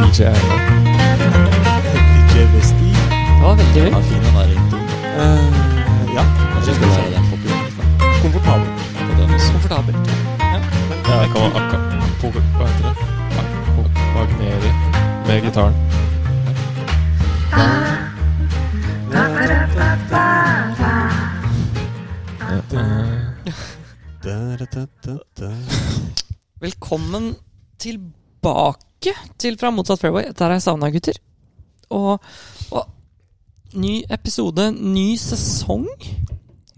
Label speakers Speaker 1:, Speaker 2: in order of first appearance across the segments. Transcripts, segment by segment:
Speaker 1: DJ er det.
Speaker 2: DJ Vesti.
Speaker 3: Det var veldig
Speaker 4: Den
Speaker 3: høy.
Speaker 4: var fin, den der introen.
Speaker 2: Eh, ja.
Speaker 4: Kanskje jeg skal lære den på pianist, da.
Speaker 2: Komfortabel.
Speaker 4: På den også.
Speaker 3: Komfortabel.
Speaker 1: Ja, det kan man akka- po- Hva heter det? Po- Magneri med gitaren.
Speaker 2: Da-da-da-da-da.
Speaker 3: Velkommen tilbake til Fra motsatt fairway. Der har jeg savna, gutter. Og, og ny episode, ny sesong,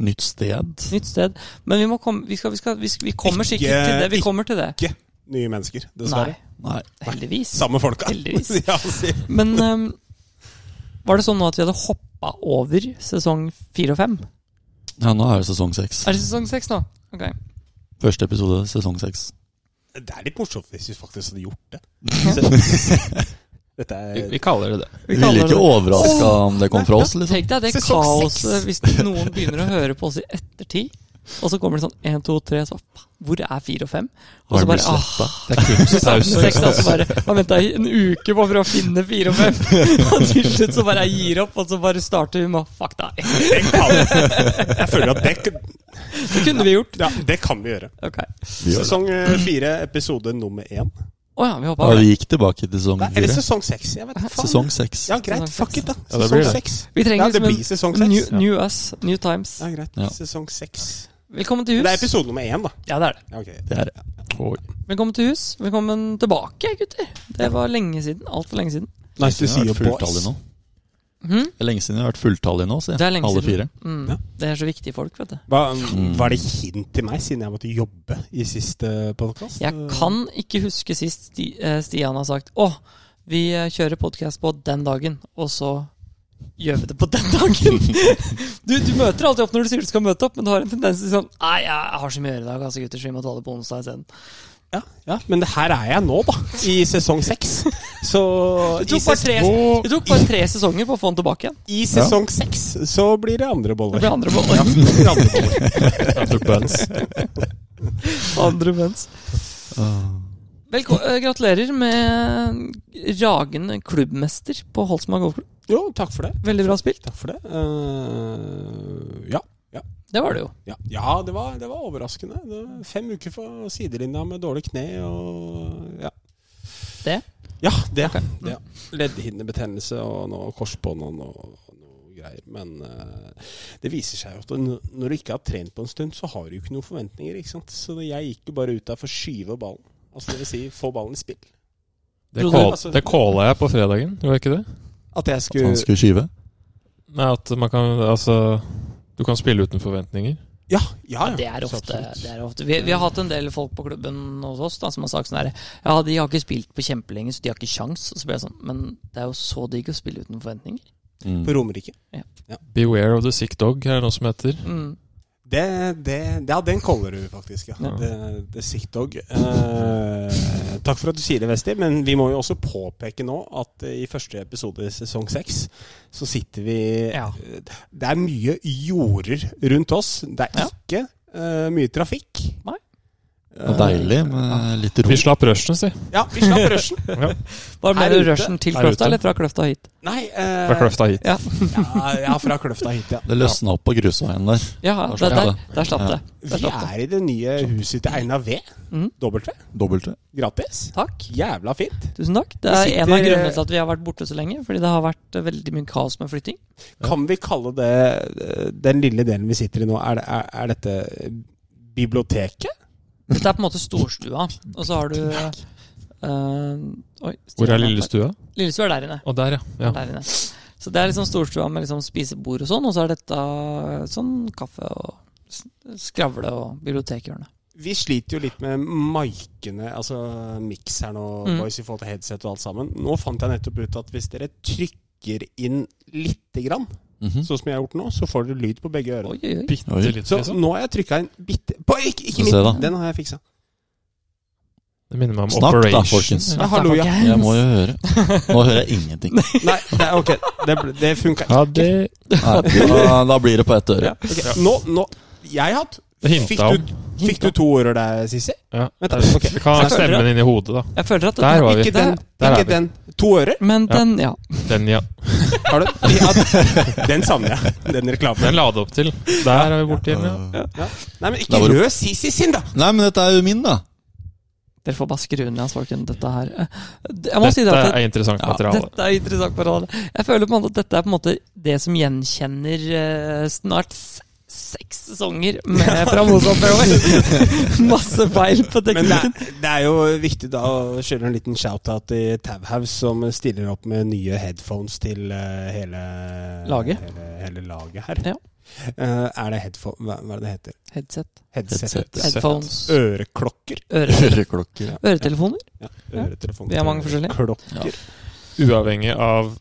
Speaker 1: Nytt sted.
Speaker 3: nytt sted. Men vi må komme Vi, skal, vi, skal, vi, skal, vi kommer
Speaker 2: Ikke-
Speaker 3: sikkert til det. Vi kommer til det.
Speaker 2: Ikke nye mennesker,
Speaker 3: Nei.
Speaker 2: dessverre.
Speaker 1: Nei.
Speaker 3: Heldigvis.
Speaker 2: Samme folka.
Speaker 3: Heldigvis.
Speaker 2: ja, si.
Speaker 3: Men ehm, var det sånn nå at vi hadde hoppa over sesong fire og fem?
Speaker 4: Ja, nå er det sesong seks.
Speaker 3: Er det sesong seks nå? Ok.
Speaker 4: Første episode sesong seks.
Speaker 2: Det er litt morsomt hvis vi faktisk hadde gjort det. Så- Dette
Speaker 1: Vi,
Speaker 2: er
Speaker 1: vi kaller det det.
Speaker 3: Vi
Speaker 4: Vi ville
Speaker 3: kaller
Speaker 4: ikke
Speaker 3: det-
Speaker 4: overraska om det kom fra oss, liksom.
Speaker 3: Tenk deg det
Speaker 2: Sesong
Speaker 3: kaoset
Speaker 2: seks.
Speaker 3: hvis noen begynner å høre på oss i ettertid. Og så kommer det sånn én, to, tre, så fa- Hvor er fire og fem? Og
Speaker 4: Har
Speaker 3: så
Speaker 4: det
Speaker 3: bare
Speaker 4: blitt
Speaker 3: ah,
Speaker 4: sletta?
Speaker 1: Det er krimsaus.
Speaker 3: seks, da, så bare, Man venta i en uke på for å finne fire og fem, og til slutt så bare jeg gir opp, og så bare starter vi med Fuck deg.
Speaker 2: Det kan Jeg føler at det,
Speaker 3: Det kunne vi gjort.
Speaker 2: ja, det kan vi gjøre.
Speaker 3: Ok.
Speaker 4: Vi gjør det.
Speaker 2: Sesong eh, fire, episode nummer én.
Speaker 3: Å ja, vi hoppa
Speaker 4: Ja,
Speaker 3: over.
Speaker 4: vi
Speaker 3: det.
Speaker 4: gikk tilbake til sesong
Speaker 2: Nei, Eller
Speaker 4: fire.
Speaker 2: sesong seks. Jeg vet ikke. faen.
Speaker 4: Sesong seks.
Speaker 2: Ja, greit.
Speaker 3: Sesong
Speaker 2: Fuck it, da.
Speaker 1: Ja, det blir
Speaker 2: Sesong
Speaker 1: det.
Speaker 2: seks.
Speaker 3: Vi trenger
Speaker 2: Ja, det
Speaker 3: liksom en
Speaker 2: blir sesong seks.
Speaker 3: New, new us, new times.
Speaker 2: Ja, greit.
Speaker 4: Ja.
Speaker 2: Sesong seks.
Speaker 3: Velkommen til
Speaker 2: Det er
Speaker 3: hus.
Speaker 2: episode nummer én, da.
Speaker 3: Ja, det er det.
Speaker 2: Ja, ok.
Speaker 4: Det er det.
Speaker 1: Oi.
Speaker 3: Velkommen til hus. Velkommen tilbake, gutter. Det var lenge siden. Altfor lenge siden.
Speaker 2: Nice to
Speaker 4: Jeg
Speaker 2: see
Speaker 4: har
Speaker 2: you,
Speaker 4: vært fulltallig
Speaker 2: boys.
Speaker 4: nå.
Speaker 3: Mhm.
Speaker 4: Det er lenge siden jeg har vært fulltallig nå, sier
Speaker 3: Det er
Speaker 4: jeg.
Speaker 3: lenge
Speaker 4: Alle fire.
Speaker 3: siden. Mm.
Speaker 2: Ja.
Speaker 3: Det er så viktige folk, vet du.
Speaker 2: Hva,
Speaker 4: Mm.
Speaker 2: var det hint til meg, siden jeg måtte jobbe i siste podkast?
Speaker 3: Jeg kan ikke huske sist Sti, eh, Stian har sagt Å, vi eh, kjører podkast på den dagen, og så gjør vi det på den dagen. du, du møter alltid opp når du sier du skal møte opp, men du har en tendens til sånn Nei, jeg har så mye å gjøre i dag, altså, gutter, så vi må ta det på onsdag isteden.
Speaker 2: Ja, ja, men det her er jeg nå, da. I sesong seks. Så
Speaker 3: Det
Speaker 2: i,
Speaker 3: tok bare
Speaker 2: ses
Speaker 3: tre, det tok bare tre sesonger på å få den tilbake igjen.
Speaker 2: i sesong seks så blir det andre
Speaker 3: Det
Speaker 2: boller.
Speaker 3: ble andre boller.
Speaker 2: Det blir andre boller.
Speaker 4: Andre bands.
Speaker 3: Andre mens.
Speaker 4: Ah,
Speaker 3: Velko eh, gratulerer med ragende klubbmester på Holsma golfklubb.
Speaker 2: Jo, takk for det.
Speaker 3: Veldig bra spilt.
Speaker 2: Takk for det. Eh, ja. Ja.
Speaker 3: Det var det jo.
Speaker 2: Ja, ja det, var, det var overraskende. Det var fem uker fra sidelinja med dårlig kne og ja.
Speaker 3: Det?
Speaker 2: Ja, det. det. Leddhinnebetennelse og noe korsbånd og noe, noe greier. Men eh, det viser seg jo at n- når du ikke har trent på en stund, så har du jo ikke noen forventninger. ikke sant? Så jeg gikk jo bare ut der for å skyve ballen. Altså det vil si, få ballen i spill.
Speaker 1: Det Altså-
Speaker 3: Trodde-
Speaker 1: call- Det calla jeg på fredagen, gjorde jeg ikke det?
Speaker 2: At jeg
Speaker 4: At
Speaker 2: skulle,
Speaker 4: han skulle skyve.
Speaker 1: Nei, at man kan Altså, du kan spille uten forventninger.
Speaker 2: Ja, ja, ja.
Speaker 3: Det er
Speaker 2: Så
Speaker 3: ofte.
Speaker 2: absolutt.
Speaker 3: Det er ofte. Vi, vi har hatt en del folk på klubben hos oss da, som har sagt sånn her Ja, de har ikke spilt på kjempelenge, så de har ikke sjans. Og så ble jeg sånn Men det er jo så digg å spille uten forventninger.
Speaker 4: Mm.
Speaker 2: På Romerike.
Speaker 1: Beware of the sick dog er det noe som heter.
Speaker 3: Mm.
Speaker 2: Det, det, det, ja, den caller du faktisk, ja.
Speaker 1: Ja.
Speaker 2: Det, det er sick dog. Eh, takk for at du sier det, Vesti, men vi må jo også påpeke nå at eh, i første episode i sesong seks så sitter vi
Speaker 3: Ja.
Speaker 2: Det er mye jorder rundt oss. Det er ikke eh, mye trafikk.
Speaker 3: Nei.
Speaker 4: Og deilig med litt ro.
Speaker 1: Vi slapp rushen, si.
Speaker 2: Ja, vi slapp rushen.
Speaker 3: Var det
Speaker 2: Her
Speaker 3: mer
Speaker 2: ute,
Speaker 3: rushen til
Speaker 1: her ute.
Speaker 3: Kløfta, eller fra Kløfta hit?
Speaker 2: Nei eh,
Speaker 1: Fra kløfta hit.
Speaker 3: Ja,
Speaker 2: Ja, ja, fra kløfta hit, ja.
Speaker 4: Det løsna opp på grusveien der.
Speaker 3: ja
Speaker 4: Der
Speaker 3: der,
Speaker 4: slapp
Speaker 3: der,
Speaker 4: det.
Speaker 3: der slapp
Speaker 4: Ja.
Speaker 3: det. Der
Speaker 2: Vi
Speaker 3: slapp det.
Speaker 2: er i det nye huset til Einar V.
Speaker 3: Mhm.
Speaker 2: W.
Speaker 4: Dobbelt.
Speaker 2: Gratis.
Speaker 3: Takk.
Speaker 2: Jævla fint.
Speaker 3: Tusen takk. Det
Speaker 2: Vi
Speaker 3: er
Speaker 2: sitter-
Speaker 3: en av grunnene til at vi har vært borte så lenge. Fordi det har vært eh, veldig mye kaos med flytting.
Speaker 2: Kan vi kalle det den lille delen vi sitter i nå, er, det, er, er dette biblioteket?
Speaker 3: Dette er på en måte storstua, og så har du eh, eh, oi,
Speaker 1: Hvor er lillestua?
Speaker 3: Lillestua er der inne.
Speaker 1: Og der, ja. ja.
Speaker 3: Der inne. Så det er liksom storstua med liksom spisebord og sånn, og så er dette sånn kaffe og s- skravle og bibliotekhjørne.
Speaker 2: Vi sliter jo litt med mikene, altså mikseren og
Speaker 3: Mm.
Speaker 2: voice i forhold til headset og alt sammen. Nå fant jeg nettopp ut at hvis dere trykker inn lite grann,
Speaker 4: Mhm.
Speaker 2: sånn som jeg har gjort nå, så får dere lyd på begge ørene.
Speaker 3: Oi, oi, oi.
Speaker 1: Bitte litt,
Speaker 2: Så
Speaker 1: liksom.
Speaker 2: nå har jeg trykka en bitte på, Ikke, ikke
Speaker 4: Få se
Speaker 2: midten,
Speaker 4: da.
Speaker 2: den har jeg fiksa.
Speaker 1: Det minner meg om
Speaker 4: Snakk da,
Speaker 1: Operation.
Speaker 4: folkens.
Speaker 2: Ja, hallo, ja.
Speaker 3: Folkens.
Speaker 4: Jeg må jo høre. Nå hører jeg ingenting.
Speaker 2: Nei, det er ok. Det, ble- det funka.
Speaker 1: Ja, det
Speaker 4: Nei, da, da blir det på ett øre.
Speaker 2: Ok, Nå, nå Jeg har hatt
Speaker 1: det
Speaker 2: Fikk
Speaker 1: hinta om.
Speaker 2: du, fikk du to ord der, Sissy?
Speaker 1: Ja.
Speaker 2: Vent da, ok.
Speaker 1: Vi kan ha stemmen inn i hodet, da.
Speaker 3: Jeg føler at
Speaker 1: Der var vi.
Speaker 2: Ikke den.
Speaker 1: Der er
Speaker 2: Ikke
Speaker 1: vi.
Speaker 2: den. To øre?
Speaker 3: Men
Speaker 1: Ja.
Speaker 3: den, ja.
Speaker 1: Den, ja.
Speaker 2: Har du? Ja, den savner jeg. Den reklamen.
Speaker 1: Den la det opp til. Der er vi borte igjen, ja.
Speaker 2: Ja. Nei, men
Speaker 4: Da
Speaker 2: ikke
Speaker 4: var det-
Speaker 2: rød Sisi sin, da!
Speaker 4: Nei, men dette er jo min, da.
Speaker 3: Dere får bare skru ned, folkens, dette her. Eh, det- Jeg må si det
Speaker 1: Dette
Speaker 3: at
Speaker 1: er interessant
Speaker 4: Ja,
Speaker 1: materiale.
Speaker 3: Dette er interessant parallell. Jeg føler på en måte at dette er på en måte det som gjenkjenner eh, snart s- seks sesonger med Pramosa-prøver. Masse feil på
Speaker 2: Men det
Speaker 3: teknikken.
Speaker 2: er, det er jo viktig da å skylde en liten shout-out til Tauhaug, som stiller opp med nye headphones til eh, hele
Speaker 3: Laget.
Speaker 2: Hele, hele laget her.
Speaker 3: Ja.
Speaker 2: Eh, er det headphone hva, hva er det det heter?
Speaker 3: Headset,
Speaker 2: Headset.
Speaker 4: Headset.
Speaker 3: headphones,
Speaker 2: Øreklokker.
Speaker 3: øre,
Speaker 4: Øreklokker.
Speaker 3: øretelefoner.
Speaker 2: Ja, øretelefoner.
Speaker 3: Vi har mange forskjellige.
Speaker 2: Klokker.
Speaker 1: Uavhengig av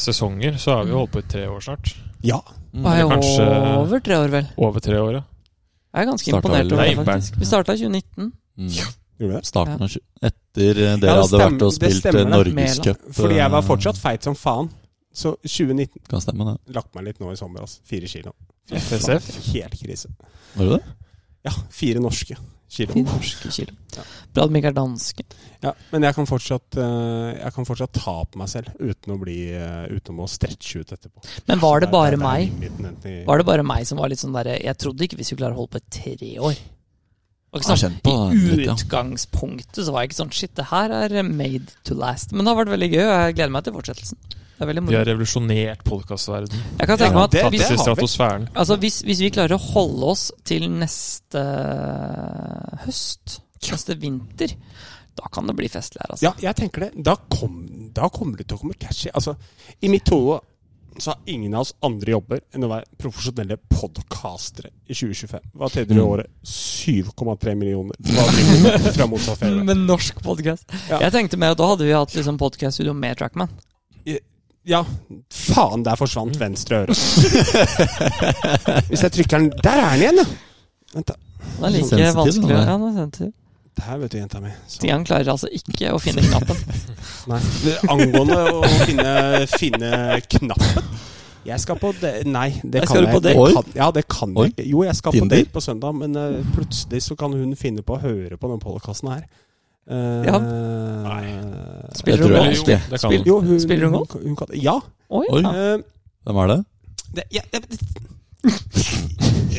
Speaker 1: sesonger, så har vi holdt på i tre år snart.
Speaker 2: Ja.
Speaker 4: Mm.
Speaker 3: Var jeg
Speaker 1: kanskje-
Speaker 3: over tre år, vel?
Speaker 1: Over tre år, ja.
Speaker 3: Jeg er ganske
Speaker 4: Starta
Speaker 3: imponert
Speaker 4: vel-
Speaker 3: over
Speaker 1: Nei,
Speaker 3: det, faktisk. Vi starta i 2019.
Speaker 4: Mm.
Speaker 2: Gjorde det?
Speaker 4: Starten av tjue- Etter eh, dere
Speaker 2: Ja, det
Speaker 4: hadde vært og
Speaker 2: stemmer- det
Speaker 4: spilt eh,
Speaker 2: stemmer
Speaker 3: det.
Speaker 4: Norgescup.
Speaker 2: Fordi jeg var
Speaker 4: eh,
Speaker 2: fortsatt feit som faen. Så 2019
Speaker 4: Kan stemme, det.
Speaker 2: lagt meg litt nå i sommer, altså. Fire kilo.
Speaker 1: FSF.
Speaker 2: Helt krise.
Speaker 4: Var det det?
Speaker 2: Ja, fire norske kilo.
Speaker 3: Fint norske kilo.
Speaker 2: Ja.
Speaker 3: Bra at de ikke er danske.
Speaker 2: Ja, men jeg kan fortsatt, eh, jeg kan fortsatt ta på meg selv uten å, bli, eh, uten å stretche ut etterpå.
Speaker 3: Men var det bare
Speaker 2: er
Speaker 3: meg?
Speaker 2: limiten enten i-
Speaker 3: Var det bare meg som var litt sånn derre Jeg trodde ikke vi skulle klare å holde på i tre år. Det var
Speaker 4: Jeg
Speaker 3: ikke
Speaker 4: har
Speaker 3: sånn,
Speaker 4: kjent på det
Speaker 3: I
Speaker 4: litt, ja.
Speaker 3: utgangspunktet så var jeg ikke sånn Shit, det her er made to last. Men det har vært veldig gøy, og jeg gleder meg til fortsettelsen. Det er veldig
Speaker 1: Vi
Speaker 3: moro.
Speaker 1: har revolusjonert podkastverdenen.
Speaker 3: Jeg kan tenke
Speaker 2: Ja,
Speaker 3: meg at
Speaker 1: Tatt
Speaker 2: det
Speaker 1: oss i
Speaker 2: har vi.
Speaker 1: stratosfæren.
Speaker 3: altså, hvis, hvis vi klarer å holde oss til neste høst, neste vinter, da kan det bli festlig her, altså.
Speaker 2: Ja, jeg tenker det. Da, kom, da kommer det til å komme cashy. Altså, I mitt hode så har ingen av oss andre jobber enn å være profesjonelle podkastere i 2025. Hva tjener
Speaker 3: Mm.
Speaker 2: du i året? 7,3 millioner. Hva driver du med fra motsatt ferie?
Speaker 3: Med norsk podkast.
Speaker 2: Ja.
Speaker 3: Jeg tenkte mer at da hadde vi hatt liksom podkaststudio med Trackman.
Speaker 2: Ja, faen, der forsvant venstre øre. Hvis jeg trykker den Der er den igjen, ja! Vent, da.
Speaker 3: Det er like
Speaker 4: Sensitiv,
Speaker 3: vanskelig.
Speaker 4: den der.
Speaker 3: Ja, den er sensitiv.
Speaker 2: Det her vet du, jenta mi. Så-
Speaker 3: Stian klarer altså ikke å finne knappen.
Speaker 2: Nei. Angående å finne, finne knappen. Jeg skal på de Nei, det
Speaker 4: Nei,
Speaker 2: kan
Speaker 4: skal du
Speaker 2: jeg
Speaker 4: på
Speaker 2: det
Speaker 4: date?
Speaker 2: kan, Ja, det kan
Speaker 4: Oi.
Speaker 2: jeg ikke. Jo, jeg skal
Speaker 4: Tinder?
Speaker 2: på date på søndag, men eh, plutselig så kan hun finne på å høre på den podkasten her. Eh,
Speaker 3: Ja.
Speaker 4: Det
Speaker 3: Spiller
Speaker 4: tror
Speaker 3: hun
Speaker 4: jeg
Speaker 1: Eller jo,
Speaker 3: golf?
Speaker 4: ikke.
Speaker 1: det kan
Speaker 2: Spill-
Speaker 1: den.
Speaker 2: jo, hun,
Speaker 3: Spiller hun
Speaker 2: hun, hun kan Ja.
Speaker 3: Oi,
Speaker 4: Oi.
Speaker 3: ja.
Speaker 2: eh,
Speaker 4: Hvem er det?
Speaker 2: det, ja, ja det,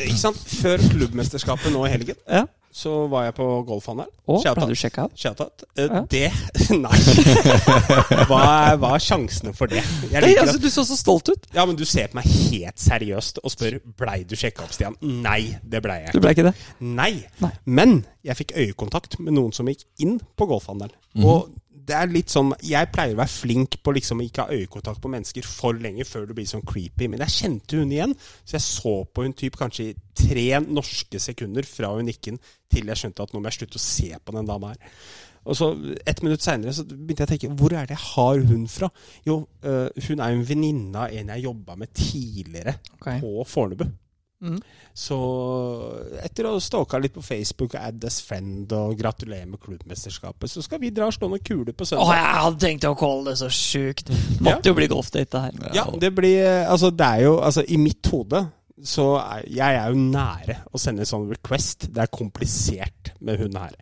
Speaker 2: ikke sant? Før klubbmesterskapet nå i helgen,
Speaker 3: Ja.
Speaker 2: så var jeg på golfhandelen.
Speaker 3: Å,
Speaker 2: Shout
Speaker 3: ble
Speaker 2: out.
Speaker 3: du sjekka av?
Speaker 2: Shoutout. Eh,
Speaker 3: Ja.
Speaker 2: Det Nei. Hva er, hva er sjansene for det? Jeg
Speaker 3: Nei,
Speaker 2: liker at
Speaker 3: altså, du så så stolt ut.
Speaker 2: Ja, men du ser på meg helt seriøst og spør Blei du sjekka opp, Stian. Nei, det blei jeg.
Speaker 3: Du ble ikke det?
Speaker 2: Nei.
Speaker 3: Nei.
Speaker 2: Men jeg fikk øyekontakt med noen som gikk inn på golfhandelen. Og det er litt sånn Jeg pleier å være flink på liksom å ikke ha øyekontakt på mennesker for lenge før du blir sånn creepy, men jeg kjente hun igjen. Så jeg så på hun typ kanskje i tre norske sekunder fra hun gikk inn til jeg skjønte at nå må jeg slutte å se på den dama her. Og så Et minutt seinere begynte jeg å tenke hvor er det jeg har hun fra? Jo, øh, hun er jo en venninne av en jeg jobba med tidligere på Fornebu.
Speaker 3: Mhm.
Speaker 2: Så etter å ha stalka litt på Facebook og add as friend og gratulere med klubbmesterskapet, så skal vi dra og slå noen kuler på
Speaker 3: Å,
Speaker 2: søndag.
Speaker 3: jeg hadde tenkt å kalle det så sjukt. Måtte jo bli golfdate, det her.
Speaker 2: ja. det blir Altså, det er jo Altså, i mitt hode så er, jeg er jo nære å sende en sånn request. Det er komplisert med hun her.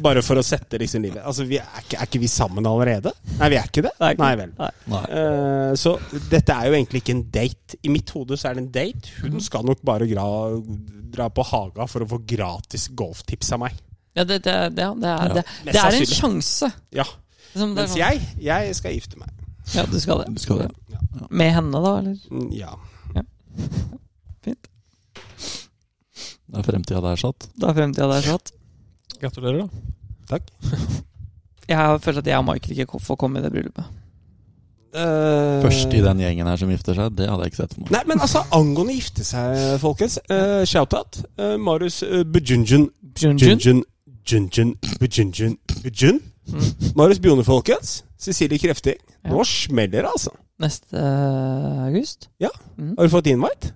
Speaker 2: Bare for å sette liksom livet Altså, vi er, ikke, er ikke vi sammen allerede? Nei, vi er ikke det?
Speaker 3: Det er ikke-
Speaker 2: Nei vel.
Speaker 3: Nei.
Speaker 4: Nei.
Speaker 2: Eh, så dette er jo egentlig ikke en date. I mitt hode så er det en date. Hun skal nok bare gra, dra på Haga for å få gratis golftips av meg.
Speaker 3: Ja, det, det, det, ja, det, er, det,
Speaker 2: Mest
Speaker 3: det er en
Speaker 2: sannsynlig.
Speaker 3: sjanse.
Speaker 2: Ja.
Speaker 3: Liksom, det er
Speaker 2: Mens
Speaker 3: sånn-
Speaker 2: jeg, jeg skal gifte meg.
Speaker 3: Ja, du skal det.
Speaker 4: Du skal det.
Speaker 3: Med henne, da, eller?
Speaker 2: Mm, Ja.
Speaker 3: Fint.
Speaker 4: Det er fremtida der satt.
Speaker 3: Da er fremtida der satt.
Speaker 1: Gratulerer, da.
Speaker 2: Takk.
Speaker 3: Jeg føler at jeg og Michael ikke får komme i det bryllupet.
Speaker 4: Først i den gjengen her som gifter seg, det hadde jeg ikke sett for meg.
Speaker 2: Eh, Nei, men altså, angående gifte seg, folkens. eh, Shout-out. Eh, Marius uh, Bujunjun.
Speaker 3: Jun Jun?
Speaker 2: Junjun. Junjun. Bujunjun. Bujun. Marius Bjone, folkens. Cecilie Krefting. Nå
Speaker 3: Ja.
Speaker 2: smeller det, altså.
Speaker 3: Neste eh, august?
Speaker 2: Har du fått invite?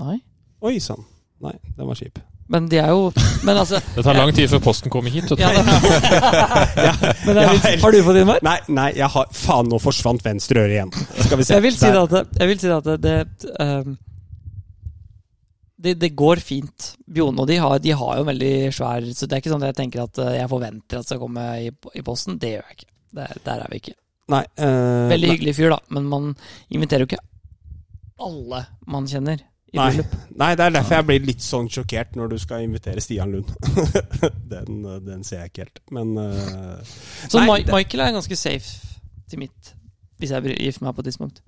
Speaker 3: Nei.
Speaker 2: Oi sann. Nei, den var kjip.
Speaker 3: Men de er jo Men altså
Speaker 1: Det tar lang tid før posten kommer hit. vet du.
Speaker 3: ja, det, Men det er litt, Har du fått invite?
Speaker 2: Nei, nei, jeg har Faen, nå forsvant venstre øre igjen. Skal vi se.
Speaker 3: Jeg vil si det
Speaker 2: Der.
Speaker 3: at det- Jeg vil si det, at det, det, ehm, det, det går fint. Bjone og de har, de har jo en veldig svær Så det er ikke sånn at jeg tenker at eh, jeg forventer at det skal komme i, i posten. Det gjør jeg ikke. Det, der er vi ikke.
Speaker 2: Nei. eh,
Speaker 3: Veldig
Speaker 2: nei.
Speaker 3: hyggelig fyr, da, men man inviterer jo ikke alle man kjenner i
Speaker 2: Nei.
Speaker 3: bryllup.
Speaker 2: nei, det er derfor jeg blir litt sånn sjokkert når du skal invitere Stian Lund. den, eh, den ser jeg ikke helt. Men eh,
Speaker 3: Så
Speaker 2: Nei,
Speaker 3: Ma-
Speaker 2: det-
Speaker 3: Michael er ganske safe til mitt, hvis jeg bry- gifter meg på et tidspunkt.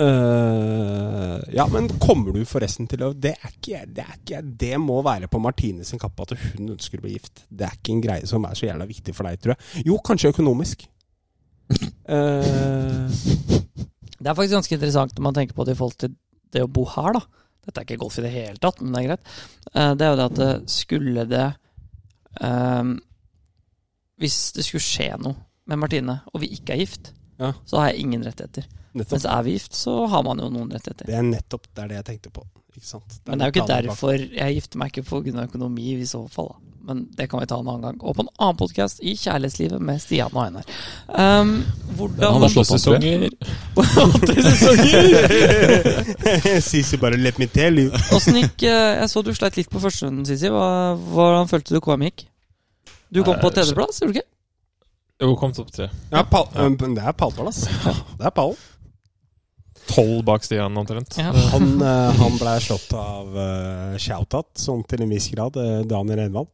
Speaker 2: eh, Ja, men kommer du forresten til å Det er ikke jeg. Det, er ikke jeg. det må være på Martine sin kappe at hun ønsker å bli gift. Det er ikke en greie som er så jævla viktig for deg, tror jeg. Jo, kanskje økonomisk. Eh,
Speaker 3: Det er faktisk ganske interessant når man tenker på det i forhold til det å bo her, da. Dette er ikke golf i det hele tatt, men det er greit. Eh, Det er jo det at eh, skulle det ehm, Hvis det skulle skje noe med Martine, og vi ikke er gift,
Speaker 2: Ja.
Speaker 3: så har jeg ingen rettigheter.
Speaker 2: nettopp.
Speaker 3: Mens er vi gift, så har man jo noen rettigheter.
Speaker 2: Det er nettopp det er det jeg tenkte på. Ikke sant?
Speaker 3: Men det er jo ikke
Speaker 2: planen bak.
Speaker 3: derfor jeg gifter meg ikke pga. økonomi i så fall. da. Men det kan vi ta en annen gang. Og på en annen podkast i Kjærlighetslivet med Stian og Einar. Um,
Speaker 4: Han
Speaker 3: hvordan
Speaker 4: har slått an, tror jeg.
Speaker 1: sesonger.
Speaker 3: Åtte sesonger!
Speaker 2: Sisi bare let me tell you.
Speaker 3: Åssen gikk eh, Jeg så du sleit litt på første runden, Sisi. Hva, hvordan følte du KM gikk? Du kom
Speaker 1: Nei,
Speaker 2: Eh,
Speaker 3: på tredjeplass, gjorde du ikke?
Speaker 1: Jo, kom topp tre.
Speaker 2: Ja, pal men Det er pallball, ass. Det er pall.
Speaker 1: Tolv bak Stian, omtrent.
Speaker 3: Ja.
Speaker 2: Han, eh, han ble slått av uh, Shoutout, sånn til en viss grad, eh, Daniel Envald.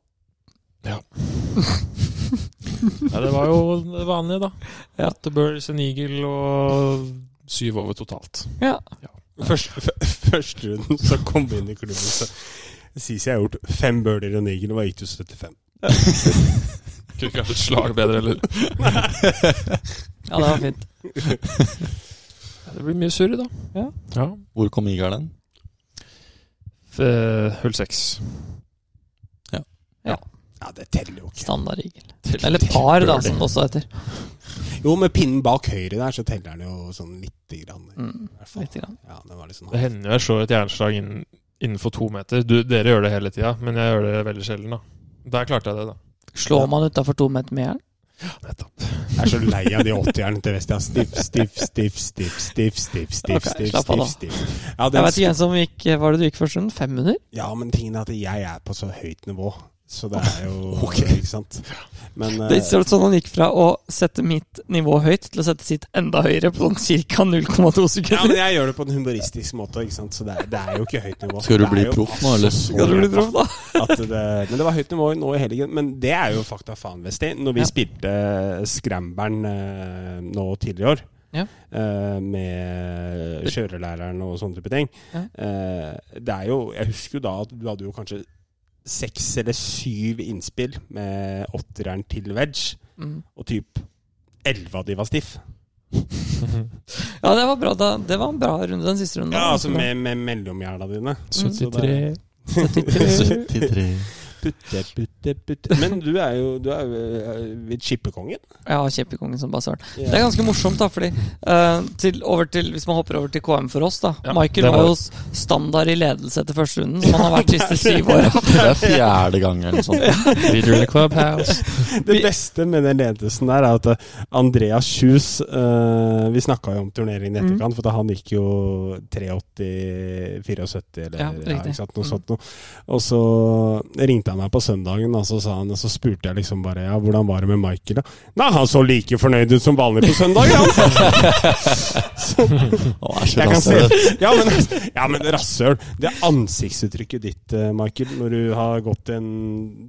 Speaker 1: Ja, det var jo det vanlige, da.
Speaker 3: Ja.
Speaker 1: Åtte birds, en eagle og syv over totalt.
Speaker 3: Ja.
Speaker 2: Først- f- Første runden så kom vi inn i klubben, så Sisi har gjort fem birdier og nigel, og hva gikk du 75?
Speaker 1: Kunne ikke hatt et slag bedre, eller?
Speaker 3: ja, det var fint.
Speaker 1: Det blir mye surr, da.
Speaker 3: Ja.
Speaker 1: ja.
Speaker 4: Hvor kom Igalen?
Speaker 1: F- Eh, Hull seks.
Speaker 2: Ja, det teller jo ikke.
Speaker 3: Standardregel. Eller par, da, som det også heter.
Speaker 2: Jo, med pinnen bak høyre der, så teller den jo sånn lite grann. i
Speaker 3: Mm,
Speaker 2: hvert fall.
Speaker 3: litt grann.
Speaker 2: Ja, det var litt sånn
Speaker 1: Det hender jo jeg slår et jernslag innen, innenfor to meter. Du, dere gjør det hele tida, men jeg gjør det veldig sjelden, da. Der klarte jeg det, da.
Speaker 3: Slår man utafor to meter med jern?
Speaker 1: Nettopp.
Speaker 2: Jeg er så lei av de 80-erne til Vestia. Stiff, stiff, stiff, stiff, stiff, stiff, stiff,
Speaker 3: Ok,
Speaker 2: stiff,
Speaker 3: slapp av da.
Speaker 2: stiff, stiff. Ja,
Speaker 3: Jeg
Speaker 2: den
Speaker 3: vet ikke hvem som gikk Var det du gikk første runden? 500?
Speaker 2: Ja, men tingen er at jeg er på så høyt nivå. Så det er jo
Speaker 4: Ok.
Speaker 2: Ikke sant? Men eh,
Speaker 3: Det ser ut som han gikk fra å sette mitt nivå høyt til å sette sitt enda høyere på sånn ca. 0,2
Speaker 2: ja, men
Speaker 3: sekunder.
Speaker 2: jeg gjør det på en humoristisk måte, ikke sant? så det er, det er jo ikke høyt nivå.
Speaker 4: Skal du
Speaker 2: Det er
Speaker 4: bli
Speaker 2: jo altså
Speaker 4: proff nå, eller?
Speaker 2: så
Speaker 3: Skal du bli proff, da?
Speaker 2: At det, men det var høyt nivå nå i helgen. Men det er jo fakta faen, Vesti. Når vi
Speaker 3: Ja.
Speaker 2: spilte Scramberen eh, nå tidligere i år,
Speaker 3: Ja.
Speaker 2: eh, med kjørelæreren og sånne type ting
Speaker 3: Ja.
Speaker 2: eh, Det er jo Jeg husker jo da at du hadde jo kanskje seks eller syv innspill med åtteren til wedge,
Speaker 3: Mm.
Speaker 2: og typ elleve av de var stiff.
Speaker 3: Ja, det var bra. Da. Det var en bra runde, den siste runden. Mm.
Speaker 2: Ja, altså med, med mellomhjerna dine.
Speaker 1: 73.
Speaker 4: 73.
Speaker 2: Putte, putte, putte. Men du er jo, du er jo eh, chippekongen.
Speaker 3: Ja, kjempekongen som bare søren. Det er ganske morsomt, da, fordi eh, til, over til, Hvis man hopper over til KM for oss, da.
Speaker 1: Ja,
Speaker 3: Michael
Speaker 1: det
Speaker 3: var
Speaker 1: var-
Speaker 3: jo s- standard i ledelse etter første runden, som han har vært de siste syv åra.
Speaker 4: Det er fjerde gang eller noe sånt.
Speaker 1: Leader in the clubhouse.
Speaker 2: Det beste med den ledelsen der er at eh, Andreas Kjus eh, Vi snakka jo om turneringen i
Speaker 3: Mm.
Speaker 2: etterkant, for at han gikk jo 83-74 eller
Speaker 3: Ja, riktig.
Speaker 2: ikke sant, noe
Speaker 3: Mm.
Speaker 2: sånt noe. Og så ringte han meg på søndagen, og så, sa han, og så spurte jeg liksom bare ja, hvordan var det med Michael. da? Nei, han så like fornøyd ut som vanlig på søndag, han!
Speaker 4: Å, jeg er så
Speaker 2: Jeg kan se
Speaker 4: rasshøl.
Speaker 2: Ja, men, ja, men rasshøl. Det ansiktsuttrykket ditt, eh, Michael, når du har gått en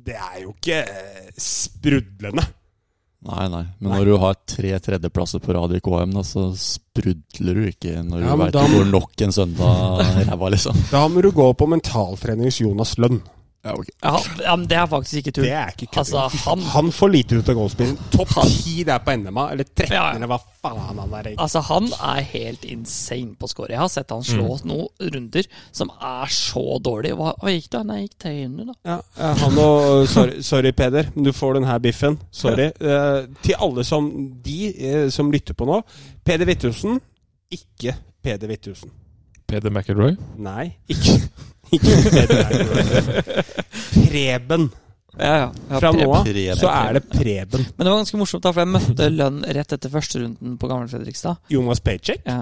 Speaker 2: Det er jo ikke eh, sprudlende.
Speaker 4: Nei, nei. Men når du har tre tredjeplasser på rad i KM, da, så sprudler du ikke når du
Speaker 2: Ja, men
Speaker 4: vet
Speaker 2: da-
Speaker 4: du går nok en søndag i ræva, liksom.
Speaker 2: Da må du gå på mentaltrenings Jonas Lønn.
Speaker 4: Ja, ok.
Speaker 3: Ja, ja, men det er faktisk ikke tull.
Speaker 2: Det er ikke kødd.
Speaker 3: Altså, han
Speaker 2: han får lite ut av golfspillen. Topp ti der på NMA, eller 13,
Speaker 3: Ja, ja.
Speaker 2: eller hva faen han er. i.
Speaker 3: Altså, han er helt insane på score. Jeg har sett han slå
Speaker 1: Mm.
Speaker 3: noen runder som er så dårlige. Hva, hva gikk det? Nei, jeg gikk 300, da.
Speaker 2: Ja, eh, han og sorry, sorry, Peder, men du får den her biffen. Sorry. Eh, til alle som de eh, som lytter på nå. Peder Hvithusen, ikke Peder Hvithusen.
Speaker 1: Peder McIlroy.
Speaker 2: Nei, ikke, ikke Peder Eilertsen. Preben.
Speaker 3: Ja, ja. ja
Speaker 2: Fra nå
Speaker 3: Preben.
Speaker 2: av
Speaker 4: Preben.
Speaker 2: så er det Preben.
Speaker 3: Men det var ganske morsomt, da, for jeg møtte Lønn rett etter første runden på Gamle Fredrikstad.
Speaker 2: Jonas Paycheck.
Speaker 3: Ja,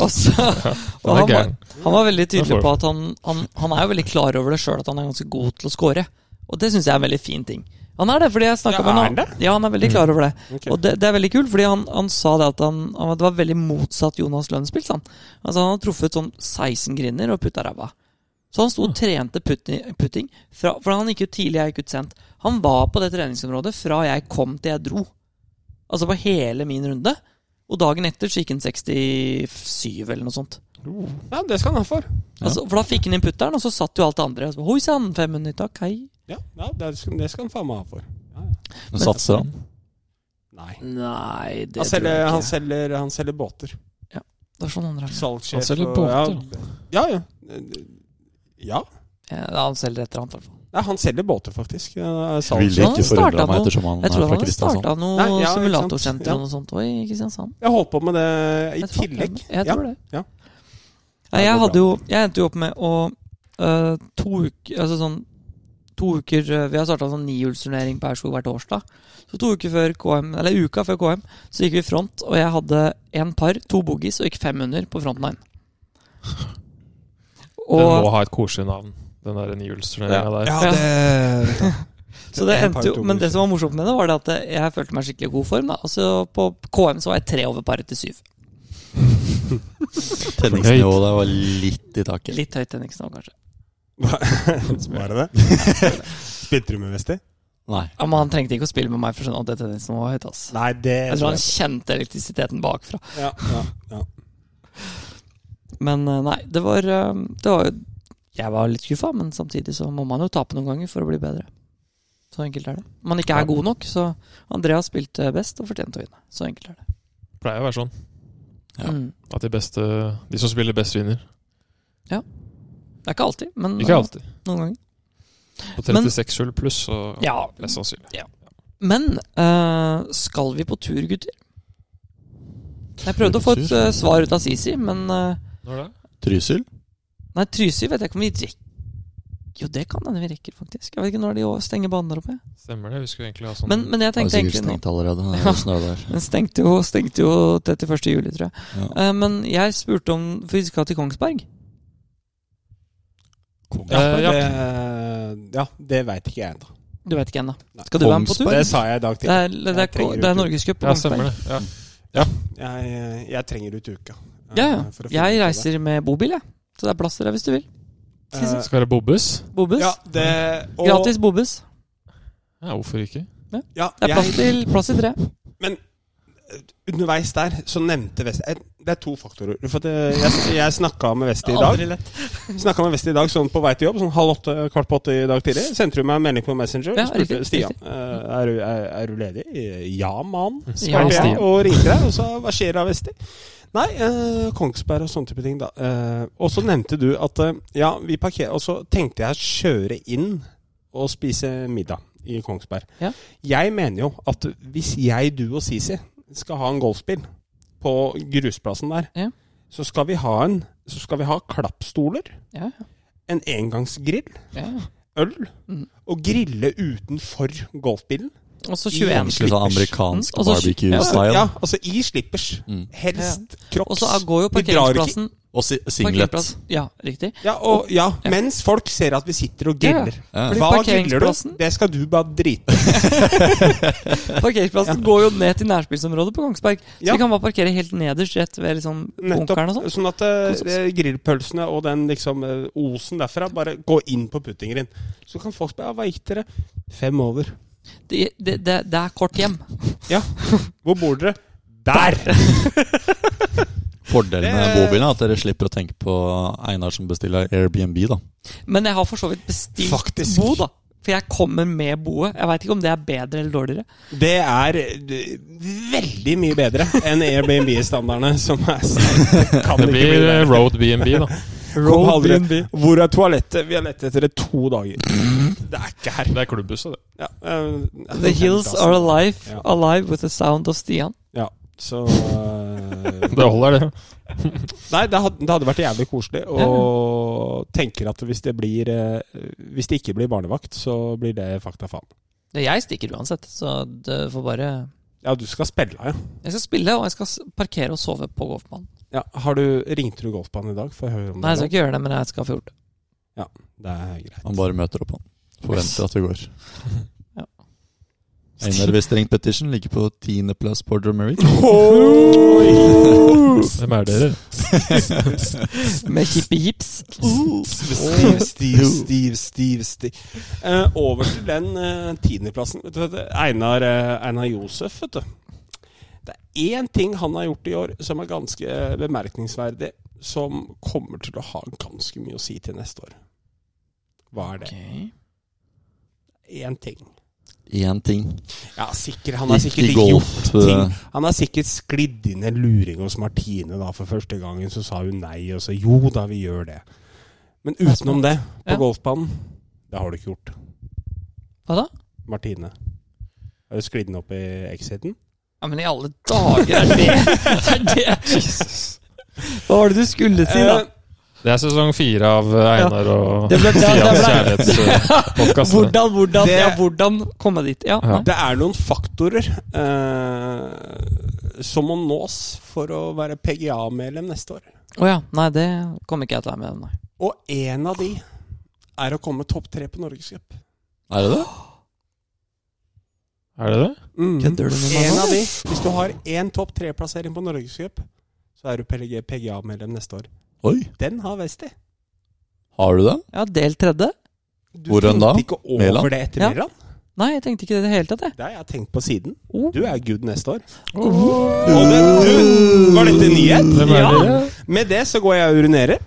Speaker 3: Og så og
Speaker 1: Den
Speaker 3: han,
Speaker 1: er
Speaker 3: var,
Speaker 1: gæren.
Speaker 3: han var veldig tydelig
Speaker 1: Den får
Speaker 3: på at han, han, han er jo veldig klar over det sjøl, at han er ganske god til å score. Og det syns jeg er en veldig fin ting. Han er det, fordi jeg snakka
Speaker 2: Ja,
Speaker 3: med
Speaker 2: er
Speaker 3: han.
Speaker 2: han det? Mm,
Speaker 3: Ja, han er veldig klar over det.
Speaker 2: Ok.
Speaker 3: Og det, det er veldig kult, fordi han, han sa det at han, han det var veldig motsatt Jonas Lønnspils. Han. Altså, han hadde truffet sånn 16 griner og putta ræva. Så han sto
Speaker 2: Mm.
Speaker 3: og trente putti- putting. Fra, for han gikk ut tidlig, jeg gikk ut sent. Han var på det treningsområdet fra jeg kom til jeg dro. Altså på hele min runde. Og dagen etter så gikk han 67 eller noe sånt.
Speaker 2: Ja, det skal han ha for.
Speaker 3: Altså, for da fikk han inn putteren, og så satt jo alt det andre. Og så, Hoi sann, 500 takk, hei.
Speaker 2: Ja, ja det, skal, det skal han faen meg ha for.
Speaker 4: Men satser han?
Speaker 2: Nei.
Speaker 3: Nei, Mm, det tror
Speaker 2: Han
Speaker 3: jeg
Speaker 2: selger,
Speaker 3: ikke.
Speaker 2: han, selger, han selger båter.
Speaker 3: Det er sånn han drar.
Speaker 2: Salgssjef.
Speaker 1: Han selger
Speaker 2: og-
Speaker 1: båter,
Speaker 2: Ja, ja. ja. Ja.
Speaker 3: Ja, han selger et eller annet, i hvert fall.
Speaker 2: Nei, han selger båter, faktisk. Ja,
Speaker 4: Ville
Speaker 2: er salgssjef.
Speaker 3: Han
Speaker 4: ikke
Speaker 3: starta
Speaker 4: forundra meg
Speaker 3: på-
Speaker 4: ettersom han
Speaker 3: Jeg
Speaker 4: er
Speaker 3: tror
Speaker 4: fra
Speaker 3: han har
Speaker 4: Kristiansand.
Speaker 3: starta noe
Speaker 2: Nei, ja, ikke sant.
Speaker 3: simulatorsenter
Speaker 2: Ja.
Speaker 3: og noe sånt også i Kristiansand.
Speaker 2: Jeg holdt på med det i
Speaker 3: Jeg tror han
Speaker 2: tillegg.
Speaker 3: det. Jeg tror det.
Speaker 2: ja.
Speaker 3: Nei,
Speaker 2: Det
Speaker 3: jeg
Speaker 2: går
Speaker 3: hadde jo Jeg endte jo opp med å øh, To uker Altså sånn To uker øh, Vi har starta en sånn nihjulsturnering på Aurskog hvert årsdag. Så to uker før KM Eller uka før KM så gikk vi i front, og jeg hadde én par, to boogies og gikk fem under på front nine.
Speaker 1: Den må
Speaker 3: Og,
Speaker 1: ha et koselig navn, den der nihjulsturneringa der.
Speaker 3: Ja.
Speaker 2: det
Speaker 3: så det
Speaker 2: en par,
Speaker 3: endte jo
Speaker 2: to
Speaker 3: Men det
Speaker 2: boogies.
Speaker 3: som var morsomt med det, var det at jeg følte meg skikkelig i god form. Da. Altså På KM så var jeg tre over paret til syv.
Speaker 4: Tenningsnivået der var litt i taket.
Speaker 3: Litt høyt Henriksen òg, kanskje.
Speaker 2: Var det det? Spilte du med Vesti?
Speaker 4: Nei.
Speaker 3: Ja, men han trengte ikke å spille med meg for å skjønne at det Henriksen var høyt. ass
Speaker 2: Nei, det
Speaker 3: Jeg tror han kjente elektrisiteten bakfra.
Speaker 2: ja, ja, ja.
Speaker 3: Men eh, nei, det var, eh, det var jo- Jeg var litt skuffa, men samtidig så må man jo tape noen ganger for å bli bedre. Så enkelt er det. Om man ikke er god nok, så Andreas spilte best og fortjente å vinne. Så enkelt er det.
Speaker 1: Pleier å være sånn.
Speaker 4: Ja.
Speaker 3: Mm.
Speaker 1: At de beste De som spiller best, vinner.
Speaker 3: Det er ikke alltid, men
Speaker 1: Mm. Ikke
Speaker 3: eh,
Speaker 1: alltid.
Speaker 3: noen ganger.
Speaker 1: På
Speaker 3: Men-
Speaker 1: 36-hull pluss, så
Speaker 3: Ja.
Speaker 1: mest sannsynlig.
Speaker 3: Men eh, skal vi på tur, gutter? Jeg prøvde å få et eh, svar ut av Sisi, men eh,
Speaker 1: Når det?
Speaker 4: Trysil?
Speaker 3: Nei, Trysil vet jeg ikke om vi rekker. Jo, det kan hende vi rekker, faktisk. Jeg vet ikke når de stenger banen der oppe.
Speaker 1: Stemmer det. Vi skulle egentlig ha sånn
Speaker 3: Men, men jeg
Speaker 4: Har
Speaker 3: tenkte
Speaker 4: sikkert
Speaker 3: egentlig nå
Speaker 4: stengt allerede. Det
Speaker 3: Ja.
Speaker 4: er snø der.
Speaker 3: Den stengte jo, stengte jo 31. juli, tror jeg.
Speaker 4: Ja.
Speaker 3: Eh, men jeg spurte om For vi skal til Kongsberg.
Speaker 1: Ja,
Speaker 2: Eh,
Speaker 1: ja.
Speaker 2: Det, ja, det veit ikke jeg ennå.
Speaker 3: Du vet ikke ennå.
Speaker 2: Nei.
Speaker 3: Skal du være med på tur?
Speaker 4: Kongsberg?
Speaker 2: Det sa jeg i dag
Speaker 3: Det
Speaker 2: tidlig.
Speaker 3: er, det er,
Speaker 2: Jeg trenger
Speaker 3: det er
Speaker 2: uke.
Speaker 3: Norgescup på
Speaker 1: Ja,
Speaker 3: Kongsberg.
Speaker 1: stemmer det. Ja.
Speaker 2: Jeg, jeg trenger ut uka. eh,
Speaker 3: Ja, ja.
Speaker 2: for å finne ut av
Speaker 3: Jeg
Speaker 2: det.
Speaker 3: reiser med bobil, jeg. Så det er plass til deg hvis du vil.
Speaker 2: Eh,
Speaker 1: Skal være bobbes?
Speaker 3: Bobbes.
Speaker 2: ja, det, og,
Speaker 3: Gratis bobbes.
Speaker 1: Ja, hvorfor ikke?
Speaker 2: Ja,
Speaker 3: Det er plass
Speaker 2: jeg,
Speaker 3: til plass til tre.
Speaker 2: underveis der så nevnte Vesti eh, Det er to faktorer. For det, jeg, jeg snakka med Vesti i dag. Snakka med Vesti i dag sånn på vei til jobb, sånn halv åtte, kvart på åtte i dag tidlig. Sendte du meg en melding på Messenger
Speaker 3: Ja,
Speaker 2: og spurte
Speaker 3: riktig,
Speaker 2: Stian eh, er, du- er, er du ledig. Eh, Ja, mann.
Speaker 3: Ja,
Speaker 2: svarte jeg,
Speaker 3: Stian.
Speaker 2: og ringte deg. Og sa hva skjer da, Vesti? Nei, eh, Kongsberg og sånne type ting, da. Eh, og så nevnte du at eh, ja, vi parkerer Og så tenkte jeg kjøre inn og spise middag i Kongsberg.
Speaker 3: Ja.
Speaker 2: Jeg mener jo at hvis jeg, du og Sisi skal ha en golfspill på grusplassen der,
Speaker 3: Ja.
Speaker 2: så skal vi ha en så skal vi ha klappstoler,
Speaker 3: Ja,
Speaker 2: en engangsgrill,
Speaker 3: ja.
Speaker 2: øl,
Speaker 3: Mhm.
Speaker 2: og grille utenfor golfbilen.
Speaker 3: Og så
Speaker 2: I
Speaker 3: 21.
Speaker 4: Ordentlig sånn
Speaker 3: Mm,
Speaker 4: amerikansk
Speaker 3: og så-
Speaker 2: Altså, ja,
Speaker 4: barbecue-style.
Speaker 2: altså i slippers.
Speaker 4: Mm.
Speaker 2: Helst crocs.
Speaker 3: Og så går jo
Speaker 2: Vi drar ikke-
Speaker 3: parkeringsplassen
Speaker 4: Og si- singlet.
Speaker 3: parkeringsplass. Ja, riktig.
Speaker 2: Ja, og, ja,
Speaker 3: Ja.
Speaker 2: mens folk ser at vi sitter og griller.
Speaker 4: Ja.
Speaker 3: Fordi
Speaker 2: Hva griller du?
Speaker 3: parkeringsplassen-
Speaker 2: Det skal du bare drite i.
Speaker 3: Parkeringsplassen går jo ned til nærspillsområdet på Kongsberg. Så
Speaker 2: Ja.
Speaker 3: vi kan bare parkere helt nederst rett ved liksom bunkeren og
Speaker 2: Nettopp.
Speaker 3: sånn.
Speaker 2: Sånn at eh, grillpølsene og den liksom eh, osen derfra bare gå inn på puttingeren. Så kan folk spørre ja, hva gikk dere? Fem over.
Speaker 3: Det, det, det, det er kort hjem.
Speaker 2: Ja. Hvor bor dere? Der!
Speaker 4: Fordelen med
Speaker 2: Det-
Speaker 4: bobilen er at dere slipper å tenke på Einar som bestiller Airbnb, da.
Speaker 3: Men jeg har for så vidt bestilt
Speaker 2: Faktisk.
Speaker 3: bo, da. For jeg kommer med boet. Jeg veit ikke om det er bedre eller dårligere.
Speaker 2: Det er eh, veldig mye bedre enn Airbnb-standardene, som er Det kan
Speaker 1: Det
Speaker 2: ikke bli
Speaker 1: blir eh,
Speaker 2: bedre.
Speaker 1: road BNB, da.
Speaker 2: Kom
Speaker 3: Road
Speaker 2: aldri-
Speaker 3: B&B.
Speaker 2: Hvor er toalettet? Vi har lett etter det to dager. Det er ikke her.
Speaker 1: Det er klubbhuset, det.
Speaker 2: Ja, eh,
Speaker 3: The hills are alive,
Speaker 2: Ja.
Speaker 3: alive with the sound of Stian.
Speaker 2: Ja, så eh,
Speaker 1: Det holder, det.
Speaker 2: Nei, det hadde, det hadde vært jævlig koselig. Og tenker at hvis det blir eh, Hvis det ikke blir barnevakt, så blir det fakta faen.
Speaker 3: Ja, Jeg stikker uansett, så det får bare
Speaker 2: Ja, du skal spille, ja.
Speaker 3: Jeg skal spille, og jeg skal s- parkere og sove på golfbanen.
Speaker 2: ja har du, ringte du golfbanen i dag? Får jeg høre om
Speaker 3: Nei, jeg skal
Speaker 2: det?
Speaker 3: ikke gjøre det, men jeg skal få gjort det.
Speaker 2: nå? Det er greit.
Speaker 4: Han bare møter opp, han. Forventer at vi går. Einar ved Strengt Pettersen ligger på tiendeplass på Drumeric.
Speaker 1: Hvem er dere?
Speaker 3: Med hippe jips.
Speaker 2: Mm. Steve, Steve, Steve, Steve, Steve. Eh, over til den eh, tiendeplassen. Vet du, vet du, Einar, eh, Einar Josef, vet du. Det er én ting han har gjort i år som er ganske eh, bemerkelsesverdig, som kommer til å ha ganske mye å si til neste år. Hva er det? Én ting.
Speaker 4: Én ting.
Speaker 2: Ja, sikkert, han har sikkert
Speaker 4: Ikke
Speaker 2: ikke
Speaker 4: golf,
Speaker 2: gjort ting.
Speaker 4: eh.
Speaker 2: Han har sikkert sklidd inn en luring hos Martine da for første gangen, så sa hun nei, og så jo da, vi gjør det. Men utenom det, på
Speaker 3: Ja.
Speaker 2: golfbanen, det har du ikke gjort.
Speaker 3: Hva da?
Speaker 2: Martine. Har du sklidd den opp i exiten?
Speaker 3: Ja, men i alle dager er det er det? Eh, Hva var det du skulle si, da?
Speaker 2: Eh,
Speaker 1: Det er sesong fire av eh, Einar og
Speaker 3: Det ble- det-
Speaker 1: Stians
Speaker 3: det
Speaker 1: kjærlighetspodkast.
Speaker 3: Hvordan, hvordan,
Speaker 2: Det-
Speaker 3: ja, hvordan komme dit? Ja.
Speaker 1: Ja.
Speaker 2: Det er noen faktorer eh, som må nås for å være PGA-medlem neste år.
Speaker 3: Å ja. Nei, det kommer ikke jeg til å være med nei.
Speaker 2: Og én av de er å komme topp tre på Norgescup.
Speaker 4: Er det det?
Speaker 1: Er det det?
Speaker 2: Mm.
Speaker 4: Kødder du med meg
Speaker 2: En
Speaker 4: nå?
Speaker 2: av de. Hvis du har én topp tre-plassering på Norgescup, så er du PG PGA-medlem neste år.
Speaker 4: Oi,
Speaker 2: Den har Westi.
Speaker 4: har du den?
Speaker 3: Ja, del tredje?
Speaker 2: Du
Speaker 4: Hvor er den da?
Speaker 2: tenkte ikke over
Speaker 4: Mæland?
Speaker 2: det etter
Speaker 3: Ja.
Speaker 2: Mæland.
Speaker 3: Nei, jeg tenkte ikke det i det hele tatt, jeg.
Speaker 2: Det har jeg tenkt på siden.
Speaker 3: Oh.
Speaker 2: Du er good neste år.
Speaker 3: Oh.
Speaker 2: Og det, du, var dette nyhet?
Speaker 1: Hvem er
Speaker 3: Ja.
Speaker 1: dere?
Speaker 2: Med det så går jeg og urinerer.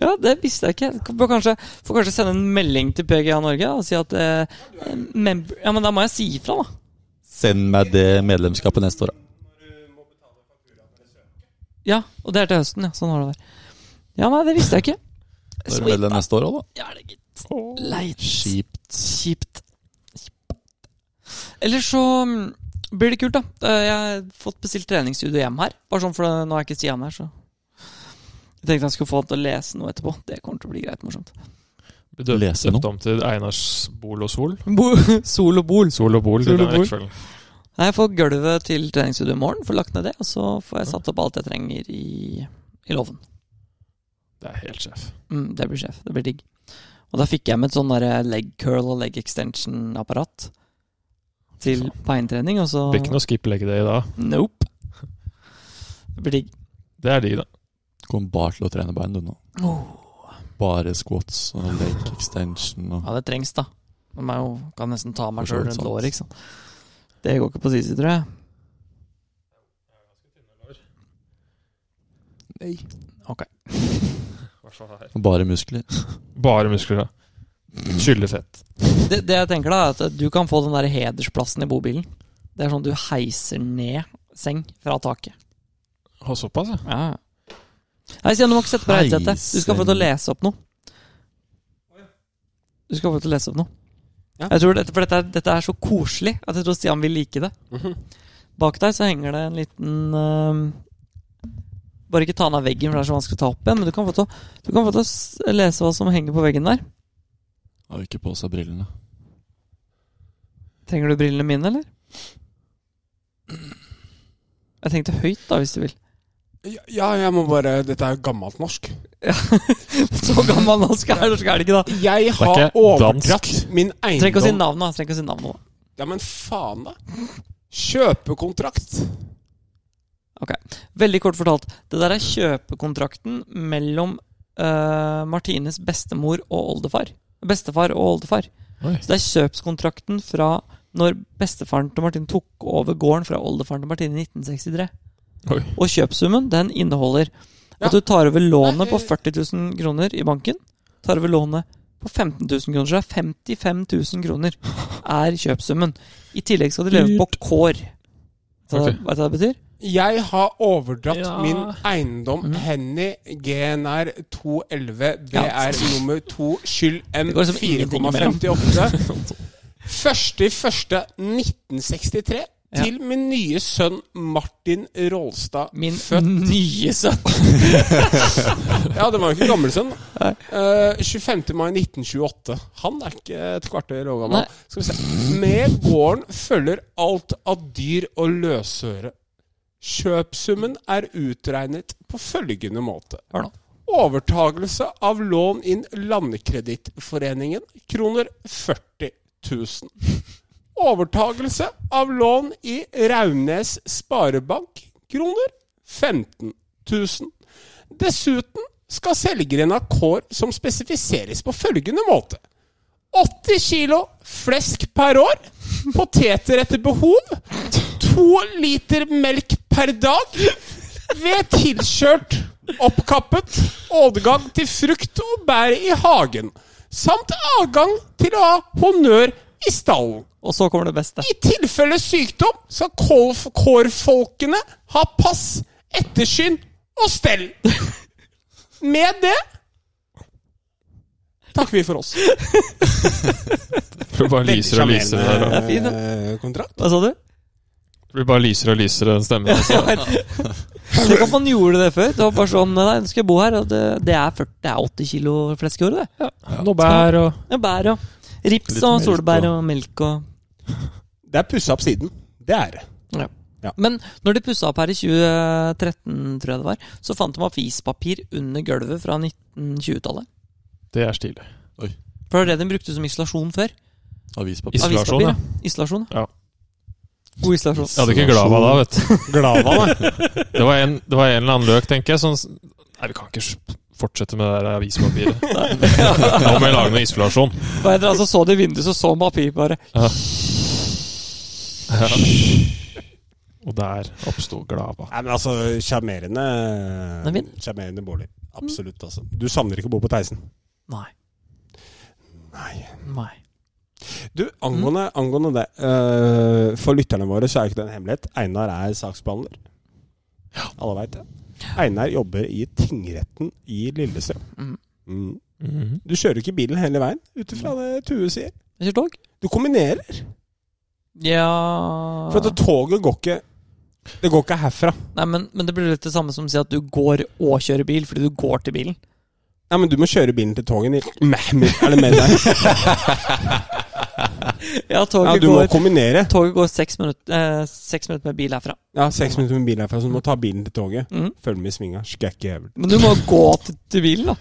Speaker 3: Ja, det visste jeg ikke. Jeg Bør kanskje, får kanskje sende en melding til PGA Norge da, og si at eh, member, Ja, men da må jeg si ifra, da.
Speaker 4: Send meg det medlemskapet neste år, da.
Speaker 3: Ja, og det er til høsten, ja. Sånn har det vært. Ja, nei, det visste jeg ikke.
Speaker 4: Da er du medlem
Speaker 3: da.
Speaker 4: neste år òg, da.
Speaker 3: Ja, det er gitt. Leit.
Speaker 4: Kjipt.
Speaker 3: Kjipt. Eller så mm, blir det kult, da. Eh, Jeg har fått bestilt treningsstudio hjem her. Bare sånn, for det- nå er ikke Stian her, så Jeg tenkte han skulle få han til å lese noe etterpå. Det kommer til å bli greit morsomt.
Speaker 1: Døpt,
Speaker 4: Lese
Speaker 1: døpt
Speaker 4: noe.
Speaker 1: om til Einars Bol og Sol.
Speaker 3: Bo, sol og bol.
Speaker 1: Sol og Bol. i
Speaker 3: Sol og
Speaker 1: den
Speaker 3: Bol.
Speaker 1: rekkefølgen.
Speaker 3: Nei, Jeg får gulvet til treningsstudio i morgen, får lagt ned det. Og så får jeg satt opp alt jeg trenger i, i loven.
Speaker 1: Det er helt sjef.
Speaker 3: Mm, det blir sjef. Det blir digg. Og da fikk jeg med et sånn derre leg curl og leg extension-apparat til beintrening, og så
Speaker 1: Det blir ikke noe skip leg day da.
Speaker 3: Nope. Det blir digg.
Speaker 1: Det er de, da.
Speaker 4: Kom bare til å trene bein, du nå. Bare squats og leg extension og
Speaker 3: Ja, det trengs, da. Man er jo, kan nesten ta meg
Speaker 4: For så
Speaker 3: sjøl
Speaker 4: vidt
Speaker 3: rundt
Speaker 4: sant.
Speaker 3: låret, ikke sant. Det går ikke på sisi, tror jeg.
Speaker 4: Nei.
Speaker 3: Ok.
Speaker 4: Bare muskler.
Speaker 1: Bare muskler, da. Skylder fett.
Speaker 3: Det, det jeg tenker, da, er at du kan få den der hedersplassen i bobilen. Det er sånn du heiser ned seng fra taket.
Speaker 1: Å, såpass, ja.
Speaker 3: Ja. Nei, Stian, du må ikke sette på deg headsetet. Du skal få lov til å
Speaker 4: Heiser-
Speaker 3: lese opp noe. Du skal få lov til å lese opp noe.
Speaker 2: Ja.
Speaker 3: Jeg tror dette, for dette, er- dette er så koselig at jeg tror Stian vil like det.
Speaker 2: Mhm.
Speaker 3: Bak deg så henger det en liten eh, Bare ikke ta den av veggen, for det er så vanskelig å ta opp igjen. Men du kan få til å, du kan få til å s- lese hva som henger på veggen der.
Speaker 4: Har jo ikke på seg brillene.
Speaker 3: Trenger du brillene mine, eller? Jeg tenkte høyt, da, hvis du vil.
Speaker 2: Ja, jeg må bare Dette er jo gammelt norsk.
Speaker 3: Så gammel norsk er norsk, er det ikke, da?
Speaker 2: Jeg
Speaker 1: er
Speaker 2: har
Speaker 1: ikke
Speaker 2: overdratt
Speaker 1: dansk.
Speaker 2: min eiendom
Speaker 3: Trenger ikke å si navnet, da. Trenger ikke å si navnet, da.
Speaker 2: Ja, men faen, da. Kjøpekontrakt.
Speaker 3: Veldig kort fortalt. Det der er kjøpekontrakten mellom eh, Martines bestemor og oldefar. Bestefar og oldefar.
Speaker 1: Oi.
Speaker 3: Så det er kjøpskontrakten fra når bestefaren til Martine tok over gården fra oldefaren til Martine i 1963.
Speaker 1: Oi.
Speaker 3: Og kjøpsummen, den inneholder
Speaker 2: Ja.
Speaker 3: at du tar over lånet
Speaker 2: Nei,
Speaker 3: på
Speaker 2: eh.
Speaker 3: 40 000 kroner i banken. Tar over lånet på 15 000 kroner. Så det er 55 000 kroner er kjøpsummen. I tillegg skal de leve på kår.
Speaker 1: Ok.
Speaker 3: Så Vet du hva det betyr?
Speaker 2: Jeg har overdratt
Speaker 1: Ja.
Speaker 2: min eiendom
Speaker 3: Mhm.
Speaker 2: Henny GNR 211 BR nummer 2 skyld M
Speaker 3: Det går liksom ingenting imellom.
Speaker 2: 4,58. Første i første 1963
Speaker 3: Ja.
Speaker 2: til min nye sønn Martin Rolstad.
Speaker 3: Min
Speaker 2: født
Speaker 3: nye sønn.
Speaker 2: Ja, det var jo ikke gammelsønn.
Speaker 3: Nei.
Speaker 2: Uh, 25. mai 1928. Han er ikke et kvarter år
Speaker 3: Nei.
Speaker 2: gammel. Skal vi se. Med gården følger alt av dyr og løsøre. Kjøpsummen er utregnet på følgende måte.
Speaker 3: Hør nå.
Speaker 2: Overtagelse av lån inn Landkredittforeningen, kroner 40 000. Overtagelse av lån i Raunes Sparebank. Kroner 15 000. Dessuten skal selgeren ha kår som spesifiseres på følgende måte. 80 kilo flesk per år. Poteter etter behov. To liter melk per dag. Ved tilkjørt, oppkappet, adgang til frukt og bær i hagen. Samt adgang til å ha honnør i stallen.
Speaker 3: Og så kommer det beste.
Speaker 2: I tilfelle sykdom skal kål- kårfolkene ha pass, ettersyn og stell. Med det takker vi for oss.
Speaker 1: Det blir bare lyser og lyser der. da.
Speaker 3: Det er fin,
Speaker 2: eh, kontrakt.
Speaker 3: Hva sa du?
Speaker 1: Det blir bare lyser og lyser den stemmen. Altså.
Speaker 3: Tenk om man gjorde det før. Det var bare sånn Nei, nei, du skal bo her. Og det, det, er 40, det er 80 kilo flesk i året, det.
Speaker 1: Noe bær og
Speaker 3: Ja, bær og rips
Speaker 4: Litt
Speaker 3: og
Speaker 4: melk
Speaker 3: solbær
Speaker 4: og-
Speaker 3: og melk og
Speaker 2: Det er pussa opp siden. Det er det.
Speaker 3: ja.
Speaker 2: Ja.
Speaker 3: Men når de pussa opp her i 2013, tror jeg det var, så fant de avispapir under gulvet fra 1920-tallet.
Speaker 1: Det er stilig.
Speaker 3: For det var det de brukte som isolasjon før.
Speaker 4: Avispapir.
Speaker 1: Is- Isolasjon,
Speaker 3: Avispapir,
Speaker 1: ja.
Speaker 3: Isolasjon,
Speaker 1: Ja.
Speaker 3: God isolasjon.
Speaker 1: Jeg hadde ikke Glava da, vet du.
Speaker 2: Glava, da.
Speaker 1: Det var en, det var en eller annen løk, tenker jeg. Sånn, s- nei, vi kan ikke s- fortsette med det der avispapiret. Nå må jeg lage noe isolasjon.
Speaker 3: Hva heter det, altså, så det i vinduet, så så papir bare.
Speaker 1: Ja. Og der oppsto Glava.
Speaker 2: Nei, men altså, sjarmerende
Speaker 3: Den er fin.
Speaker 2: Sjarmerende bolig. Absolutt, altså. Du savner ikke å bo på Theisen?
Speaker 3: Nei.
Speaker 2: Nei.
Speaker 3: Nei. Mm.
Speaker 2: Du, angående, angående det. eh, for lytterne våre så er jo ikke det en hemmelighet. Einar er saksbehandler. Alle veit det. Einar jobber i tingretten i Lillestrøm.
Speaker 3: Mm.
Speaker 2: Mm.
Speaker 1: Mhm.
Speaker 2: Du kjører ikke bilen hele veien, ut ifra det Tue sier.
Speaker 3: Jeg kjører tog.
Speaker 2: Du kombinerer.
Speaker 3: Ja
Speaker 2: For at toget går ikke Det går ikke herfra.
Speaker 3: Nei, men, men det blir litt det samme som å si at du går og kjører bil, fordi du går til bilen.
Speaker 2: Nei, men du må kjøre bilen til toget. i- Mæh, Er det med deg?
Speaker 3: Ja,
Speaker 2: Ja,
Speaker 3: toget,
Speaker 2: du må
Speaker 3: går,
Speaker 2: kombinere.
Speaker 3: toget går seks minutter, eh, seks minutter med bil herfra.
Speaker 2: Ja, seks minutter med bil herfra, så du må ta bilen til toget.
Speaker 3: Mhm.
Speaker 2: Følg med i svinga. Skækki hevel.
Speaker 3: Men du må gå til, til bilen, da.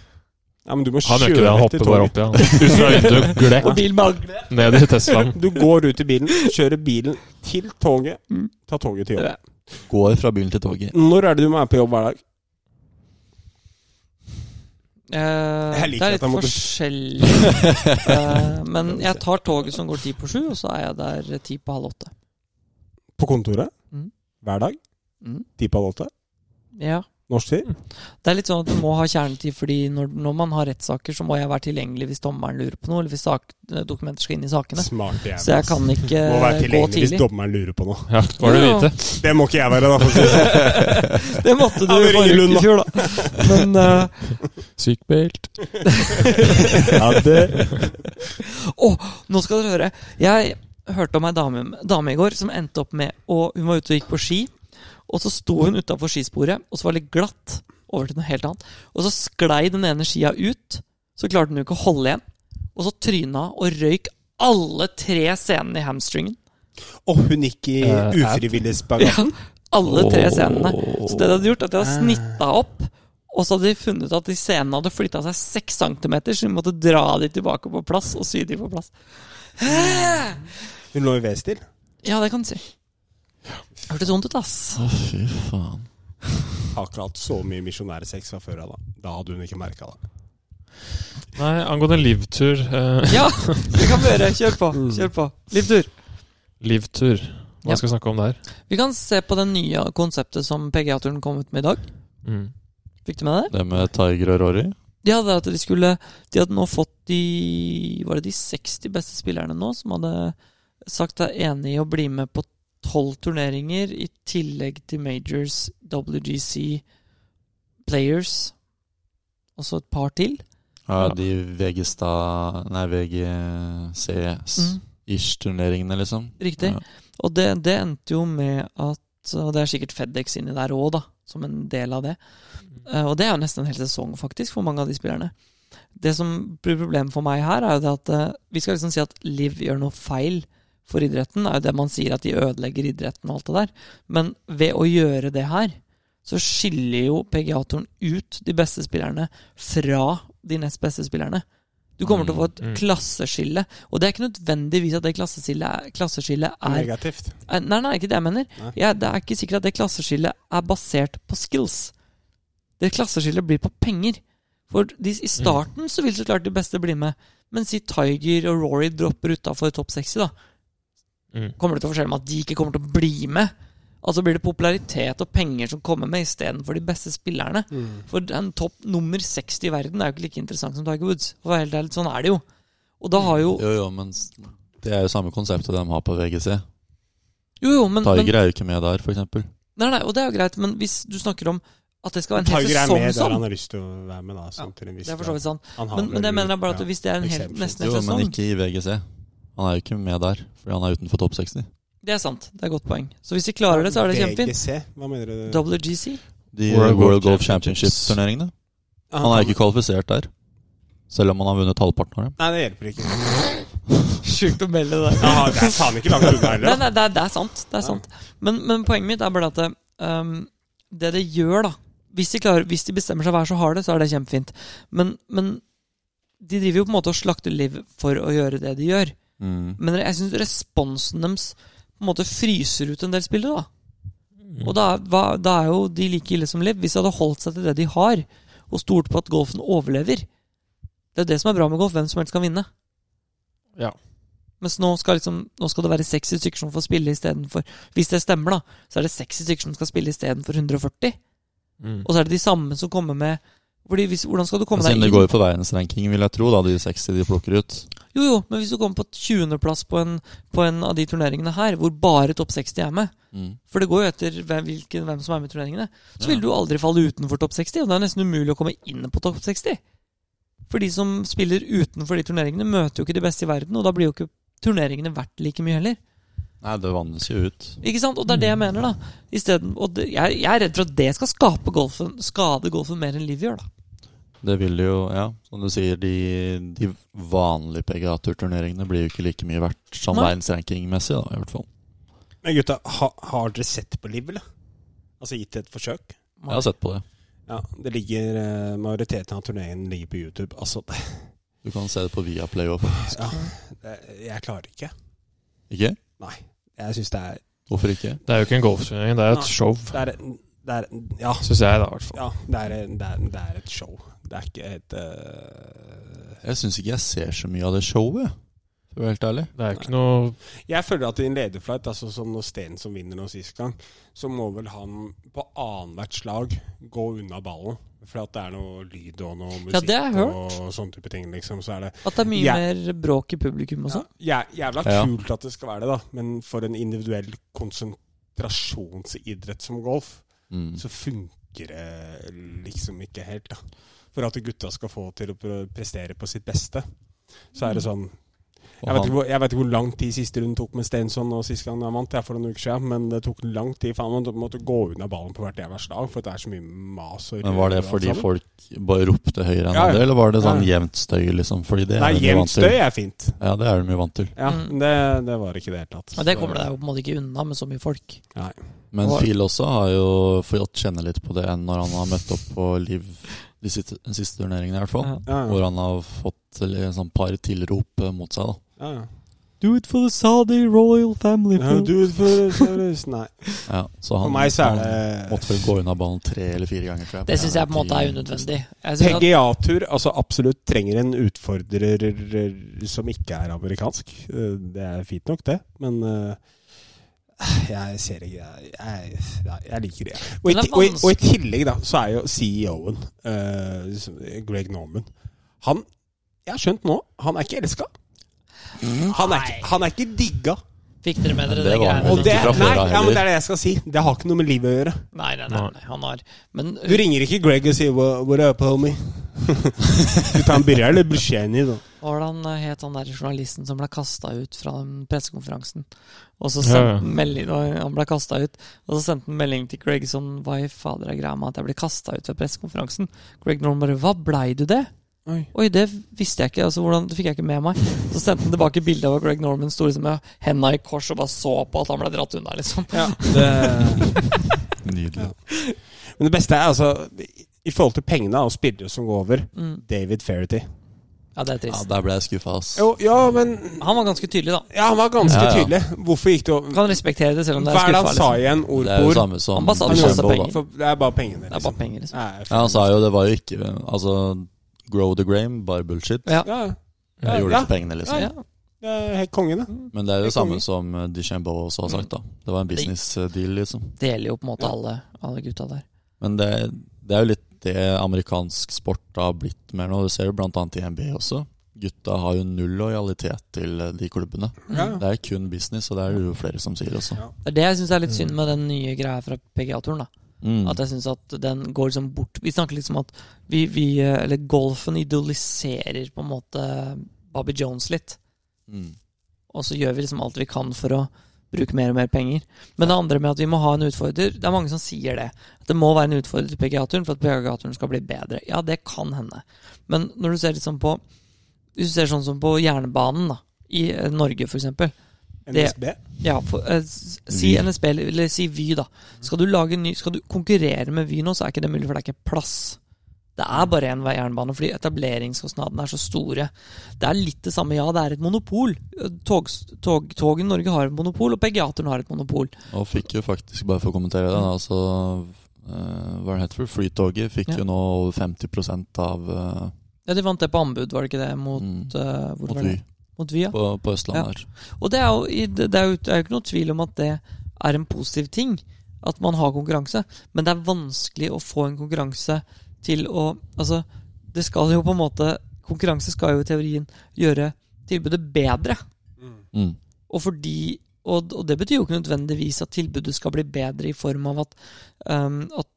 Speaker 2: Ja, men du må
Speaker 1: Han gjør ikke det, han
Speaker 2: kjøre til
Speaker 1: hopper bare opp
Speaker 2: toget.
Speaker 1: igjen. Ut fra vinduet,
Speaker 3: Og
Speaker 1: glekk
Speaker 3: bil med agle.
Speaker 1: ned i Teslaen.
Speaker 2: Du går ut i bilen, kjører bilen til toget,
Speaker 3: Mhm.
Speaker 2: ta toget til jobb.
Speaker 4: Går fra bilen til toget.
Speaker 2: Når er det du må være på jobb hver dag?
Speaker 3: Eh,
Speaker 2: Jeg
Speaker 3: det er
Speaker 2: liker at
Speaker 3: litt
Speaker 2: jeg måtte-
Speaker 3: forskjellig. eh, men jeg tar toget som går ti på sju, og så er jeg der ti på halv åtte.
Speaker 2: På kontoret?
Speaker 3: Mhm.
Speaker 2: Hver dag?
Speaker 3: Mm.
Speaker 2: Ti på halv åtte?
Speaker 3: Ja.
Speaker 2: Norsk tid?
Speaker 3: Det er litt sånn at du må ha kjernetid, fordi når, når man har rettssaker, så må jeg være tilgjengelig hvis dommeren lurer på noe, eller hvis sak, dokumenter skal inn i sakene.
Speaker 2: Smart jævel.
Speaker 3: Så jeg
Speaker 2: ass.
Speaker 3: kan ikke
Speaker 2: altså, Må være
Speaker 3: gå
Speaker 2: tilgjengelig hvis
Speaker 3: tidlig.
Speaker 2: dommeren lurer på noe.
Speaker 1: Ja, var det
Speaker 3: Ja.
Speaker 1: lite?
Speaker 2: Det må ikke jeg være, da. for å si det sånn.
Speaker 3: Det måtte du
Speaker 2: Ja, det
Speaker 3: i forrige
Speaker 2: ringer
Speaker 3: uke i fjor, da. Men, eh,
Speaker 1: Sykbelt.
Speaker 2: Ja, det-
Speaker 3: nå skal dere høre. Jeg hørte om ei dame, dame i går som endte opp med å Hun var ute og gikk på ski, og så sto hun utafor skisporet, og så var det litt glatt over til noe helt annet. Og så sklei den ene skia ut, så klarte hun jo ikke å holde igjen, og så tryna og røyk alle tre scenene i hamstringen.
Speaker 2: Og hun gikk i
Speaker 1: Eh,
Speaker 2: ufrivillig spagat.
Speaker 3: Ja, alle tre
Speaker 4: Åh.
Speaker 3: scenene. Så det de hadde gjort, at de hadde snitta opp, og så hadde de funnet ut at de scenene hadde flytta seg seks centimeter, så de måtte dra de tilbake på plass og sy de på plass.
Speaker 2: Hun lå i V-stil.
Speaker 3: Ja, det kan du si. Hørtes vondt ut, ass.
Speaker 4: Å, fy faen.
Speaker 2: Har ikke hatt så mye misjonærsex fra før av, da. Da hadde hun ikke merka det.
Speaker 1: Nei, angående livtur eh,
Speaker 3: Ja, det kan vi gjøre. Kjør på. Kjør på. Livtur.
Speaker 1: Livtur.
Speaker 3: Ja.
Speaker 1: Hva skal vi snakke om der?
Speaker 3: Vi kan se på det nye konseptet som PGA-turen kom ut med i dag.
Speaker 1: Mm.
Speaker 3: Fikk du med det?
Speaker 4: Det med Tiger og Rory?
Speaker 3: De hadde at de skulle De hadde nå fått de Var det de 60 beste spillerne nå som hadde sagt er enig i å bli med på tolv turneringer i tillegg til Majors, WGC, Players og så et par til?
Speaker 4: Ja,
Speaker 1: Ja.
Speaker 4: de VG-stad Nei, VGCS-ish-turneringene,
Speaker 3: Mm,
Speaker 4: liksom.
Speaker 3: riktig. Og det, det endte jo med at Og det er sikkert Fedex inni der òg, da, som en del av det. Eh, Og det er jo nesten en hel sesong, faktisk, for mange av de spillerne. Det som blir problemet for meg her, er jo det at eh, vi skal liksom si at Liv gjør noe feil for idretten. Det er jo det man sier, at de ødelegger idretten og alt det der. Men ved å gjøre det her, så skiller jo PGA-turen ut de beste spillerne fra de nest beste spillerne. Du kommer til å få et
Speaker 1: Mm.
Speaker 3: klasseskille. Og det er ikke nødvendigvis at det klasseskillet er, klasseskillet er
Speaker 2: Negativt.
Speaker 3: Eh, Nei, nei, ikke det jeg mener.
Speaker 2: Nei.
Speaker 3: Jeg, det er ikke sikkert at det klasseskillet er basert på skills. Det klasseskillet blir på penger. For de, i starten så vil så klart de beste bli med. Men si Tiger og Rory dropper utafor topp 60, da.
Speaker 1: Mm.
Speaker 3: Kommer det til å forskjelle med at de ikke kommer til å bli med? Altså blir det popularitet og penger som kommer med istedenfor de beste spillerne. For en topp nummer 60 i verden er jo ikke like interessant som Tiger Woods. For å være helt ærlig, sånn er det jo. Og da har jo
Speaker 4: Jo, jo, men s- det er jo samme konseptet de har på VGC.
Speaker 3: Jo, jo, men, men
Speaker 4: Tiger er jo ikke med der, f.eks.
Speaker 3: Nei, nei, og det er jo greit, men hvis du snakker om at det skal være en hel
Speaker 2: Tiger er
Speaker 3: sesong
Speaker 2: med der han
Speaker 3: sånn
Speaker 2: har lyst til å være med, da. Sånn, til en viss
Speaker 3: Det er for så vidt sant.
Speaker 2: grad. Han har
Speaker 3: Men, men
Speaker 2: vel-
Speaker 3: det mener jeg bare at hvis det er en hel,
Speaker 2: exceptions.
Speaker 3: nesten
Speaker 4: Jo,
Speaker 3: hel
Speaker 4: men
Speaker 3: sesong
Speaker 4: ikke i VGC. Han er jo ikke med der, fordi han er utenfor topp 60.
Speaker 3: Det er sant. Det er et godt poeng. Så hvis de klarer det, så er det kjempefint.
Speaker 2: VGC, hva mener du?
Speaker 3: WGC?
Speaker 4: De
Speaker 1: World
Speaker 4: World,
Speaker 1: Golf
Speaker 4: Golf
Speaker 1: Championships.
Speaker 4: Championship-turneringene.
Speaker 2: Ah,
Speaker 4: Han er ikke kvalifisert der, selv om han har vunnet halvparten av dem.
Speaker 2: Nei, det hjelper ikke.
Speaker 3: Sjukt å melde det.
Speaker 2: Ja, det er faen ikke langt unna
Speaker 3: Nei,
Speaker 2: heller. da.
Speaker 3: nei, det er, det er sant. Det er sant. Men, men poenget mitt er bare at ehm, det det gjør, da hvis de, klarer, hvis de bestemmer seg hver så har det, så er det kjempefint. Men, men de driver jo på en måte og slakter liv for å gjøre det de gjør.
Speaker 4: Mm.
Speaker 3: Men jeg syns responsen deres på en måte fryser ut en del spillere, da.
Speaker 1: Mm.
Speaker 3: Og da er, hva, da er jo de like ille som Liv, hvis de hadde holdt seg til det de har, og stolt på at golfen overlever. Det er jo det som er bra med golf. Hvem som helst kan vinne.
Speaker 1: Ja.
Speaker 3: Mens nå skal, liksom, nå skal det være 60 stykker som får spille istedenfor Hvis det stemmer, da, så er det 60 stykker som skal spille istedenfor 140.
Speaker 1: Mm.
Speaker 3: Og så er det de samme som kommer med fordi hvis, Hvordan skal du komme deg
Speaker 4: Siden Altså, det
Speaker 3: inn?
Speaker 4: går jo for verdensrankingen, vil jeg tro, da, de 60 de plukker ut.
Speaker 3: Jo, jo, men hvis du kommer på 20.-plass på, en- på en av de turneringene her, hvor bare topp 60 er med,
Speaker 4: Mm.
Speaker 3: For det går jo etter hvem, hvilken, hvem som er med i turneringene. Så
Speaker 4: Ja.
Speaker 3: vil du jo aldri falle utenfor topp 60, og det er nesten umulig å komme inn på topp 60. For de som spiller utenfor de turneringene, møter jo ikke de beste i verden, og da blir jo ikke turneringene verdt like mye heller.
Speaker 4: Nei, det vannes jo ut.
Speaker 3: Ikke sant? Og det er det jeg mener, da. I stedet, og det, jeg, jeg er redd for at det skal skape golfen, skade golfen mer enn Liv gjør, da.
Speaker 4: Det vil jo, ja, som du sier, de, de vanlige PGA-turneringene blir jo ikke like mye verdt som
Speaker 3: Nei.
Speaker 4: verdensrankingmessig, da, i hvert fall.
Speaker 2: Men gutta, ha, har dere sett på liv, eller? Altså gitt det et forsøk?
Speaker 4: Jeg har sett på det.
Speaker 2: Ja, det ligger eh, Majoriteten av turneringen ligger på YouTube. Altså, det,
Speaker 4: Du kan se det på Viaplay òg.
Speaker 2: ja, det, jeg klarer ikke.
Speaker 4: Ikke?
Speaker 2: Nei. Jeg syns det er
Speaker 4: Hvorfor ikke?
Speaker 1: Det er jo ikke en golfturnering, det er jo et
Speaker 2: Nei.
Speaker 1: show.
Speaker 2: Det er, det er ja.
Speaker 1: Syns jeg, da, i hvert fall.
Speaker 2: ja det, er, det, er, det er et show. Det er ikke et eh,
Speaker 4: Jeg syns ikke jeg ser så mye av det showet, for å være helt ærlig.
Speaker 1: Det er jo ikke noe
Speaker 2: Jeg føler at i en lederflight, altså som når Sten som vinner nå sist gang, så må vel han på annethvert slag gå unna ballen. For at det er noe lyd og noe musikk
Speaker 3: Ja, det har jeg
Speaker 2: og sånne type ting, liksom. Så er det
Speaker 3: At det er mye
Speaker 2: Ja.
Speaker 3: mer bråk i publikum og sånn.
Speaker 2: ja, jæ- jævla
Speaker 4: Ja.
Speaker 2: kult at det skal være det, da. Men for en individuell konsentrasjonsidrett som golf,
Speaker 4: Mm.
Speaker 2: så funker det liksom ikke helt, da. For at gutta skal få til å pre- prestere på sitt beste, så
Speaker 3: Mm.
Speaker 2: er det sånn
Speaker 4: Og
Speaker 2: Jeg vet,
Speaker 4: han-
Speaker 2: ikke hvor, jeg vet ikke hvor lang tid siste runde tok med Stensson og sist gang han vant. Det er for noen uker siden, men det tok lang tid. Faen, man måtte gå unna ballen på hvert jævla slag, for det er så mye mas og
Speaker 4: Men Var det
Speaker 2: rør og alt
Speaker 4: fordi
Speaker 2: sammen.
Speaker 4: folk bare ropte høyere enn
Speaker 2: Ja, ja.
Speaker 4: andre, eller var det sånn
Speaker 2: Ja,
Speaker 4: jevnt støy, liksom? Fordi det
Speaker 2: Nei,
Speaker 4: er de jo
Speaker 2: jevnt
Speaker 4: vant til.
Speaker 2: støy er fint.
Speaker 4: Ja, det er de jo vant til.
Speaker 2: Ja,
Speaker 3: Mm.
Speaker 2: men det, det var ikke det i det hele tatt.
Speaker 3: Men det kommer deg jo på en måte ikke unna med så mye folk.
Speaker 4: Men
Speaker 3: Og-
Speaker 4: Phil også har jo fått kjenne litt på det enn når han har møtt opp på Liv de siste, de siste turneringene, i hvert fall.
Speaker 3: Ja.
Speaker 2: Ja, ja.
Speaker 4: Hvor han har fått eller, sånn par tilrop eh, mot seg, da.
Speaker 2: Ja, ja.
Speaker 3: Do it for the Saudi royal family.
Speaker 2: Ja, du, for, for, nei.
Speaker 4: Ja, så
Speaker 2: For
Speaker 4: han,
Speaker 2: meg så
Speaker 4: han
Speaker 2: er det
Speaker 4: måtte vel gå unna ballen tre eller fire ganger, tror jeg.
Speaker 3: Det syns jeg på en måte er unødvendig. Jeg synes Sånn at-
Speaker 2: PGA-tur altså absolutt trenger en utfordrer som ikke er amerikansk. Eh, Det er fint nok, det, men eh, jeg ser ikke Jeg, jeg, nei, jeg liker det. Og i,
Speaker 3: Men det er
Speaker 2: ti- og, i, og i
Speaker 3: vanskelig.
Speaker 2: tillegg da, så er jo CEO-en, eh, som- Greg Norman Han Jeg har skjønt nå, han er ikke elska. Han, er ikke- han er ikke digga.
Speaker 3: Fikk dere med dere
Speaker 4: Det
Speaker 3: det,
Speaker 4: var
Speaker 3: greiene?
Speaker 4: vel
Speaker 2: Og
Speaker 3: med-
Speaker 2: det,
Speaker 4: ikke fra før av
Speaker 2: nei, ja, men
Speaker 4: heller.
Speaker 2: det er det jeg skal si. Det har ikke noe med livet å gjøre.
Speaker 3: Nei, nei, nei, nei, han har Men øh,
Speaker 2: Du ringer ikke Greg og sier "Wha- 'what up, homie'? du tar en birra eller bruscheni, da.
Speaker 3: hvordan het han der journalisten som ble kasta ut fra den pressekonferansen? Og
Speaker 1: Ja,
Speaker 3: så sendte
Speaker 1: ja.
Speaker 3: han melding, og han ble kastet ut, og så sendte han melding til Greg sånn Hva i fader er greia med at jeg ble kasta ut fra pressekonferansen? Greg Norman bare Hva blei du det?
Speaker 2: Oi.
Speaker 3: Oi, det visste jeg ikke. altså hvordan, Det fikk jeg ikke med meg. Så sendte han tilbake bilde av Greg Norman sto liksom med henda i kors og bare så på at han ble dratt unna, liksom.
Speaker 2: Ja, det...
Speaker 4: Nydelig.
Speaker 2: Ja. Men det beste er altså I forhold til pengene og spillere som går over
Speaker 3: Mm.
Speaker 2: David Ferrity.
Speaker 3: Ja, det er
Speaker 4: Ja,
Speaker 3: trist.
Speaker 4: der ble jeg skuffa, ass.
Speaker 2: Jo, ja, men
Speaker 3: Han var ganske tydelig, da.
Speaker 2: Ja, han var ganske
Speaker 4: Ja, ja.
Speaker 2: tydelig. Hvorfor gikk det
Speaker 3: Du
Speaker 2: over?
Speaker 3: kan respektere det selv om det
Speaker 2: Hva
Speaker 3: er
Speaker 2: er det
Speaker 3: skuffa.
Speaker 2: han sa
Speaker 3: Liksom.
Speaker 2: igjen? Ord
Speaker 4: Det er
Speaker 2: på
Speaker 4: jo
Speaker 2: ord?
Speaker 4: samme som
Speaker 3: Ambassaden
Speaker 2: Han
Speaker 3: koster
Speaker 4: Kjembo,
Speaker 2: gjorde
Speaker 3: penger.
Speaker 4: da.
Speaker 2: For det er bare pengene.
Speaker 3: Det er bare penger, liksom.
Speaker 2: Nei,
Speaker 4: Ja, han sa jo det var jo ikke Altså, grow the grain, bare bullshit.
Speaker 3: Ja.
Speaker 2: ja, ja.
Speaker 4: Jeg gjorde
Speaker 2: Ja.
Speaker 4: det for pengene, liksom.
Speaker 3: Ja,
Speaker 2: Det er helt konge, det.
Speaker 4: Men det er jo
Speaker 2: Det
Speaker 4: det samme
Speaker 2: kommer.
Speaker 4: som eh, Duchambeau også har sagt, da. Det
Speaker 3: Mm.
Speaker 4: var en business eh, deal, liksom.
Speaker 3: det gjelder jo på en måte
Speaker 2: Ja.
Speaker 3: alle, alle gutta der.
Speaker 4: Men det, det er jo litt det amerikansk sport har blitt mer nå. Du ser jo blant annet i NBA også. Gutta har jo null lojalitet til eh, de klubbene.
Speaker 2: Ja.
Speaker 3: Mm.
Speaker 4: Det er kun business, og det er det jo flere som sier også.
Speaker 2: Ja.
Speaker 3: Det er det jeg syns er litt synd med den nye greia fra PGA-turen. da
Speaker 4: Mm.
Speaker 3: At jeg synes at den går liksom bort Vi snakker liksom at vi, vi eh, Eller golfen idoliserer på en måte Bobby Jones litt.
Speaker 4: Mm.
Speaker 3: Og så gjør vi liksom alt vi kan for å bruke mer og mer penger. Men det andre med at vi må ha en utfordrer Det er mange som sier det. At det må være en utfordrer til PGA-turen for at PGA-turen skal bli bedre. Ja, det kan hende. Men når du ser liksom på Hvis du ser sånn som på jernbanen da i eh, Norge, for eksempel. Det-
Speaker 2: NSB.
Speaker 3: Ja, for, eh, s- si
Speaker 4: Vy.
Speaker 3: NSB, eller, eller si Vy, da. Skal du, lage en ny, skal du konkurrere med Vy nå, så er ikke det mulig, for det er ikke plass. Det er bare én vei jernbane, fordi etableringskostnadene er så store. Det er litt det samme, ja, det er et monopol. Tog, tog, togen i Norge har et monopol, og Pegiateren har et monopol.
Speaker 4: Og fikk jo faktisk, bare for å kommentere det, da, altså eh, Hva er det heter for? Flytoget fikk
Speaker 3: Ja.
Speaker 4: jo nå over 50 av eh,
Speaker 3: Ja, De vant det på anbud, var det ikke det, mot
Speaker 4: mm,
Speaker 3: eh, hvor
Speaker 4: mot
Speaker 3: var
Speaker 4: Vy
Speaker 3: det? Mot Vy, ja.
Speaker 4: på, på Østlandet
Speaker 3: Ja.
Speaker 4: her.
Speaker 3: Og det er, jo, i- det det er jo det er jo ikke noe tvil om at det er en positiv ting at man har konkurranse, men det er vanskelig å få en konkurranse til å Altså, det skal jo på en måte Konkurranse skal jo i teorien gjøre tilbudet bedre,
Speaker 2: Mm.
Speaker 4: Mm.
Speaker 3: og fordi og, og det betyr jo ikke nødvendigvis at tilbudet skal bli bedre i form av at, ehm, at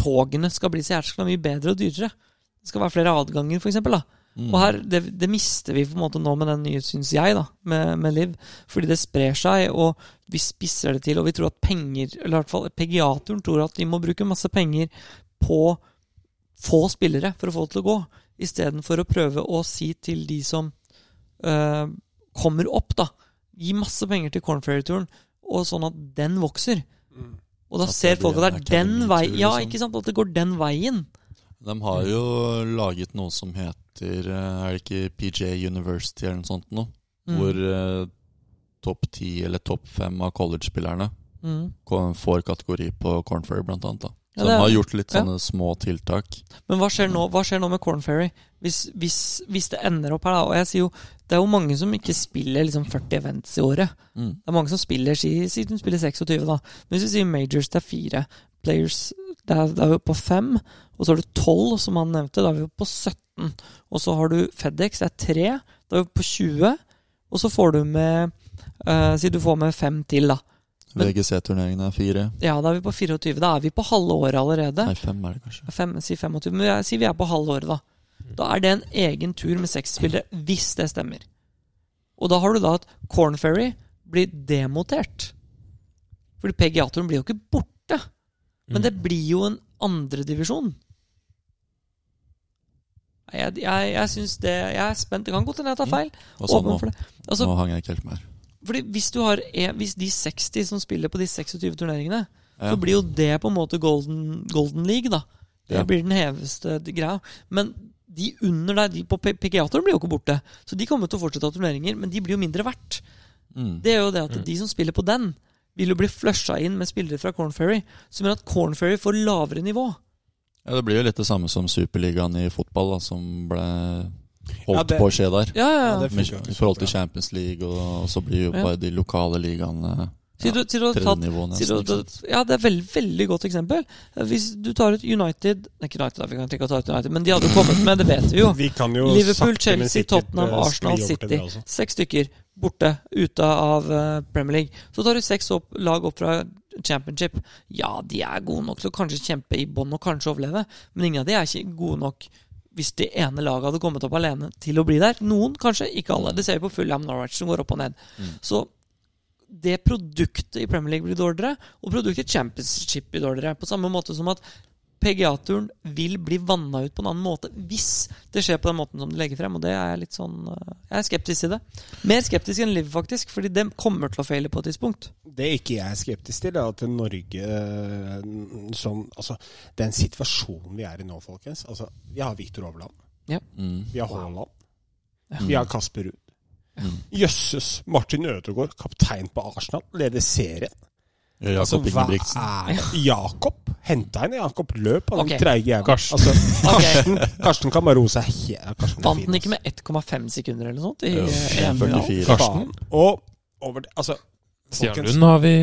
Speaker 3: togene skal bli så jæskla mye bedre og dyrere. Det skal være flere adganger, for eksempel, da.
Speaker 4: Mm.
Speaker 3: Og her, det, det mister vi på en måte nå med den nye, syns jeg, da, med, med Liv. Fordi det sprer seg, og vi spisser det til, og vi tror at penger Eller i hvert fall PGA-turen tror at de må bruke masse penger på få spillere for å få det til å gå, istedenfor å prøve å si til de som eh, kommer opp, da Gi masse penger til Cornfairy-turen, og sånn at den vokser.
Speaker 2: Mm.
Speaker 3: Og da
Speaker 4: At det
Speaker 3: ser folk
Speaker 4: blir
Speaker 3: at
Speaker 4: en
Speaker 3: det er den
Speaker 4: akademitur,
Speaker 3: veien Ja,
Speaker 4: liksom.
Speaker 3: ikke sant? At det går den veien.
Speaker 4: De har jo laget noe som heter eh, Er det ikke PJ University eller noe sånt nå?
Speaker 3: Mm.
Speaker 4: Hvor eh, topp ti eller topp fem av college-spillerne
Speaker 3: Mm.
Speaker 4: ko- får kategori på Cornfairy, blant annet. Da.
Speaker 3: Ja,
Speaker 4: Så
Speaker 3: det
Speaker 4: de
Speaker 3: er-
Speaker 4: har gjort litt
Speaker 3: ja.
Speaker 4: sånne små tiltak.
Speaker 3: Men hva skjer nå, hva skjer nå med Corn Ferry? Hvis, hvis, hvis det ender opp her, da. Og jeg sier jo det er jo mange som ikke spiller liksom 40 events i året.
Speaker 4: Mm.
Speaker 3: Det er mange som spiller si, si de spiller 26, da. Men hvis vi sier majors, det er fire. Players, det er, da er vi oppe på fem. Og så har du 12, som han nevnte. Da er vi oppe på 17. Og så har du Fedex, det er tre. Da er vi oppe på 20. Og så får du med eh, Si du får med fem til, da. Men-
Speaker 4: VGC-turneringene er fire.
Speaker 3: Ja, da er vi på 24. Da er vi på halve året allerede.
Speaker 4: Nei, fem er det kanskje.
Speaker 3: Fem, si 25, men jeg sier vi er på halvåret, da. Da er det en egen tur med seks spillere, hvis det stemmer. Og da har du da at Corn Ferry blir demotert. Fordi PGA-turen blir jo ikke borte, men
Speaker 1: Mm.
Speaker 3: det blir jo en andredivisjon. Jeg, jeg, jeg syns det Jeg er spent. Det kan godt hende jeg tar feil.
Speaker 4: Og sånn
Speaker 3: Åpen
Speaker 4: nå.
Speaker 3: for det. Altså,
Speaker 4: nå hang jeg ikke helt med her.
Speaker 3: fordi hvis, du har, en- hvis de 60 som spiller på de 26 turneringene,
Speaker 4: Ja.
Speaker 3: så blir jo det på en måte Golden, golden League, da. Det
Speaker 4: Ja.
Speaker 3: blir den heveste greia. Men de under der, de på P- PGA-turen, blir jo ikke borte. Så de kommer til å fortsette å ha turneringer, men de blir jo mindre verdt.
Speaker 4: Mm.
Speaker 3: Det er jo det at
Speaker 1: Mm.
Speaker 3: de som spiller på den, vil jo bli flusha inn med spillere fra Corn Ferry, som gjør at Corn Ferry får lavere nivå.
Speaker 4: ja, det blir jo litt det samme som Superligaen i fotball, da, som ble holdt
Speaker 2: Ja, det-
Speaker 4: på å skje der.
Speaker 3: Ja, ja,
Speaker 2: Ja,
Speaker 3: ja.
Speaker 2: det-
Speaker 4: Med,
Speaker 2: funker jo ikke
Speaker 4: I
Speaker 2: så
Speaker 4: forhold til
Speaker 2: bra.
Speaker 4: Champions League, og, og så blir jo
Speaker 3: Ja.
Speaker 4: bare de lokale ligaene
Speaker 3: Si du, si du har tatt
Speaker 4: tredjenivå,
Speaker 3: Sier
Speaker 4: nesten.
Speaker 3: du-
Speaker 4: Ikke sant?
Speaker 3: Ja, det er veldig, veldig godt eksempel. Hvis du tar ut United Nei, ikke United, da, vi kan ikke ta ut United, men de hadde jo kommet med, det vet vi jo.
Speaker 2: Vi kan jo
Speaker 3: Liverpool,
Speaker 2: sakte, men
Speaker 3: Chelsea,
Speaker 2: sikkert,
Speaker 3: Tottenham,
Speaker 2: eh,
Speaker 3: Arsenal,
Speaker 2: skli over til
Speaker 3: City.
Speaker 2: det også.
Speaker 3: Seks stykker borte, ute av eh, Premier League. Så tar du seks opp, lag opp fra Championship. Ja, de er gode nok til å kanskje kjempe i bånn og kanskje overleve, men ingen av de er ikke gode nok hvis det ene laget hadde kommet opp alene til å bli der. Noen, kanskje. Ikke alle. Det ser vi på Fulham Norwich, som går opp og ned.
Speaker 4: Mm.
Speaker 3: Så det produktet i Premier League blir dårligere, og produktet i Championship blir dårligere. På samme måte som at PGA-turen vil bli vanna ut på en annen måte hvis det skjer på den måten som de legger frem. Og det er jeg litt sånn eh, Jeg er skeptisk til det. Mer skeptisk enn Liv, faktisk, fordi det kommer til å feile på et tidspunkt.
Speaker 2: Det ikke jeg er skeptisk til, er at Norge eh, sånn, altså, Den situasjonen vi er i nå, folkens altså, Vi har Viktor Overland,
Speaker 4: Mm.
Speaker 2: vi har Haaland, Vi har Kasper Ruud. Jøsses! Martin Ødegaard, kaptein på Arsenal, leder serien.
Speaker 4: Jakob
Speaker 2: Altså, hva
Speaker 4: Ingebrigtsen.
Speaker 2: er Jakob? Henta inn Jakob Løp, han
Speaker 3: Ok.
Speaker 2: okay. treige jævelen.
Speaker 1: Karsten.
Speaker 2: Altså,
Speaker 3: Ok.
Speaker 2: Karsten, Karsten Kamarose er he- ja, Karsten er
Speaker 3: Vant
Speaker 2: fin,
Speaker 3: den ikke
Speaker 2: altså.
Speaker 3: med 1,5 sekunder eller noe sånt? I,
Speaker 4: Jo,
Speaker 3: eh, EM?
Speaker 4: 44.
Speaker 1: Karsten.
Speaker 2: Faen. Og over det, altså
Speaker 1: Stian
Speaker 2: folkens,
Speaker 1: Lund har vi.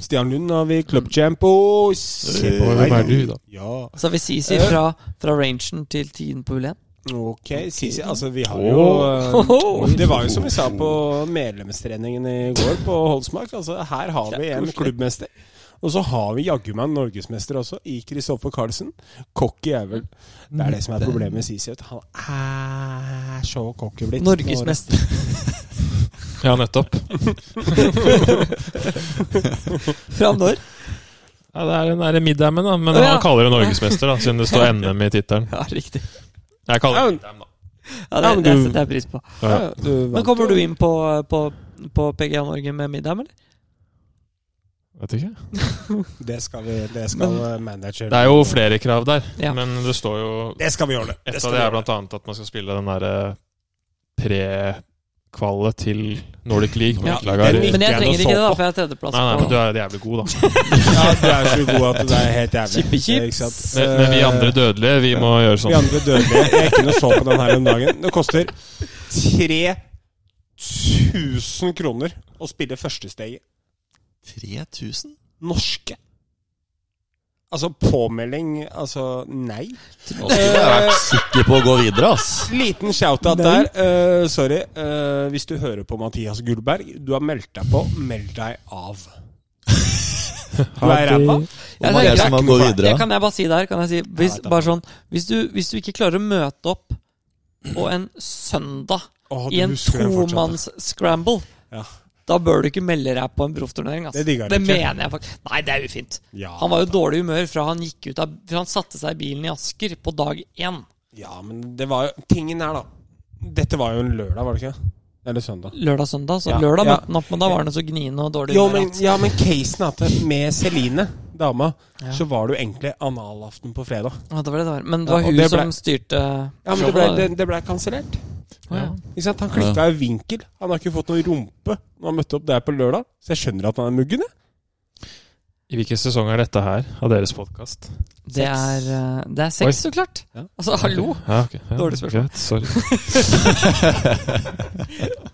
Speaker 2: Stian Lund har vi, Club Champ og Se
Speaker 1: på hvem er du, da.
Speaker 2: Ja,
Speaker 3: Så vi Sisi fra, fra rangen til tiden på U1.
Speaker 2: ok. Sisi, altså vi har
Speaker 1: Åh.
Speaker 2: jo eh, Det var jo som vi sa på medlemstreningen i går på Holsmark. Altså her har vi en klubbmester. Og så har vi jaggu meg en norgesmester også, i Kristoffer Carlsen. Cocky jævel. Det er det som er problemet med Sisi. vet du. Han er så cocky blitt.
Speaker 3: Norgesmester.
Speaker 1: Ja, nettopp.
Speaker 3: Fra når?
Speaker 1: Ja, det er den derre middammen, da. Men
Speaker 3: Å, ja.
Speaker 1: han kaller det norgesmester, da, siden det står NM i tittelen.
Speaker 3: Ja, riktig.
Speaker 1: Jeg kaller det
Speaker 2: Ja, men-
Speaker 1: middam, da.
Speaker 3: Ja, det,
Speaker 2: Ja, men
Speaker 3: det
Speaker 2: du-
Speaker 3: setter jeg pris på.
Speaker 1: Ja,
Speaker 2: Ja, du vant
Speaker 3: Men kommer
Speaker 2: jo.
Speaker 3: du inn på, på, på PGA Norge med middag, eller?
Speaker 1: Vet ikke.
Speaker 2: Det skal vi det skal eh, manager
Speaker 1: Det er jo flere krav der,
Speaker 3: Ja.
Speaker 1: men det står jo
Speaker 2: Det skal vi ordne.
Speaker 1: Et
Speaker 2: Det
Speaker 1: av
Speaker 2: skal
Speaker 1: det
Speaker 2: vi
Speaker 1: er
Speaker 2: ordne.
Speaker 1: blant annet at man skal spille den derre pre-kvalet til Nordic League.
Speaker 4: Ja,
Speaker 1: Nordic League
Speaker 2: den
Speaker 1: er-
Speaker 2: gikk
Speaker 1: nei,
Speaker 3: Men jeg
Speaker 2: jeg
Speaker 3: trenger
Speaker 2: noe
Speaker 3: ikke det, da,
Speaker 2: så på.
Speaker 3: for jeg er tredjeplass.
Speaker 1: nei, men
Speaker 3: på
Speaker 1: du er jævlig god, da.
Speaker 2: Ja, du er så god at det er helt jævlig.
Speaker 3: Chippe chips.
Speaker 2: Ikke sant?
Speaker 1: Men, men vi andre dødelige, vi må gjøre
Speaker 2: Vi
Speaker 1: sånn.
Speaker 2: andre dødelige. Jeg ikke noe så på den her om dagen. Det koster 3000 kroner å spille førstesteget.
Speaker 4: 3000?
Speaker 2: Norske. Altså påmelding Altså, nei.
Speaker 4: Nå skulle jeg vært sikker på å gå videre, ass.
Speaker 2: Liten shout-out der. Eh, sorry. Eh, hvis du hører på Mathias Gullberg, du har meldt deg på. Meld deg av. Du er ræva.
Speaker 4: Hvor mange er det som har gått videre?
Speaker 3: Det kan jeg bare si der. Kan jeg si, hvis,
Speaker 2: vet jeg.
Speaker 3: bare sånn, hvis, du, hvis du ikke klarer å møte opp på en søndag
Speaker 2: Å, du
Speaker 3: i en
Speaker 2: husker den fortsatt, ja.
Speaker 3: tomanns-scramble,
Speaker 2: Ja.
Speaker 3: da bør du ikke melde deg på en proffturnering. ass.
Speaker 2: Det digger han
Speaker 3: det
Speaker 2: ikke.
Speaker 3: mener jeg faktisk. Nei, det er ufint.
Speaker 2: Ja.
Speaker 3: Han var jo i dårlig humør fra han gikk ut av Fra han satte seg i bilen i Asker på dag én.
Speaker 2: Ja, men det var jo Tingen er, da Dette var jo en lørdag, var det ikke? Eller søndag.
Speaker 3: Lørdag-søndag. Så
Speaker 2: Ja,
Speaker 3: lørdag
Speaker 2: ja.
Speaker 3: møtte han opp, men da var han jo så gniende og dårlig.
Speaker 2: Jo,
Speaker 3: humør
Speaker 2: men,
Speaker 3: at-
Speaker 2: ja, men casen er at det- med Celine, dama,
Speaker 3: Ja.
Speaker 2: så var det jo egentlig analaften på fredag.
Speaker 3: Ja, det var det det var. Men det
Speaker 2: Ja,
Speaker 3: var
Speaker 2: og
Speaker 3: hun
Speaker 2: det ble-
Speaker 3: som styrte
Speaker 2: Ja, men Det ble, det, det ble kansellert.
Speaker 3: Å, ja.
Speaker 2: Ikke sant? Han klikka i vinkel. Han har ikke fått noen rumpe når han møtte opp der på lørdag, så jeg skjønner at han er muggen. jeg.
Speaker 1: I hvilken sesong er dette her, av deres podkast?
Speaker 3: Det er, eh, det er sex, så klart.
Speaker 2: Ja.
Speaker 3: Altså, hallo.
Speaker 1: Ja, ok. ja,
Speaker 3: Dårlig spørsmål.
Speaker 1: Greit, sorry.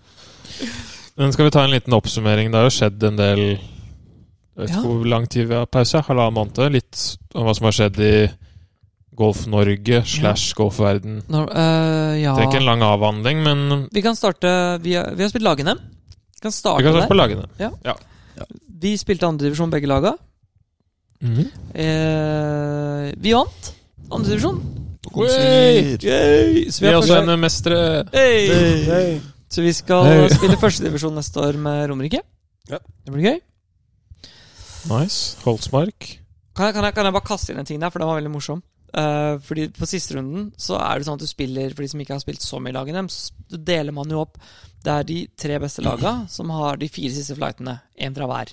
Speaker 1: Men skal vi ta en liten oppsummering? Det har jo skjedd en del Jeg vet
Speaker 3: Ja.
Speaker 1: ikke hvor lang tid vi har pause. Halvannen måned. Litt om hva som har skjedd i Golf-Norge slash golfverden.
Speaker 3: Nå, eh, ja
Speaker 1: Trenger ikke en lang avhandling, men
Speaker 3: Vi kan starte Vi har, vi har spilt lagene. Vi kan
Speaker 1: vi
Speaker 3: starte
Speaker 1: kan starte
Speaker 3: der.
Speaker 1: på lagene.
Speaker 3: Vi spilte andredivisjon, begge laga. Mhm. Eh, vi vant andredivisjon.
Speaker 4: Konsert.
Speaker 1: Vi er også en mestere.
Speaker 3: Hey!
Speaker 2: Hey.
Speaker 3: Så vi skal
Speaker 1: Hey.
Speaker 3: spille førstedivisjon neste år med Romerike.
Speaker 2: Ja.
Speaker 3: Det blir gøy.
Speaker 1: Nice. Holsmark.
Speaker 3: Kan jeg, kan, jeg, kan jeg bare kaste inn en ting der, for den var veldig morsom. Eh, fordi På siste runden så er det sånn at du spiller for de som ikke har spilt så mye lag i dem, så du deler man jo opp. Det er de tre beste laga som har de fire siste flightene. Én fra hver.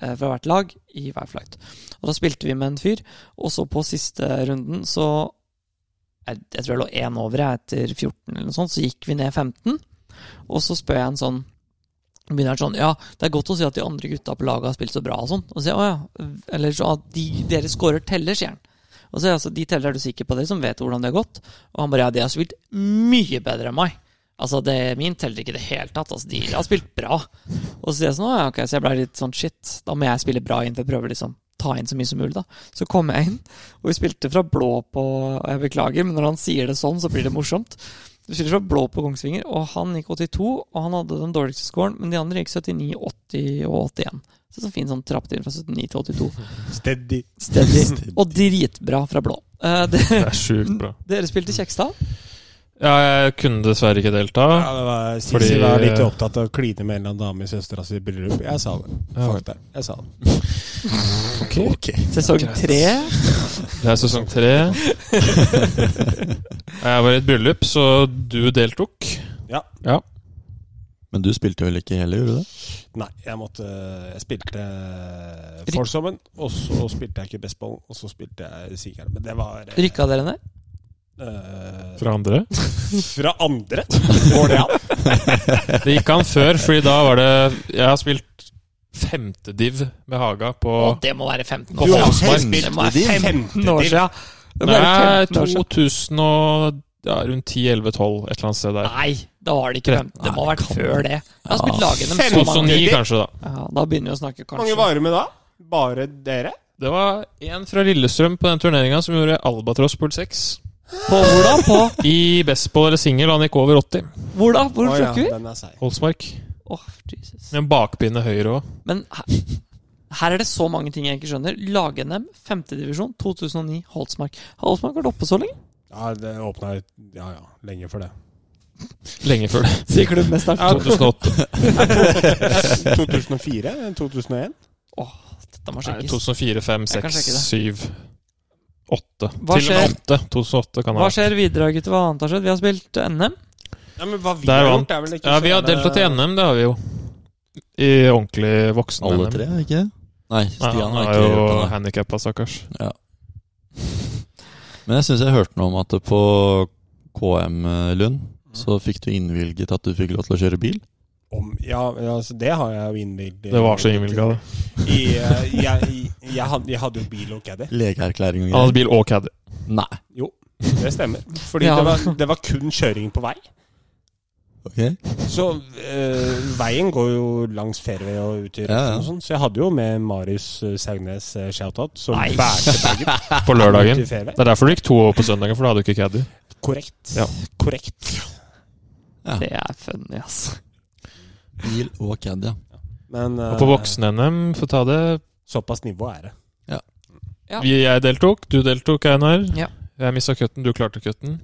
Speaker 3: eh, fra hvert lag i hver flight. Og da spilte vi med en fyr, og så på siste runden så Jeg, jeg tror jeg lå én over jeg, etter 14, eller noe sånt. Så gikk vi ned 15, og så spør jeg en sånn begynner han sånn Ja, det er godt å si at de andre gutta på laget har spilt så bra og sånn. Og så sier jeg, å ja. Eller så at de, dere scorer teller, sier han. Og så sier jeg altså, de teller er du sikker på, dere som vet hvordan det har gått? Og han bare ja, de har spilt mye bedre enn meg. Altså, det, min teller ikke i det hele tatt. Altså, de har spilt bra. Og så sier jeg sånn, å ja, ok, så jeg ble litt sånn shit. Da må jeg spille bra inn, for jeg prøver liksom ta inn så mye som mulig, da. Så kom jeg inn, og vi spilte fra blå på Og jeg beklager, men når han sier det sånn, så blir det morsomt. Du skiller fra blå på Kongsvinger, og han gikk 82, og han hadde den dårligste scoren, men de andre gikk 79, 80 og 81. Så sånn fin sånn trappetid fra 79 til 82.
Speaker 2: Steady.
Speaker 3: Steady. Og dritbra fra blå. Eh,
Speaker 1: Det
Speaker 3: det,
Speaker 1: er sjukt bra.
Speaker 3: dere spilte Kjekstad.
Speaker 1: Ja, jeg kunne dessverre ikke delta.
Speaker 2: Ja, det var, Sisi
Speaker 1: Fordi-
Speaker 2: var litt opptatt av å kline med en eller annen dame i søstera si bryllup. Jeg sa det.
Speaker 1: Ja,
Speaker 2: Fuck det. Jeg sa det.
Speaker 4: Ok.
Speaker 3: Sesong tre.
Speaker 1: Det er sesong tre. Jeg var i et bryllup, så du deltok.
Speaker 4: Men du spilte vel ikke heller, gjorde du det?
Speaker 2: Nei, jeg måtte Jeg spilte Forsommen, og så spilte jeg ikke bestballen, og så spilte jeg Sigeren. Men det var eh,
Speaker 3: Rykka dere ned?
Speaker 2: eh,
Speaker 1: Fra andre?
Speaker 2: fra andre. Går det an?
Speaker 1: Det gikk an før, fordi da var det Jeg har spilt femtediv med Haga på
Speaker 3: Og det må være 15
Speaker 1: På
Speaker 3: år siden.
Speaker 1: Holsmark.
Speaker 3: Det må være 15 år siden. Det må være
Speaker 1: Nei,
Speaker 3: 15 år siden.
Speaker 1: 2000 og ja, rundt 10-11-12, et eller annet sted der.
Speaker 3: Nei, da var det ikke 15. Det må ha vært før det. Jeg har spilt lagene med så mange.
Speaker 1: 2009 kanskje, da.
Speaker 3: Ja, da begynner vi å snakke,
Speaker 2: Hvor mange
Speaker 3: kanskje.
Speaker 2: varer med da? Bare dere?
Speaker 1: Det var en fra Lillestrøm på den turneringa som gjorde Albatross Pool 6.
Speaker 3: På hvor da? På
Speaker 1: I bestball eller singel, han gikk over 80.
Speaker 3: hvor da? Hvor
Speaker 2: Å ja,
Speaker 3: snakker vi?
Speaker 2: den er seig.
Speaker 1: Holsmark.
Speaker 3: Åh, Jesus.
Speaker 1: Med en bakbinde høyre òg.
Speaker 3: Men her, her er det så mange ting jeg ikke skjønner. Lag-NM, femtedivisjon, 2009, Holsmark. Har Holsmark vært oppe så lenge?
Speaker 2: Ja, det åpna ja, ja, lenge for det.
Speaker 1: Lenge før det.
Speaker 3: Sier klubbmesteren.
Speaker 1: 2008.
Speaker 2: 2004? 2001?
Speaker 3: Åh, dette må
Speaker 1: Nei,
Speaker 3: sjekkes.
Speaker 1: 2004, 5,
Speaker 3: Jeg kan
Speaker 1: 6,
Speaker 3: sjekke
Speaker 1: 7, 8.
Speaker 3: Hva
Speaker 1: Til og
Speaker 3: skjer?
Speaker 1: med 8. 2008 kan det
Speaker 3: Hva
Speaker 1: være.
Speaker 3: skjer videre, gutter? Hva annet har skjedd? Vi har spilt NM.
Speaker 2: Ja, men hva vi
Speaker 1: Der
Speaker 2: har
Speaker 1: vant.
Speaker 2: gjort, er vel ikke
Speaker 1: Ja, vi har deltatt i NM, det har vi jo. I ordentlig voksen-NM.
Speaker 4: Alle tre, er det ikke det? Nei,
Speaker 1: Nei,
Speaker 4: Stian
Speaker 1: han
Speaker 4: har
Speaker 1: er
Speaker 4: ikke
Speaker 1: jo
Speaker 4: gjort det. nei.
Speaker 1: handikappa, stakkars.
Speaker 4: Men jeg syns jeg hørte noe om at på KM Lund
Speaker 3: Mm.
Speaker 4: så fikk du innvilget at du fikk lov til å kjøre bil.
Speaker 2: Om, ja, men altså, det har jeg jo innvilget.
Speaker 1: Det var så innvilga, det.
Speaker 2: I, eh, jeg, i- jeg, hadde, jeg hadde jo bil og caddy.
Speaker 4: Legeerklæring og
Speaker 1: Han
Speaker 4: greier.
Speaker 1: hadde bil og caddy.
Speaker 4: Nei.
Speaker 2: Det stemmer. Fordi
Speaker 3: Ja.
Speaker 2: det, var, det var kun kjøring på vei.
Speaker 4: Ok.
Speaker 2: Så eh, veien går jo langs fairway og ut i røffen
Speaker 4: Ja, ja.
Speaker 2: og sånn. Så jeg hadde jo med Marius eh, Saugnes eh, shoutout, som
Speaker 3: Nei.
Speaker 2: bærte bagen
Speaker 1: På lørdagen.
Speaker 2: ut i fairway.
Speaker 1: Det er derfor du gikk to over på søndagen, for da hadde du ikke caddy.
Speaker 2: Korrekt.
Speaker 1: Ja.
Speaker 2: Korrekt.
Speaker 4: Ja.
Speaker 3: Det er funny, altså.
Speaker 4: Bil og caddy, ja.
Speaker 2: Men eh,
Speaker 1: Og på voksen-NM, for å ta det
Speaker 2: såpass nivå er det.
Speaker 3: Ja.
Speaker 1: vi, Jeg deltok, du deltok, Einar.
Speaker 3: Ja.
Speaker 1: Jeg missa cutten, du klarte cutten.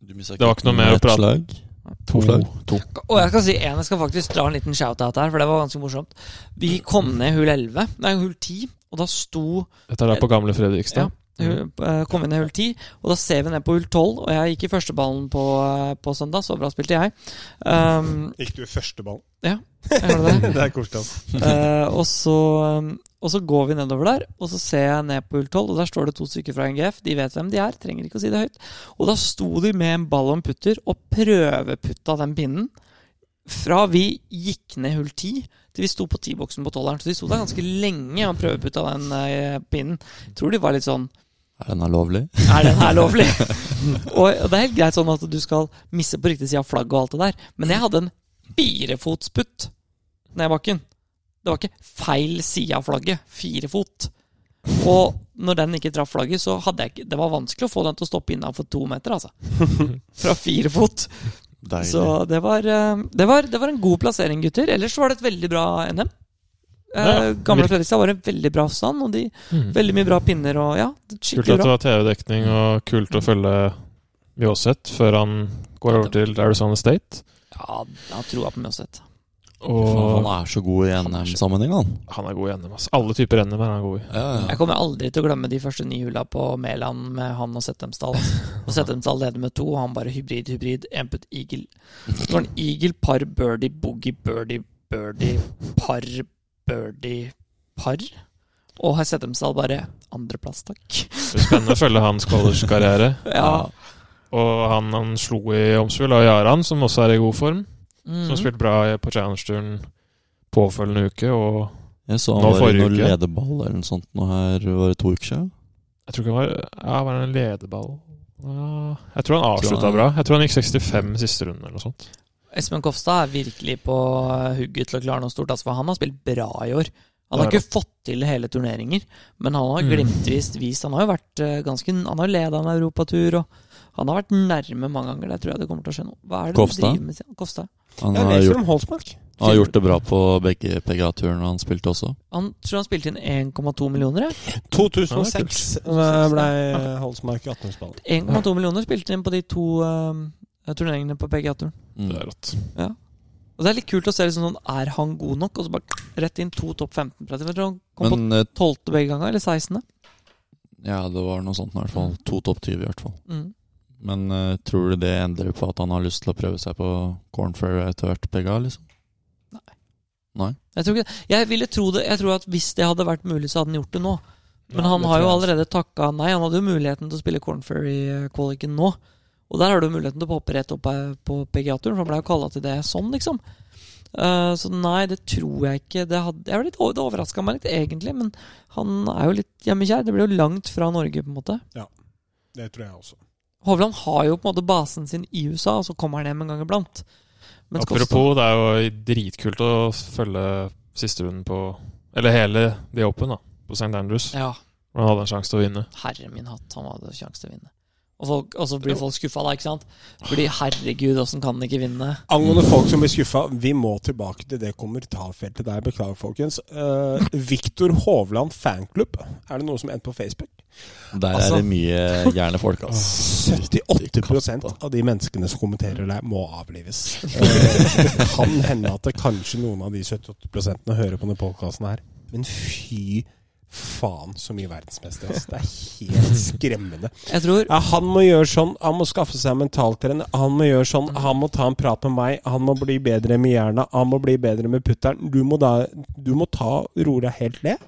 Speaker 4: Du mistet
Speaker 1: Det var ikke noe
Speaker 4: kutten med
Speaker 1: mer å
Speaker 4: ett
Speaker 1: prate-
Speaker 4: slag. To slag.
Speaker 3: Og jeg skal si en, jeg skal faktisk dra en liten shout-out her, for det var ganske morsomt. Vi kom ned hull 11, nei, hull 10, og da sto
Speaker 1: Dette er da på gamle Fredrikstad.
Speaker 3: Ja. hull- eh, Kom vi ned hull 10, og da ser vi ned på hull 12. Og jeg gikk i første ballen på, eh, på søndag, så bra spilte jeg. Um,
Speaker 2: Gikk du i første ballen?
Speaker 3: jeg gjorde det.
Speaker 2: Det er koselig.
Speaker 3: Eh, og, så, um, og så går vi nedover der, og så ser jeg ned på hull 12, og der står det to stykker fra NGF. De vet hvem de er, trenger ikke å si det høyt. Og da sto de med en ball og en putter og prøveputta den pinnen. Fra vi gikk ned hull 10 til vi sto på 10-boksen på 12-eren. Så de sto der ganske lenge og prøveputta den eh, pinnen. Jeg tror de var litt sånn
Speaker 4: Er den her lovlig?
Speaker 3: er den her lovlig? og og det er helt greit sånn at du skal misse på riktig side av flagget og alt det der, men jeg hadde en firefotsputt ned bakken. Det var ikke feil side av flagget. Fire fot. Og når den ikke traff flagget, så hadde jeg ikke Det var vanskelig å få den til å stoppe innafor to meter, altså. Fra fire fot.
Speaker 4: Deilig.
Speaker 3: Så det var, eh, det, var, det var en god plassering, gutter. Ellers var det et veldig bra NM. Eh,
Speaker 1: Ja,
Speaker 3: Gamle
Speaker 1: virk-
Speaker 3: Fredrikstad var en veldig bra stand, og de,
Speaker 1: Mm.
Speaker 3: veldig mye bra pinner og ja,
Speaker 1: Kult
Speaker 3: skikkelig
Speaker 1: at det
Speaker 3: bra.
Speaker 1: var TV-dekning, og kult å
Speaker 3: Mm.
Speaker 1: følge Mjåseth før han går over til Arizona State.
Speaker 3: Ja, jeg har troa på Mjøseth.
Speaker 1: Og
Speaker 4: Han er så god i NM-sammenheng, han.
Speaker 1: han er god i NM. Altså. Alle typer NM er han god i.
Speaker 4: Ja, ja.
Speaker 3: Jeg kommer aldri til å glemme de første ni hulla på Mæland med han og Settemsdal. altså. Og Settemsdal leder med to, og han bare hybrid, hybrid, en putt eagle. Så var han eagle, par, birdie, boogie, birdie, birdie, par, birdie, par. Og her Settemsdal bare andreplass, takk.
Speaker 1: Det er Spennende å følge hans college-karriere.
Speaker 3: Ja.
Speaker 1: Og han, han slo i Omsfjord, og Jaran, som også er i god form. Som har
Speaker 3: Mhm.
Speaker 1: spilt bra på Challenge-turen påfølgende uke, og
Speaker 4: Jeg så han
Speaker 1: Nå
Speaker 4: var i
Speaker 1: forrige
Speaker 4: noen
Speaker 1: uke.
Speaker 4: lederball eller noe sånt nå her var det to uker siden.
Speaker 1: jeg tror ikke han var Ja, var det en lederball? Ja, jeg tror han avslutta
Speaker 4: Tror han-
Speaker 1: bra. Jeg tror han gikk 65 siste runden, eller noe sånt.
Speaker 3: Espen Kofstad er virkelig på hugget til å klare noe stort. Altså, for han har spilt bra i år. Han har
Speaker 1: Det er
Speaker 3: ikke fått til hele turneringer, men han har
Speaker 1: Mm.
Speaker 3: glimtvis vist Han har jo vært eh, ganske Han har leda en europatur, og han har vært nærme mange ganger. Der tror jeg det kommer til å skje noe. Hva er det
Speaker 4: Kofstad?
Speaker 3: du driver med? sier han? Kofstad?
Speaker 4: Han
Speaker 2: Jeg
Speaker 4: har
Speaker 2: leser
Speaker 4: gjort,
Speaker 2: om Holsmark.
Speaker 4: han har gjort det bra på begge PGA-turene han spilte også.
Speaker 3: Han tror han spilte inn 1,2 millioner. jeg.
Speaker 2: 2006
Speaker 3: kult.
Speaker 2: ble Holsmark 18-årsballen.
Speaker 3: 1,2 millioner spilte han inn på de to eh, turneringene på PGA-turen.
Speaker 1: Det
Speaker 4: Mm.
Speaker 1: er rått.
Speaker 3: Og det er litt kult å se liksom sånn Er han god nok? Og så bare rett inn to topp 15-plasser. Jeg tror han kom på
Speaker 4: Men eh,
Speaker 3: 12. begge ganger, eller 16.
Speaker 4: ja, det var noe sånt i hvert fall. To topp 20 i hvert fall.
Speaker 3: Mm.
Speaker 4: Men eh, tror du det endrer på at han har lyst til å prøve seg på Cornfair etter hvert, PGA? liksom?
Speaker 3: Jeg tror, ikke, jeg, ville tro det, jeg tror at hvis det hadde vært mulig, så hadde han gjort det nå. Men
Speaker 2: Ja,
Speaker 3: han
Speaker 2: det
Speaker 3: har
Speaker 2: tror
Speaker 3: jo
Speaker 2: jeg
Speaker 3: allerede takka nei. Han hadde jo muligheten til å spille Corn Ferry-kvaliken nå. Og der har du muligheten til å hoppe rett opp eh, på PGA-turen, for han ble jo kalla til det sånn, liksom. Eh, så nei, det tror jeg ikke. Det, hadde, jeg var litt, over- det overraska meg litt, egentlig. Men han er jo litt hjemmekjær. Det blir jo langt fra Norge, på en måte.
Speaker 2: Det tror jeg også.
Speaker 3: Hovland har jo på en måte basen sin i USA, og så kommer han hjem en gang iblant. Mens Kosta-
Speaker 1: Apropos, det er jo dritkult å følge siste runden på Eller hele The Open, da. På St. Andrews.
Speaker 3: Ja,
Speaker 1: Hvor han hadde en sjanse til å vinne.
Speaker 3: herre min hatt, han hadde sjanse til å vinne. Og, folk, og så blir folk skuffa da, ikke sant? Fordi herregud, åssen kan han ikke vinne?
Speaker 2: Angående folk som blir skuffa, vi må tilbake til det kommentarfeltet der. Beklager, folkens. Uh, Viktor Hovland fanklubb. Er det noe som endte på Facebook?
Speaker 4: Der
Speaker 2: Altså-
Speaker 4: er det mye gærne folk, ass.
Speaker 2: 78 av de menneskene som kommenterer deg, må avlives. Eh, Det kan hende at det kanskje noen av de 78 hører på denne podkasten her. Men fy faen så mye verdensmester. Altså. Det er helt skremmende.
Speaker 3: Jeg tror
Speaker 2: Ja, han må gjøre sånn, han må skaffe seg mentaltrener, han må gjøre sånn, han må ta en prat med meg, han må bli bedre med jerna, han må bli bedre med putteren. Du må da du må ta roe deg helt ned,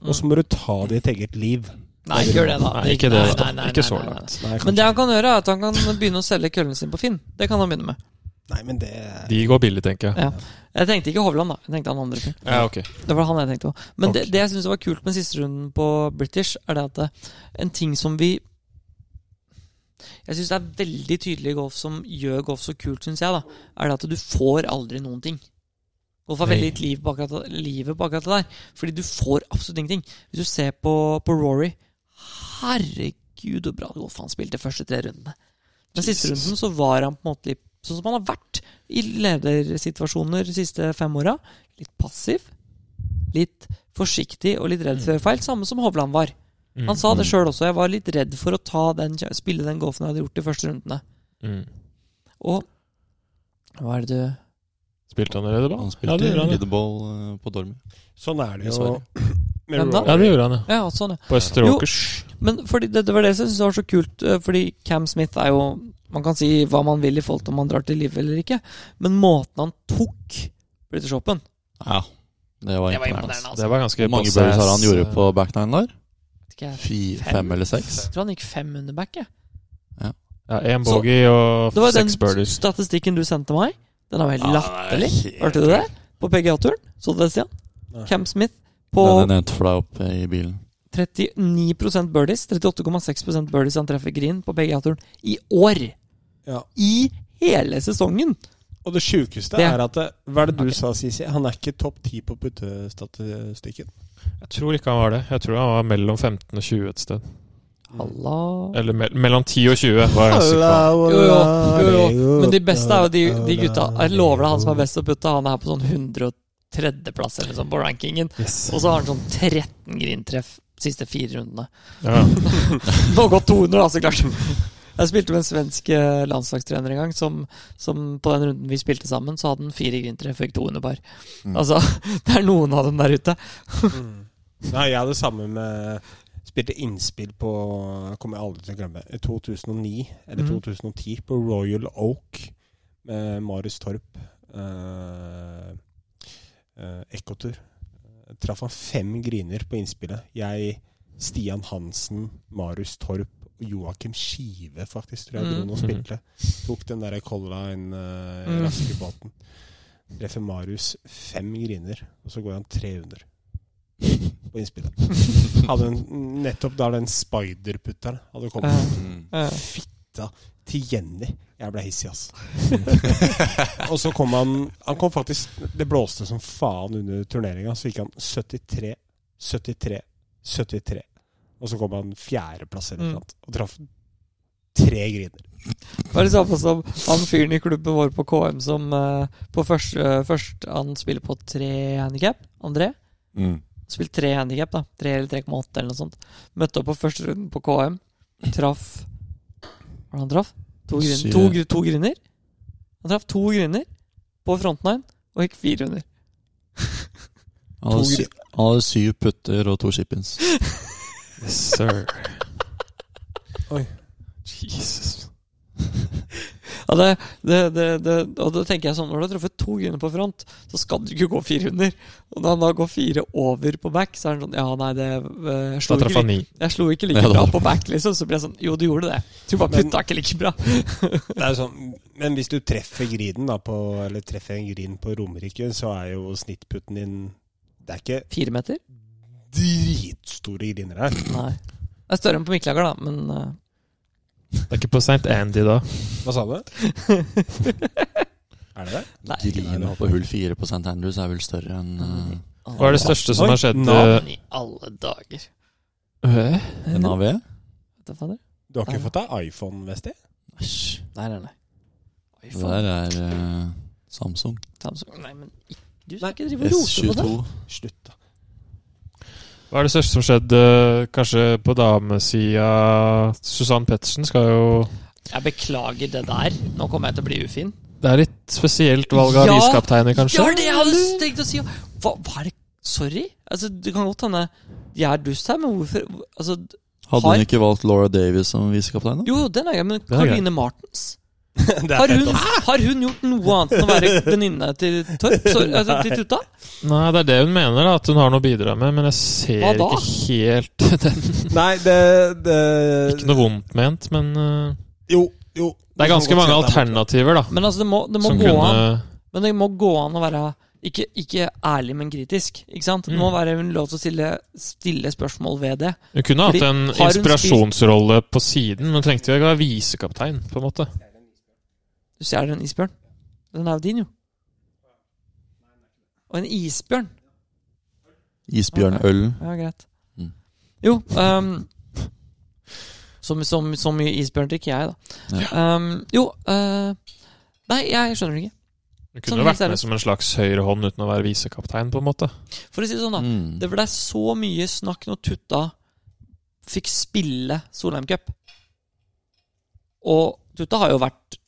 Speaker 2: og så må du ta ditt eget liv.
Speaker 3: Nei, ikke gjør det, da.
Speaker 1: Nei, ikke det,
Speaker 3: Nei,
Speaker 1: da.
Speaker 3: nei, nei,
Speaker 1: Ikke
Speaker 3: nei,
Speaker 1: så
Speaker 3: nei, nei.
Speaker 1: langt.
Speaker 2: Nei,
Speaker 3: Men
Speaker 2: kanskje-
Speaker 3: det han kan gjøre, er at han kan begynne å selge køllene sine på Finn. Det kan han begynne med.
Speaker 2: nei men det
Speaker 1: De går billig, tenker jeg.
Speaker 3: Ja. Jeg tenkte ikke Hovland, da. Jeg tenkte han andre. fyren.
Speaker 1: Ja, ok.
Speaker 3: Det var han jeg tenkte på. Men
Speaker 1: Ok.
Speaker 3: det, det jeg syns var kult med siste runden på British, er det at det, en ting som vi Jeg syns det er veldig tydelig i golf som gjør golf så kult, syns jeg, da, er det at du får aldri noen ting. Golf har veldig
Speaker 1: Nei.
Speaker 3: litt liv bak at, livet bak at det der, fordi du får absolutt ingenting. Hvis du ser på, på Rory Herregud, så bra golf han spilte de første tre rundene. Men siste
Speaker 1: Jesus.
Speaker 3: runden så var han på en måte litt sånn som han har vært i ledersituasjoner de siste fem åra. Litt passiv, litt forsiktig og litt
Speaker 4: Mm.
Speaker 3: redd for å gjøre feil. Samme som Hovland var.
Speaker 1: Mm.
Speaker 3: Han sa det sjøl også. Jeg var litt redd for å ta den, spille den golfen jeg hadde gjort de første rundene.
Speaker 1: Mm.
Speaker 3: Og hva er det du
Speaker 1: Spilte han allerede, da?
Speaker 4: Han
Speaker 1: ja,
Speaker 4: spilte
Speaker 1: det gjorde han, ja.
Speaker 4: leaderball eh, på Dormy.
Speaker 2: Sånn er det jo.
Speaker 4: Dessverre.
Speaker 2: med
Speaker 3: Hvem da?
Speaker 1: ja,
Speaker 2: Rory.
Speaker 1: det gjorde han, ja.
Speaker 3: Ja, sånn, ja.
Speaker 1: På Østre
Speaker 3: Jo.
Speaker 1: Åkers.
Speaker 3: Men fordi det, det var det som jeg syntes var så kult, eh, fordi Cam Smith er jo Man kan si hva man vil i forhold til om han drar til livet eller ikke, men måten han tok British Open
Speaker 4: Ja, det var imponerende. ass.
Speaker 3: altså.
Speaker 1: Det var ganske
Speaker 4: Hvor mange
Speaker 1: passe-
Speaker 4: birdies har han gjorde på back nine der?
Speaker 3: Vet ikke jeg.
Speaker 4: Fi-
Speaker 3: Fem?
Speaker 4: Fem eller seks?
Speaker 3: Jeg tror han gikk fem under back, jeg.
Speaker 1: Ja, Én bogey og
Speaker 3: Det var den
Speaker 1: seks birdies.
Speaker 3: statistikken du sendte meg. Den er jo helt latterlig.
Speaker 4: Ja, det er helt-
Speaker 3: Hørte du det? På PGA-turen. Så du det, Stian?
Speaker 2: Nei.
Speaker 3: Cam Smith på
Speaker 4: Den jeg nevnte for deg opp eh, i bilen.
Speaker 3: 39 birdies. 38,6 birdies han treffer green på PGA-turen i år.
Speaker 2: Ja.
Speaker 3: I hele sesongen!
Speaker 2: Og det sjukeste
Speaker 3: Det-
Speaker 2: er at det, Hva er det du sa, Sisi? Han er ikke topp ti på puttestatistikken.
Speaker 1: Jeg tror ikke han var det. Jeg tror han var mellom 15 og 20 et sted.
Speaker 3: Halla
Speaker 1: Eller me mellom 10 og 20. Var jeg sikker på.
Speaker 3: Jo, jo, jo, jo. Men de beste er jo de, de gutta. Jeg lover deg han som er best å putte, han er på sånn 103.-plass eller sånn på rankingen. Og så har han sånn 13 grintreff siste fire rundene.
Speaker 1: Ja.
Speaker 3: Nå har gått 200, da, så klart. Jeg spilte med en svensk eh, landslagstrener en gang, som, som på den runden vi spilte sammen, så hadde han fire grintreff og fikk 200 par.
Speaker 4: Mm.
Speaker 3: Altså, det er noen av dem der ute.
Speaker 2: Mm. Nei, jeg hadde samme med Spilte innspill på Kommer jeg aldri til å glemme. 2009 eller
Speaker 3: Mhm.
Speaker 2: 2010 på Royal Oak med Marius Torp. Eh, eh, Ekkotur. Eh, Traff han fem griner på innspillet. Jeg, Stian Hansen, Marius Torp og Joakim Skive, faktisk, tror jeg dro
Speaker 3: Mhm.
Speaker 2: og spilte. Tok den derre Colla inn eh,
Speaker 3: Mhm.
Speaker 2: raske båten. Treffer Marius fem griner, og så går han 300 på innspillet. Hadde en, nettopp da den spiderputteren hadde kommet.
Speaker 3: Eh,
Speaker 4: Mm.
Speaker 3: eh,
Speaker 2: Fitta til Jenny. Jeg ble hissig, ass. og så kom han Han kom faktisk Det blåste som faen under turneringa, så gikk han 73, 73, 73. Og så kom han fjerdeplass eller
Speaker 3: Mm.
Speaker 2: noe annet, og traff tre griner.
Speaker 3: Det var det samme som han fyren i klubben vår på KM som eh, på først, eh, først Han spiller på tre handikap. André.
Speaker 4: Mm.
Speaker 3: Spilte tre handikap, da. Tre eller 3,8 eller noe sånt. Møtte opp på første runden på KM. Traff Hva var det han traff? To, grin,
Speaker 4: Syv.
Speaker 3: to, gr- to griner. Han traff to griner på front nine og gikk fire under.
Speaker 4: Han hadde,
Speaker 2: To
Speaker 4: sy han hadde syv putter og to chip-ins.
Speaker 1: Yes, sir.
Speaker 2: Oi.
Speaker 1: Jesus.
Speaker 3: Ja, det, det, det, det, og da tenker jeg sånn, Når du har truffet to grunner på front, så skal du ikke gå 400. Og når han da går fire over på back, så er han sånn Ja, nei, det eh, jeg
Speaker 1: Da
Speaker 3: slo,
Speaker 1: traff
Speaker 3: ikke,
Speaker 1: han ni.
Speaker 3: jeg slo ikke
Speaker 4: Ja,
Speaker 3: like
Speaker 4: da-
Speaker 3: bra på back, liksom. Så blir jeg sånn Jo, du gjorde det. Du bare
Speaker 2: Men-
Speaker 3: putta ikke like bra.
Speaker 2: Det er sånn, men hvis du treffer griden da på, eller treffer en grin på Romerike, så er jo snittputten din Det er ikke
Speaker 3: Fire meter?
Speaker 2: dritstore griner her.
Speaker 3: Nei. Det er større enn på Mikkelager, da, men eh,
Speaker 1: Det er ikke på St. Andy da.
Speaker 2: Hva sa du? er det det?
Speaker 3: Nei.
Speaker 4: Grina på hull fire på St. Andrews er vel større enn eh,
Speaker 1: Hva er det største som
Speaker 2: Oi,
Speaker 1: har skjedd?
Speaker 2: navn.
Speaker 3: I alle dager.
Speaker 1: eh, øh?
Speaker 4: enn AV?
Speaker 3: Hva faen er det?
Speaker 2: Du har ikke fått deg iPhone, Vesti?
Speaker 4: Æsj.
Speaker 3: Nei, nei, nei. Oi,
Speaker 4: Det
Speaker 3: faen.
Speaker 4: der er eh, Samsung.
Speaker 3: Samsung. Nei, men ikke, du skal ikke drive og rote på det.
Speaker 4: S22.
Speaker 2: Slutt, da.
Speaker 1: Hva er det største som skjedde eh, kanskje på damesida? Susann Pettersen skal jo
Speaker 3: Jeg beklager det der. Nå kommer jeg til å bli ufin.
Speaker 1: Det er litt spesielt valg av
Speaker 3: Ja.
Speaker 1: viskapteiner,
Speaker 3: Det
Speaker 1: kanskje?
Speaker 3: var det jeg hadde tenkt å si! Hva, hva er det Sorry? Altså, Det kan godt hende jeg er dust her, men hvorfor altså,
Speaker 4: Hadde
Speaker 3: Har-
Speaker 4: hun ikke valgt Laura Davies som visekaptein? da?
Speaker 3: Jo, den er grei, men
Speaker 1: er grei.
Speaker 3: Caroline Martens?
Speaker 2: Det
Speaker 3: Har hun, har hun gjort noe annet enn å være venninne til Torp? Sorry, altså, til Tutta?
Speaker 1: Nei, det er det hun mener, da, at hun har noe å bidra med, men jeg ser
Speaker 3: Hva da?
Speaker 1: ikke helt den.
Speaker 2: Nei, det, det
Speaker 1: Ikke noe vondt ment, men eh,
Speaker 2: Jo, jo.
Speaker 1: det er ganske mange alternativer, da.
Speaker 3: Men altså, det må, det må
Speaker 1: Som
Speaker 3: gå
Speaker 1: kunne
Speaker 3: an Men det må gå an å være ikke, ikke ærlig, men kritisk. Ikke sant? Det må
Speaker 1: Mm.
Speaker 3: være hun lov til å stille, stille spørsmål ved det.
Speaker 1: Hun kunne hatt
Speaker 3: Fordi,
Speaker 1: en
Speaker 3: har hun
Speaker 1: inspirasjonsrolle på siden, men trengte jo ikke å være visekaptein, på en måte.
Speaker 3: Du stjeler en isbjørn. Den er jo din, jo. Og en isbjørn.
Speaker 4: Isbjørnølen.
Speaker 3: Ja, greit.
Speaker 4: Mm.
Speaker 3: Jo ehm, som, som, Så mye isbjørn drikker jeg, da. Ehm, jo eh, Nei, jeg skjønner det ikke.
Speaker 1: Hun
Speaker 3: Sånn
Speaker 1: kunne jo vært
Speaker 3: helt
Speaker 1: med
Speaker 3: seriøst.
Speaker 1: som en slags høyre hånd uten å være visekaptein, på en måte.
Speaker 3: For å si det sånn, da.
Speaker 4: Mm.
Speaker 3: Det ble så mye snakk når Tutta fikk spille Solheim Cup. Og Tutta har jo vært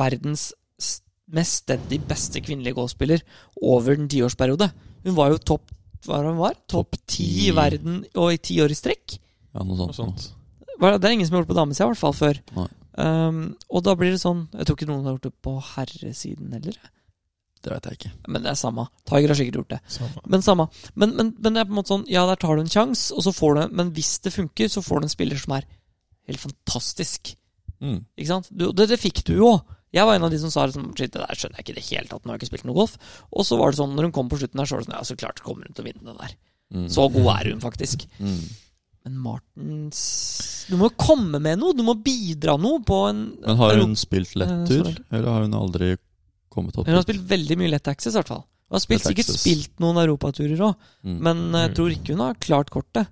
Speaker 3: verdens s- mest steady beste kvinnelige golfspiller over en tiårsperiode. Hun var jo topp hva var det hun var? Topp ti i verden og i ti år i strekk.
Speaker 4: Ja, noe
Speaker 1: Og
Speaker 4: sånt. noe.
Speaker 1: sånt.
Speaker 3: Hva er Det det er ingen som har gjort det på damesida, i hvert fall før.
Speaker 4: Nei.
Speaker 3: Um, og da blir det sånn Jeg tror ikke noen har gjort det på herresiden heller.
Speaker 4: Det vet jeg ikke.
Speaker 3: Men det er samme. Tiger har sikkert gjort det.
Speaker 1: Samme.
Speaker 3: Men samme. Men, men, men det er på en måte sånn Ja, der tar du en sjanse, og så får du Men hvis det funker, så får du en spiller som er helt fantastisk.
Speaker 4: Mm.
Speaker 3: Ikke sant? Du, det, det fikk du jo. Jeg var en av de som sa liksom, Shit, det der skjønner jeg ikke i det hele tatt. Nå har jeg ikke spilt noe golf. Og så var det sånn, når hun kom på slutten der, så var det sånn Ja, så klart kommer hun til å vinne den der.
Speaker 4: Mm.
Speaker 3: Så god er hun faktisk.
Speaker 4: Mm.
Speaker 3: Men Martens Du må jo komme med noe! Du må bidra noe på en
Speaker 4: Men har hun spilt
Speaker 3: Eh,
Speaker 4: lettur,
Speaker 3: Solanke.
Speaker 4: eller har hun aldri kommet opp?
Speaker 3: Hun har
Speaker 4: dit?
Speaker 3: spilt veldig mye lett access, i hvert fall. Hun har spilt,
Speaker 4: Lett
Speaker 3: sikkert
Speaker 4: access.
Speaker 3: spilt noen europaturer òg,
Speaker 4: Mm.
Speaker 3: men jeg
Speaker 1: Mm.
Speaker 3: tror ikke hun har klart kortet.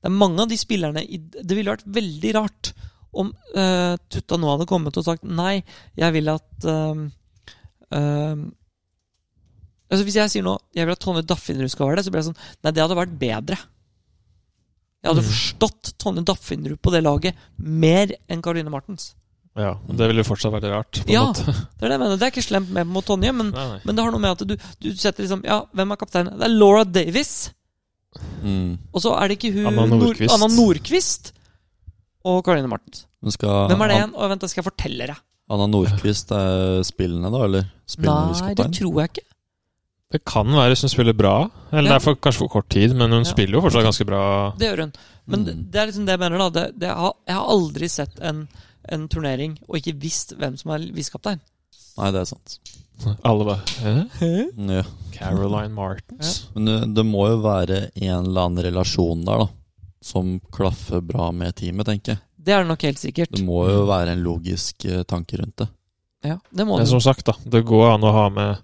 Speaker 3: Det er mange av de spillerne i Det ville vært veldig rart om eh, Tutta nå hadde kommet og sagt nei, jeg vil at eh, eh, Altså Hvis jeg sier nå jeg vil at Tonje Daffinrud skal være det, så blir det sånn Nei, det hadde vært bedre. Jeg hadde
Speaker 1: Mm.
Speaker 3: forstått Tonje Daffinrud på det laget mer enn Caroline Martens.
Speaker 1: Ja, men det ville jo fortsatt vært rart, på en
Speaker 3: Ja.
Speaker 1: måte.
Speaker 3: Det er det jeg mener. Det er ikke slemt med mot Tonje, men
Speaker 1: Nei, nei.
Speaker 3: men det har noe med at du, du setter liksom Ja, hvem er kaptein? Det er Laura Davis.
Speaker 4: Mm.
Speaker 3: Og så er det ikke hun
Speaker 1: Anna Nordqvist.
Speaker 3: Nor Anna Nordqvist og Caroline Martens.
Speaker 4: Hun
Speaker 1: Ah,
Speaker 4: skal,
Speaker 3: Hvem er det
Speaker 4: An-
Speaker 3: igjen? Å, vent, da skal jeg fortelle deg.
Speaker 4: Anna Nordqvist er spillende, da? Eller spillende
Speaker 3: Nei, det
Speaker 4: visekaptein?
Speaker 3: tror jeg ikke.
Speaker 1: Det kan være hvis hun spiller bra. Eller
Speaker 3: Ja.
Speaker 1: det er for, kanskje for kort tid, men hun
Speaker 3: Ja.
Speaker 1: spiller jo fortsatt ganske bra.
Speaker 3: Det gjør hun. Men det,
Speaker 4: Mm.
Speaker 3: det er liksom det jeg mener, da. Det, det, jeg, har, jeg har aldri sett en, en turnering og ikke visst hvem som er visekaptein.
Speaker 4: Nei, det er sant. Mm,
Speaker 1: Alle bare «Hæ?
Speaker 4: Ja.
Speaker 1: Caroline Martens.
Speaker 4: Men det, det må jo være en eller annen relasjon der, da. Som klaffer bra med teamet, tenker jeg.
Speaker 3: Det er det nok helt sikkert.
Speaker 4: Det
Speaker 1: Mm.
Speaker 4: må jo være en logisk eh, tanke rundt det.
Speaker 3: Ja, det må
Speaker 1: Men
Speaker 3: du.
Speaker 1: som sagt, da. Det går an å ha med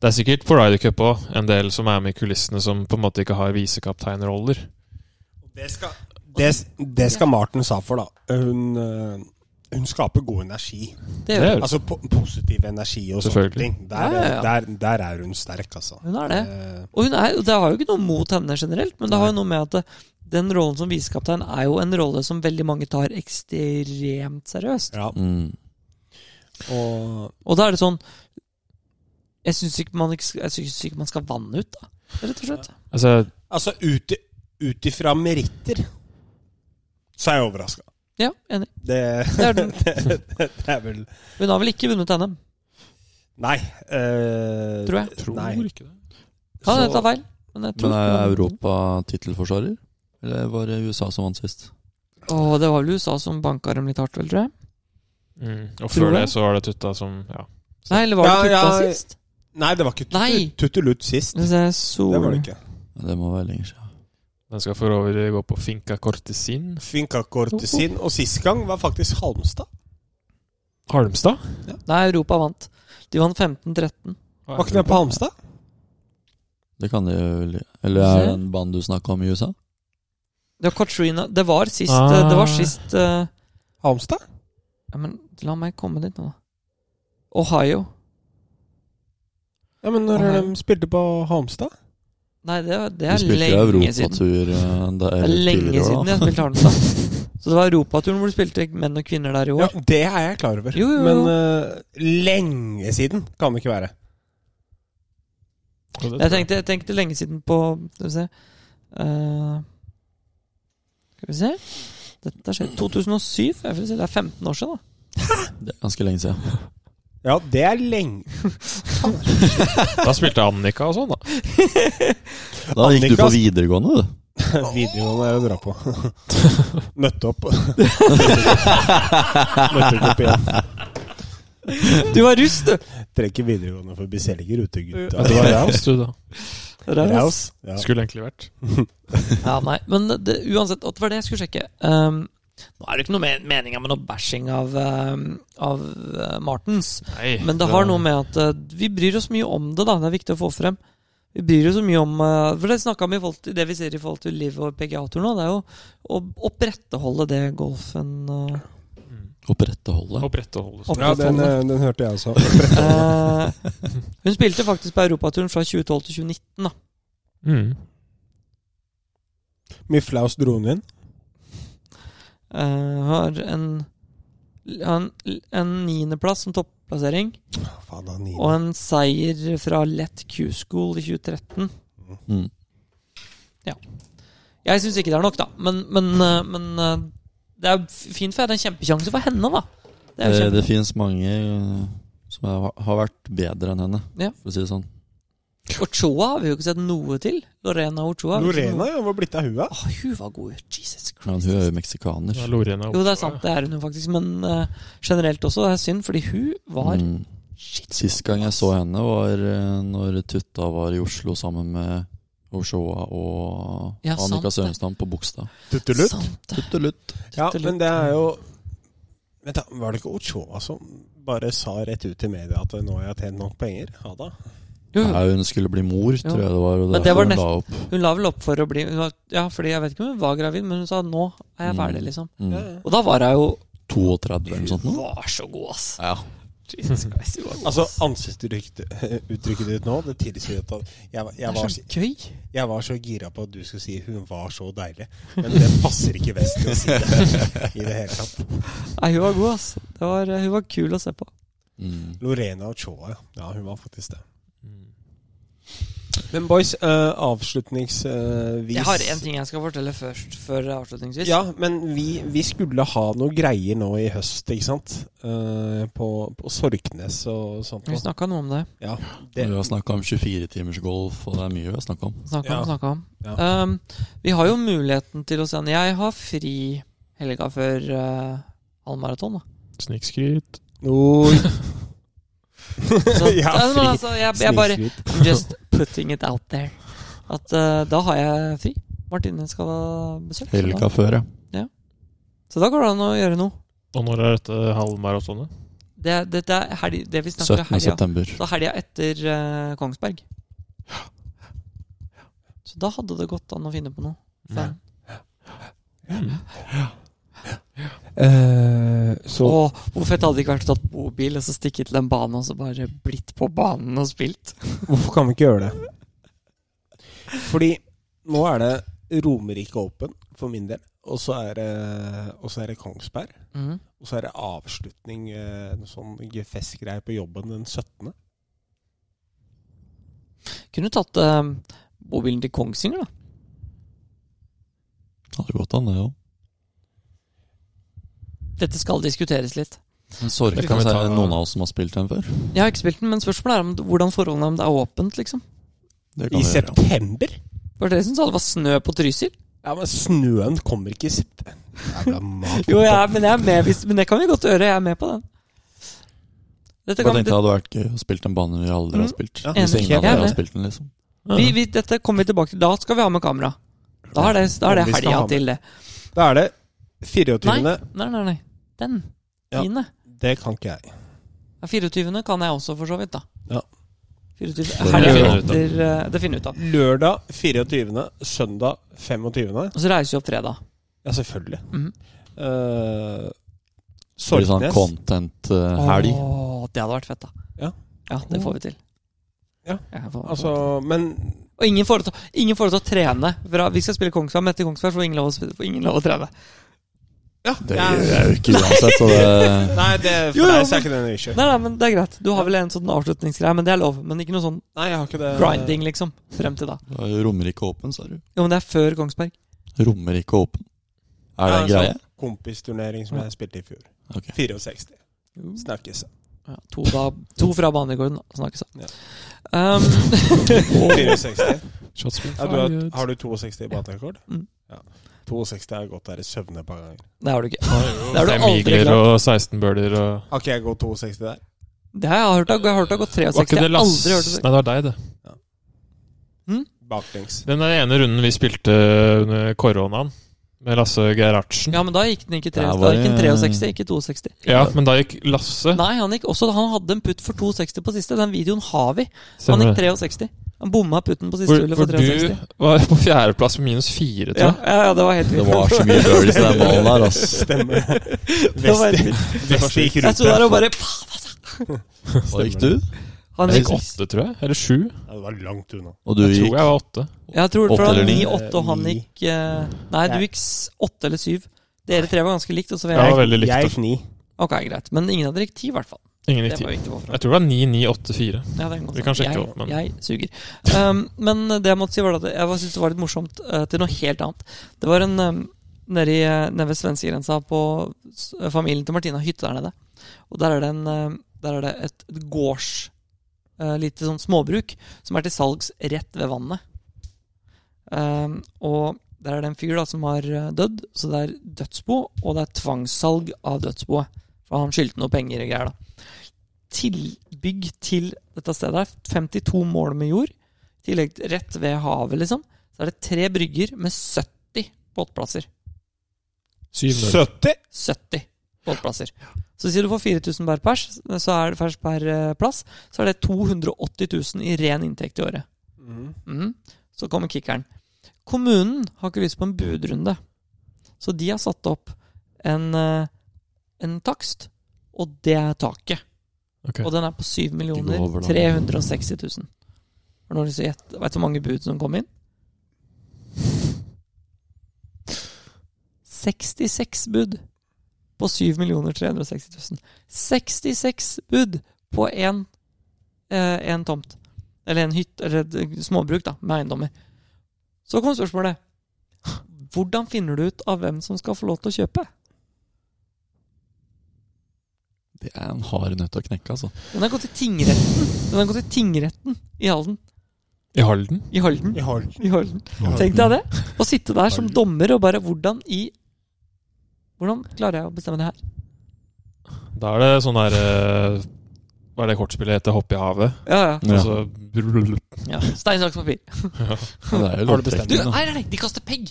Speaker 1: Det er sikkert på Ryder Cup òg en del som er med i kulissene som på en måte ikke har visekapteinroller.
Speaker 2: Det skal, det, det skal Martin sa for, da. Hun, øh, hun skaper god energi.
Speaker 3: Det gjør hun.
Speaker 1: det.
Speaker 2: Altså po positiv energi og sånne
Speaker 1: Selvfølgelig.
Speaker 2: ting. Der,
Speaker 3: Ja, ja,
Speaker 2: Der, der er hun sterk, altså.
Speaker 3: Hun er det.
Speaker 2: Eh,
Speaker 3: Og hun er, og det har jo ikke noe mot henne generelt, men det har jo noe med at det, den rollen som visekaptein er jo en rolle som veldig mange tar ekstremt seriøst.
Speaker 2: ja.
Speaker 4: Mm.
Speaker 2: Og
Speaker 3: Og da er det sånn Jeg syns ikke, man ikke skal- jeg synes ikke man skal vanne ut, da. Rett og slett.
Speaker 1: Altså,
Speaker 2: altså, ut, i- ut ifra meritter så er jeg overraska.
Speaker 3: Ja, enig.
Speaker 2: Det,
Speaker 3: Det er den.
Speaker 2: det, det, det er vel
Speaker 3: Hun har vel ikke vunnet NM?
Speaker 2: Nei. eh,
Speaker 3: Tror jeg.
Speaker 1: Tror
Speaker 2: Nei.
Speaker 1: ikke det.
Speaker 3: Kan hende jeg
Speaker 2: Så-
Speaker 3: tar feil. Men jeg tror
Speaker 4: Men er
Speaker 3: ikke-
Speaker 4: Europa tittelforsvarer? Eller var det USA som vant sist?
Speaker 3: Åh, det var vel USA som banka dem litt hardt, vel, tror jeg.
Speaker 1: Mm. Og
Speaker 3: Tror
Speaker 1: før
Speaker 3: du
Speaker 1: det
Speaker 3: det?
Speaker 1: så var det Tutta som Ja.
Speaker 3: Nei, eller var det
Speaker 2: Ja,
Speaker 3: kutta
Speaker 2: ja.
Speaker 3: sist?
Speaker 2: Nei, det var ikke
Speaker 3: Nei.
Speaker 2: tutu- Tuttelutt sist.
Speaker 3: Hvis jeg
Speaker 2: Det var
Speaker 3: sol...
Speaker 2: det ikke.
Speaker 4: Ja, Det må være lenger siden.
Speaker 1: Den skal for øvrig gå på Finca Cortesin.
Speaker 2: Finca Cortesin. Og sist gang var faktisk Halmstad.
Speaker 1: Halmstad?
Speaker 3: Nei, Europa vant. De vant 15-13.
Speaker 2: Var ikke det på Halmstad?
Speaker 4: Det kan det jo vel- Eller er det den banen du snakka om i USA?
Speaker 3: Det var Katrina Det var sist
Speaker 1: Ah.
Speaker 3: eh, Det var sist eh,
Speaker 2: Halmstad?
Speaker 3: ja, Men la meg komme dit nå, da. Ohio.
Speaker 2: Ja, men når
Speaker 3: Aha.
Speaker 2: de spilte på Halmstad
Speaker 3: Nei, det, det
Speaker 4: Vi
Speaker 3: er
Speaker 4: spilte jo
Speaker 3: lenge siden.
Speaker 4: europatur eh, der
Speaker 3: Det er lenge
Speaker 4: tidligere i år,
Speaker 3: siden
Speaker 4: da.
Speaker 3: jeg spilte Halmstad. Så det var europaturen hvor du spilte menn og kvinner der i
Speaker 2: Ja,
Speaker 3: år.
Speaker 2: det er jeg klar over.
Speaker 3: Jo, jo, jo.
Speaker 2: Men eh, lenge siden kan det ikke være.
Speaker 3: Jeg tenkte, jeg tenkte lenge siden på Skal vi se Eh, Skal vi se Dette skjer 2007. Jeg vil si det er 15 år siden, da.
Speaker 4: Det er ganske lenge siden.
Speaker 2: Ja, det er lenge
Speaker 1: Da spilte Annika og sånn, da.
Speaker 4: Da gikk du
Speaker 2: Annika-
Speaker 4: på videregående, du.
Speaker 2: Videregående er å dra på. Møtte opp. Møtte ikke opp igjen.
Speaker 3: Du var russ, du!
Speaker 2: Trenger ikke videregående for å bli selger ute, gutta.
Speaker 1: Ja, Det var Raus, du, da.
Speaker 2: Raus. Ja.
Speaker 1: Skulle egentlig vært.
Speaker 3: Ja, nei, men det, uansett, at det var det jeg skulle sjekke. Um, nå er det ikke noe me- meninga med noe bashing av, um, av uh, Martens,
Speaker 1: Nei.
Speaker 3: men det har noe med at uh, vi bryr oss mye om det, da. Det er viktig å få frem. Vi bryr oss så mye om uh, For det snakka vi i forhold til det vi ser i forhold til Liv og PGA-tur nå, det er jo å opprettholde det golfen uh,
Speaker 1: Mm.
Speaker 4: Opprettholdet.
Speaker 1: Opprettholde.
Speaker 3: Ja, den, eh,
Speaker 2: hørte jeg også.
Speaker 3: Eh, Hun spilte faktisk på europaturen fra 2012 til 2019, da.
Speaker 1: Mm.
Speaker 2: Miflaus dro den inn.
Speaker 3: Eh, har en, har en, en niendeplass som topplassering.
Speaker 2: Faen, da, Nina.
Speaker 3: Og en seier fra Lett Q-School i 2013.
Speaker 4: Mm.
Speaker 3: Jeg syns ikke det er nok, da. Men, men, eh, men eh, det er f- fint, for jeg hadde en kjempesjanse for henne, da. Det er jo
Speaker 4: Det,
Speaker 3: kjempe...
Speaker 4: det finnes mange eh, som er, har vært bedre enn henne,
Speaker 3: Ja.
Speaker 4: for å si det sånn.
Speaker 3: Ochoa har vi jo ikke sett noe til. Lorena Ochoa.
Speaker 2: Lorena, ja, var blitt av hua.
Speaker 3: Åh, hun var god. Jesus
Speaker 4: Men
Speaker 3: Christ.
Speaker 4: hun er jo meksikaner.
Speaker 1: Ja, Lorena
Speaker 3: Mm. Jo, det er sant. Det er hun jo faktisk. Men eh, generelt også. Det er synd, fordi hun var
Speaker 4: Mm.
Speaker 3: Shit.
Speaker 4: Sist gang jeg så henne, var eh, når Tutta var i Oslo sammen med Oshoa og
Speaker 3: Ja, sant
Speaker 4: Annika
Speaker 3: det.
Speaker 4: Sørenstad på Bogstad.
Speaker 2: Tuttelutt.
Speaker 3: Sant.
Speaker 4: Tuttelutt.
Speaker 2: Ja,
Speaker 3: tuttelutt.
Speaker 2: men det er jo Vent da, Var det ikke Ochoa som bare sa rett ut til media at nå har jeg tjent nok penger? Ja da.
Speaker 3: Jo, jo.
Speaker 4: Nei, hun skulle bli mor, tror jeg det var. Og
Speaker 3: Mm. Men det var
Speaker 4: derfor hun
Speaker 3: nest-
Speaker 4: la opp.
Speaker 3: Hun la vel opp for å bli hun var, Ja, fordi jeg vet ikke om hun var gravid, men hun sa 'nå er jeg
Speaker 4: Mm.
Speaker 3: ferdig', liksom.
Speaker 2: Ja,
Speaker 4: Mm.
Speaker 2: ja.
Speaker 3: Og da var hun jo
Speaker 4: 32 eller noe sånt
Speaker 3: Hun
Speaker 4: nå.
Speaker 3: var så god, ass.
Speaker 4: Ja.
Speaker 3: Jesus Christ, hun var god.
Speaker 2: Altså, ansiktsuttrykket ditt nå, det tilsier at jeg, jeg,
Speaker 3: det
Speaker 2: var,
Speaker 3: er så gøy.
Speaker 2: jeg var så gira på at du skulle si 'hun var så deilig', men det passer ikke best til å si det i det hele tatt.
Speaker 3: Nei, hun var god, ass. Det var, hun var kul å se på.
Speaker 4: Mm.
Speaker 2: Lorena Ochoa, ja. ja. Hun var faktisk det.
Speaker 1: Mm.
Speaker 2: Men boys, eh, avslutningsvis eh,
Speaker 3: Jeg har en ting jeg skal fortelle først, før avslutningsvis.
Speaker 2: Ja, men vi, vi skulle ha noe greier nå i høst, ikke sant? Eh, på, på Sorknes og sånt.
Speaker 3: Vi
Speaker 2: noe.
Speaker 3: snakka noe om det.
Speaker 2: Ja,
Speaker 4: Vi
Speaker 2: det,
Speaker 4: har snakka om 24-timersgolf, og det er mye vi har snakka om.
Speaker 3: Snakket
Speaker 2: Ja.
Speaker 3: om, snakket om.
Speaker 2: Ja.
Speaker 3: Um, vi har jo muligheten til å se han. Jeg har fri helga før uh, halvmaraton, da.
Speaker 1: Snikskryt.
Speaker 2: Oi.
Speaker 3: Så,
Speaker 2: Ja,
Speaker 3: Nei, men
Speaker 2: fri.
Speaker 3: altså, jeg, jeg bare
Speaker 2: Snikskryt.
Speaker 3: Just putting it out there. At uh, da har jeg fri. Martine skal ha besøk. så da-
Speaker 4: Helga før, ja.
Speaker 3: Så da går det an å gjøre noe.
Speaker 1: Og når er dette halvmaratonet?
Speaker 3: Det, dette er helg, det vi
Speaker 4: 17.
Speaker 3: snakker om helga.
Speaker 4: september.
Speaker 3: Så helga etter eh, Kongsberg. Så da hadde det gått an å finne på noe. Fan.
Speaker 1: Mm.
Speaker 2: Eh, så
Speaker 3: Åh, hvor fett hadde det ikke vært å tatt bobil og så stikke til en bane og så bare blitt på banen og spilt?
Speaker 2: hvorfor kan vi ikke gjøre det? Fordi nå er det Romerike Open for min del, og så er det, og så er det Kongsberg.
Speaker 3: Mhm.
Speaker 2: Og så er det avslutning, eh, noe sånn festgreier på jobben den 17.
Speaker 3: Kunne tatt eh, bobilen til Kongsvinger, da.
Speaker 4: Hadde gått an, det òg.
Speaker 3: dette skal diskuteres litt.
Speaker 4: Men
Speaker 1: Det
Speaker 4: Sorka
Speaker 1: kan vi
Speaker 4: så er
Speaker 1: ta-
Speaker 4: det noen av oss som har spilt den før.
Speaker 3: Jeg har ikke spilt den, men spørsmålet er om, hvordan forholdene om det er åpent, liksom.
Speaker 4: Det kan
Speaker 2: I
Speaker 4: vi gjøre.
Speaker 2: september?
Speaker 3: Var det dere som sa det var snø på Trysil?
Speaker 2: Ja, men snøen kommer ikke i september. Jævla mat.
Speaker 3: Jo, jeg er, men jeg er med, hvis, men det kan vi godt gjøre. Jeg er med på den. Dette
Speaker 4: Bare
Speaker 3: kan,
Speaker 4: tenkte det hadde vært gøy å spille en bane vi aldri har
Speaker 3: Mm.
Speaker 4: spilt.
Speaker 1: Ja,
Speaker 4: Hvis
Speaker 3: enig.
Speaker 4: ingen av
Speaker 3: Helt
Speaker 4: dere har
Speaker 3: enig.
Speaker 4: spilt den, liksom.
Speaker 3: vi, vi, dette kommer vi tilbake til. Da skal vi ha med kamera. Da er det, da er det
Speaker 2: Om vi skal
Speaker 3: helga
Speaker 2: ha med.
Speaker 3: til det.
Speaker 2: Da er det
Speaker 3: Nei,
Speaker 2: 24.
Speaker 3: nei, nei. nei. Den.
Speaker 2: Ja.
Speaker 3: Tiende.
Speaker 2: Det kan ikke jeg.
Speaker 3: Ja, 24. kan jeg også, for så vidt, da.
Speaker 2: Ja.
Speaker 3: 24.
Speaker 4: Det
Speaker 3: Helga
Speaker 1: finner vi ut av.
Speaker 3: etter, eh, Det finner vi ut av.
Speaker 2: Lørdag 24., søndag 25.
Speaker 3: Og så reiser vi opp fredag.
Speaker 2: Ja, selvfølgelig.
Speaker 3: Mhm.
Speaker 2: Eh,
Speaker 4: Det blir sånn eh,
Speaker 2: Sortnes.
Speaker 4: content-helg.
Speaker 3: Åh, det hadde vært fett, da.
Speaker 2: Ja.
Speaker 3: Ja, det får vi til.
Speaker 2: Ja.
Speaker 3: det får vi
Speaker 2: altså,
Speaker 3: til.
Speaker 2: men
Speaker 3: Og ingen får, lov til, å- ingen får lov til å trene. Fra, vi skal spille Kongsberg, men etter Kongsberg så får ingen lov, å spille- får ingen lov å trene.
Speaker 2: Ja.
Speaker 4: Det
Speaker 2: ja.
Speaker 4: gjør jeg jo ikke uansett, så det
Speaker 2: Nei, det, for
Speaker 3: Jo, jo,
Speaker 2: deg så er ikke det noe issue.
Speaker 3: Nei, nei, men Det er greit. Du har vel en sånn avslutningsgreie, men det er lov. Men ikke noe sånn
Speaker 2: Nei, jeg har ikke det.
Speaker 3: grinding, liksom. Frem til da.
Speaker 4: det er Romerike Åpen, sa du.
Speaker 3: Jo, men det er før Kongsberg.
Speaker 4: Romerike Åpen. Er det en
Speaker 2: Ja,
Speaker 4: greie?
Speaker 2: sånn Kompisturnering som jeg spilte i fjor.
Speaker 4: Ok.
Speaker 2: 64. Snakkes.
Speaker 3: Ja, to, da, to fra banerekorden, snakkes
Speaker 2: Ja.
Speaker 3: det. Um,
Speaker 2: 64.
Speaker 1: Shotspill.
Speaker 2: Ja, du har, har du 62 i banerekord?
Speaker 3: Mm.
Speaker 2: Ja. 62 har jeg gått der i søvne et par ganger.
Speaker 3: det har du ikke. Det har du
Speaker 1: Fem
Speaker 3: aldri
Speaker 1: igler
Speaker 3: klart.
Speaker 1: og 16 bøler og
Speaker 2: Har ikke jeg gått 62 der?
Speaker 3: Det har jeg hørt. Jeg har hørt det har gått 63. Jeg har aldri hørt det.
Speaker 1: Nei, det var deg, det.
Speaker 2: Baklengs.
Speaker 1: Den der ene runden vi spilte under koronaen, med Lasse Gerhardsen. Ja.
Speaker 3: Ja, men da gikk den ikke, tre,
Speaker 4: Der var
Speaker 3: da gikk den
Speaker 4: det-
Speaker 3: 63, ikke 62.
Speaker 1: men da gikk Lasse
Speaker 3: Nei, han gikk også Han hadde en putt for 260 på siste. Den videoen har vi. Han
Speaker 1: Stemmer
Speaker 3: gikk
Speaker 1: det.
Speaker 3: 63. Han bomma putten på siste
Speaker 1: Hvor,
Speaker 3: hullet
Speaker 1: hvor
Speaker 3: for 63.
Speaker 1: du var på fjerdeplass med minus fire,
Speaker 3: Ja,
Speaker 1: tror jeg.
Speaker 3: ja, ja, det var helt
Speaker 4: Det
Speaker 3: vilt.
Speaker 4: var så mye birdies i den ballen der, ass.
Speaker 2: Stemmer.
Speaker 3: Det var helt
Speaker 2: Vesti,
Speaker 3: vilt.
Speaker 2: vesti gikk
Speaker 3: Jeg sto der og bare
Speaker 4: Hva gikk du?
Speaker 3: Han
Speaker 1: Jeg
Speaker 3: gikk
Speaker 1: gikk åtte, tror jeg. Eller sju.
Speaker 2: Ja, det var langt unna.
Speaker 4: Og du
Speaker 1: Jeg tror
Speaker 4: gikk
Speaker 1: jeg var åtte.
Speaker 3: Jeg tror for
Speaker 4: Åtte
Speaker 3: det
Speaker 4: eller
Speaker 3: var
Speaker 4: ni?
Speaker 3: 9-8, og han
Speaker 2: Ni.
Speaker 3: gikk eh, Nei, du gikk s- 8 eller 7. Dere tre var ganske likt. Og så var
Speaker 1: Ja, det
Speaker 3: jeg,
Speaker 1: var veldig likt.
Speaker 2: Jeg
Speaker 1: da.
Speaker 2: gikk ni.
Speaker 3: ok, greit. Men ingen av dere gikk 10, i hvert fall.
Speaker 1: Ingen
Speaker 3: Det
Speaker 1: gikk
Speaker 3: var
Speaker 1: ti.
Speaker 3: viktig å få fram.
Speaker 1: Jeg tror det var 9984.
Speaker 3: Ja, det kan godt
Speaker 1: Vi kan
Speaker 3: være.
Speaker 1: sjekke
Speaker 3: jeg,
Speaker 1: opp, men-
Speaker 3: Jeg suger. Um, men det jeg måtte si, var at jeg var- syntes det var litt morsomt eh, til noe helt annet. Det var en um, nede, i, eh, nede ved svenskegrensa på s- eh, familien til Martina, hytte der nede. Og der er det, en, eh, der er det et, et gårds eh, lite sånn småbruk som er til salgs rett ved vannet. Um, og der er det en fyr da som har eh, dødd, så det er dødsbo, og det er tvangssalg av dødsboet. For han skyldte noe penger og greier, da. Tilbygg til dette stedet her. 52 mål med jord. I tillegg rett ved havet, liksom. Så er det tre brygger med 70 båtplasser.
Speaker 1: 7-0.
Speaker 2: 70?
Speaker 3: 70 båtplasser. Så sier du får 4000 per pers, så er det pers per eh, plass, så er det 280 000 i ren inntekt i året.
Speaker 2: Mm.
Speaker 3: Mhm. Så kommer kickeren. Kommunen har ikke lyst på en budrunde, så de har satt opp en, eh, en takst, og det er taket.
Speaker 1: Ok.
Speaker 3: Og den er på 7 millioner
Speaker 4: over, da.
Speaker 3: 360 000. Har noen lyst til å gjette Vet du hvor mange bud som kom inn? 66 bud på 7 360 000. 66 bud på én eh, en tomt. Eller en hytte, eller et eh, småbruk da, med eiendommer. Så kom spørsmålet. Hvordan finner du ut av hvem som skal få lov til å kjøpe?
Speaker 4: Det er en hard nøtt å knekke, altså.
Speaker 3: Den har gått til tingretten. Den har gått til tingretten i Halden.
Speaker 1: I Halden.
Speaker 3: I Halden.
Speaker 2: Jeg har den.
Speaker 3: I Halden. Tenk deg det. Å sitte der som dommer og bare Hvordan i Hvordan klarer jeg å bestemme det her?
Speaker 1: Da er det sånn der eh, Hva er det kortspillet heter? Hoppe i havet? Altså,
Speaker 3: Ja, ja.
Speaker 1: Og
Speaker 4: Ja,
Speaker 1: så
Speaker 3: ja. Stein, saks, papir.
Speaker 4: det er jo
Speaker 2: Har du bestemt
Speaker 3: Du,
Speaker 4: loddtrekning, da.
Speaker 3: nei, nei, nei, de kaster pegg!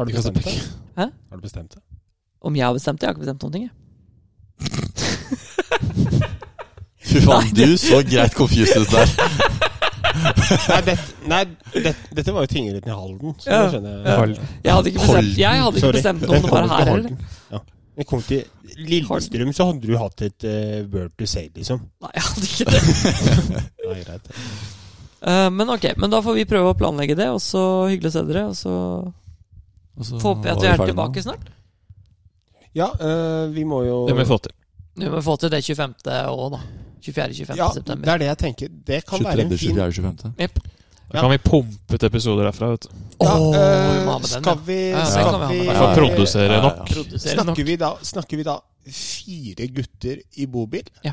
Speaker 2: Har du
Speaker 1: De kaster
Speaker 2: bestemt det?
Speaker 3: Hæ?
Speaker 2: Har du bestemt det?
Speaker 3: Om jeg har bestemt det? Jeg har ikke bestemt noen ting, jeg.
Speaker 4: Fy faen, du så greit confused ut der.
Speaker 2: Nei, dette- nei det- dette var jo tingretten i Halden, så
Speaker 3: Ja.
Speaker 2: det skjønner jeg.
Speaker 1: Halden.
Speaker 3: Jeg hadde ikke bestemt,
Speaker 4: Halden.
Speaker 3: jeg hadde ikke
Speaker 2: Sorry.
Speaker 3: bestemt
Speaker 2: Den
Speaker 3: om det var
Speaker 2: kom til
Speaker 3: her heller.
Speaker 2: Halden. Ja. Den kom til Lillestrøm, så hadde du hatt et eh, word to say, liksom.
Speaker 3: Nei, jeg hadde ikke det.
Speaker 2: Nei, greit.
Speaker 3: Eh, men ok, men da får vi prøve å planlegge det, og så hyggelig å se dere. Og så
Speaker 4: Og så
Speaker 3: får vi
Speaker 4: var
Speaker 3: at vi er
Speaker 4: ferdig nå.
Speaker 3: tilbake snart.
Speaker 2: Ja, eh, vi må jo
Speaker 1: Det må vi få til.
Speaker 3: Vi må få til det 25. òg, da. 24.-25.
Speaker 2: Ja, det
Speaker 3: september.
Speaker 2: er det jeg tenker. Det kan være en
Speaker 4: 23.,
Speaker 2: fin
Speaker 4: 24., 25.
Speaker 1: Da kan vi pumpe ut episoder derfra. vet du.
Speaker 3: Å,
Speaker 2: Da,
Speaker 3: Åh,
Speaker 2: eh,
Speaker 3: vi må ha med den, ja.
Speaker 2: skal vi
Speaker 3: Ja, den
Speaker 2: Skal
Speaker 3: kan vi ha med.
Speaker 2: vi
Speaker 1: hvert fall produsere
Speaker 4: Ja, ja,
Speaker 1: nok.
Speaker 4: ja.
Speaker 3: Produserer nok.
Speaker 2: Snakker vi, da, snakker vi da fire gutter i bobil?
Speaker 3: Ja.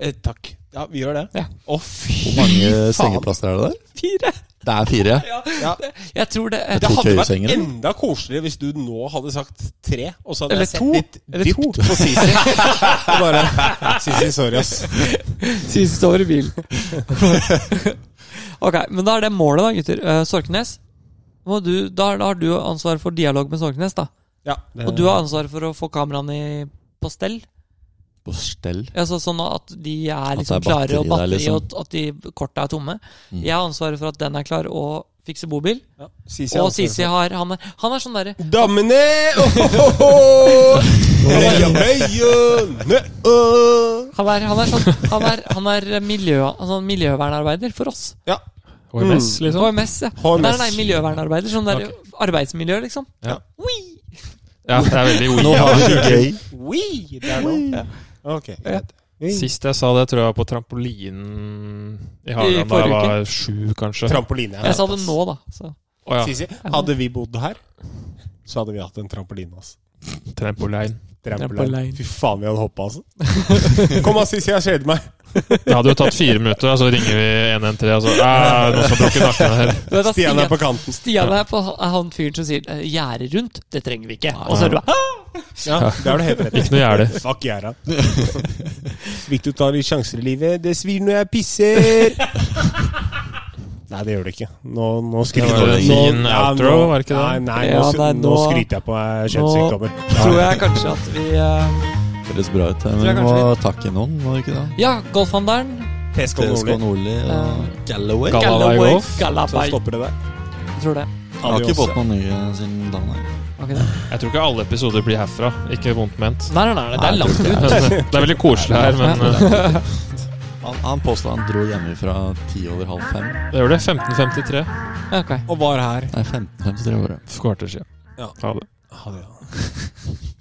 Speaker 2: Eh, takk. Ja, vi gjør det.
Speaker 3: Ja.
Speaker 2: Å, fy
Speaker 4: Hvor mange sengeplasser er det der?
Speaker 3: Fire!
Speaker 4: Det er fire.
Speaker 2: Ja.
Speaker 3: Jeg tror det
Speaker 2: Det
Speaker 4: To
Speaker 2: hadde vært
Speaker 4: køyesenger, eller?
Speaker 2: enda koseligere hvis du nå hadde sagt tre, og så hadde
Speaker 3: Eller
Speaker 2: jeg sett
Speaker 3: to.
Speaker 2: litt
Speaker 3: Eller
Speaker 2: dypt
Speaker 3: to.
Speaker 2: på Sisi. Og bare Sisi, sorry, ass.
Speaker 3: Siste år i bil. ok, men da er det målet, da, gutter. Eh, Sorknes, må du, da, da har du ansvar for dialog med Sorknes, da.
Speaker 2: Ja, det-
Speaker 3: Og du har ansvar for å få kameraene i, på stell.
Speaker 4: På stell.
Speaker 3: Altså sånn at de er
Speaker 4: det
Speaker 3: liksom
Speaker 4: er batteri
Speaker 3: klare, og
Speaker 4: der,
Speaker 3: batteri,
Speaker 4: liksom.
Speaker 3: og at de korta er tomme. Jeg har ansvaret for at den er klar, og fikse bobil.
Speaker 2: ja. Sisi
Speaker 3: Og
Speaker 2: ansvarer
Speaker 3: Sisi
Speaker 2: for-
Speaker 3: har Han er, han er sånn derre
Speaker 2: Dammene! Ohoho!
Speaker 3: han er, han er, sånn, han er, han er miljø, han er sånn miljøvernarbeider for oss.
Speaker 2: Ja.
Speaker 1: HMS, liksom.
Speaker 3: HMS, ja.
Speaker 2: sånn? HMS.
Speaker 3: Nei, nei, miljøvernarbeider. Sånn der arbeidsmiljø, liksom.
Speaker 1: Ja.
Speaker 3: Wee!
Speaker 1: Ja, det er veldig
Speaker 4: Nå har vi det gøy.
Speaker 2: Oui, det er nå. Ja. Ok, greit.
Speaker 1: Sist jeg sa det, tror jeg var på trampolinen i
Speaker 3: I
Speaker 1: Hagan da
Speaker 3: forrige
Speaker 1: jeg var sju, kanskje.
Speaker 2: Trampoline. ja.
Speaker 3: Jeg sa det nå, da. Så.
Speaker 1: Å ja.
Speaker 2: Sisi, hadde vi bodd her, så hadde vi hatt en trampoline. Altså.
Speaker 1: Trampolin.
Speaker 2: Trampoline.
Speaker 3: Trampoline.
Speaker 2: Fy faen, vi hadde hoppa, altså. Kom da, Sisi, jeg kjeder meg.
Speaker 1: Det hadde jo tatt fire minutter, og så ringer vi 113, og så altså. «Æ, Noen som har brukket nakken her.
Speaker 3: Du vet, da,
Speaker 2: Stian er på kanten.
Speaker 3: Stian er på er han fyren som sier eh, 'gjerde rundt', det trenger vi ikke. Og så er du bare
Speaker 2: Ja, det har du helt rett i.
Speaker 1: Ikke noe gjerde.
Speaker 2: Fuck gjerda. Viktig å ta litt sjanser i livet. Det svir når jeg pisser. Nei, det gjør det ikke. Nå, nå skryter
Speaker 1: Det var en
Speaker 2: nå-
Speaker 1: fin
Speaker 2: ja, nå-
Speaker 1: outro, var det ikke det?
Speaker 2: Nei, nei,
Speaker 3: Ja,
Speaker 2: nå,
Speaker 3: nei,
Speaker 2: nå
Speaker 3: nå-
Speaker 2: skryter jeg på eh, meg
Speaker 3: Nå
Speaker 2: kjønnssykdommer.
Speaker 3: tror jeg kanskje at vi eh,
Speaker 4: Det Høres bra ut. Men
Speaker 3: jeg
Speaker 4: vi må takke noen, må vi ikke det?
Speaker 3: Ja, golfhandleren.
Speaker 2: TSK
Speaker 4: TSK
Speaker 2: Nordli.
Speaker 4: Nordli og Galloway.
Speaker 1: Galloway. Galloway Golf.
Speaker 2: Så
Speaker 3: Gallabay.
Speaker 2: stopper det der.
Speaker 3: Jeg tror det.
Speaker 4: Jeg har ikke
Speaker 2: Adios.
Speaker 4: fått noen nye siden da, nei.
Speaker 3: Var ikke det?
Speaker 1: Jeg tror ikke alle episoder blir herfra. Ikke vondt ment.
Speaker 3: Nei, nei, nei, nei, det er
Speaker 4: Nei,
Speaker 3: langt ut.
Speaker 1: Det er veldig koselig her, men eh,
Speaker 4: Han, han påstod han dro hjemmefra ti over halv fem.
Speaker 1: det gjør det. 15.53.
Speaker 3: Ok.
Speaker 2: Og var her.
Speaker 4: Nei, 15.53 var det.
Speaker 1: For kvarter siden.
Speaker 2: Ja.
Speaker 1: Ha det.
Speaker 2: Ha det, ja.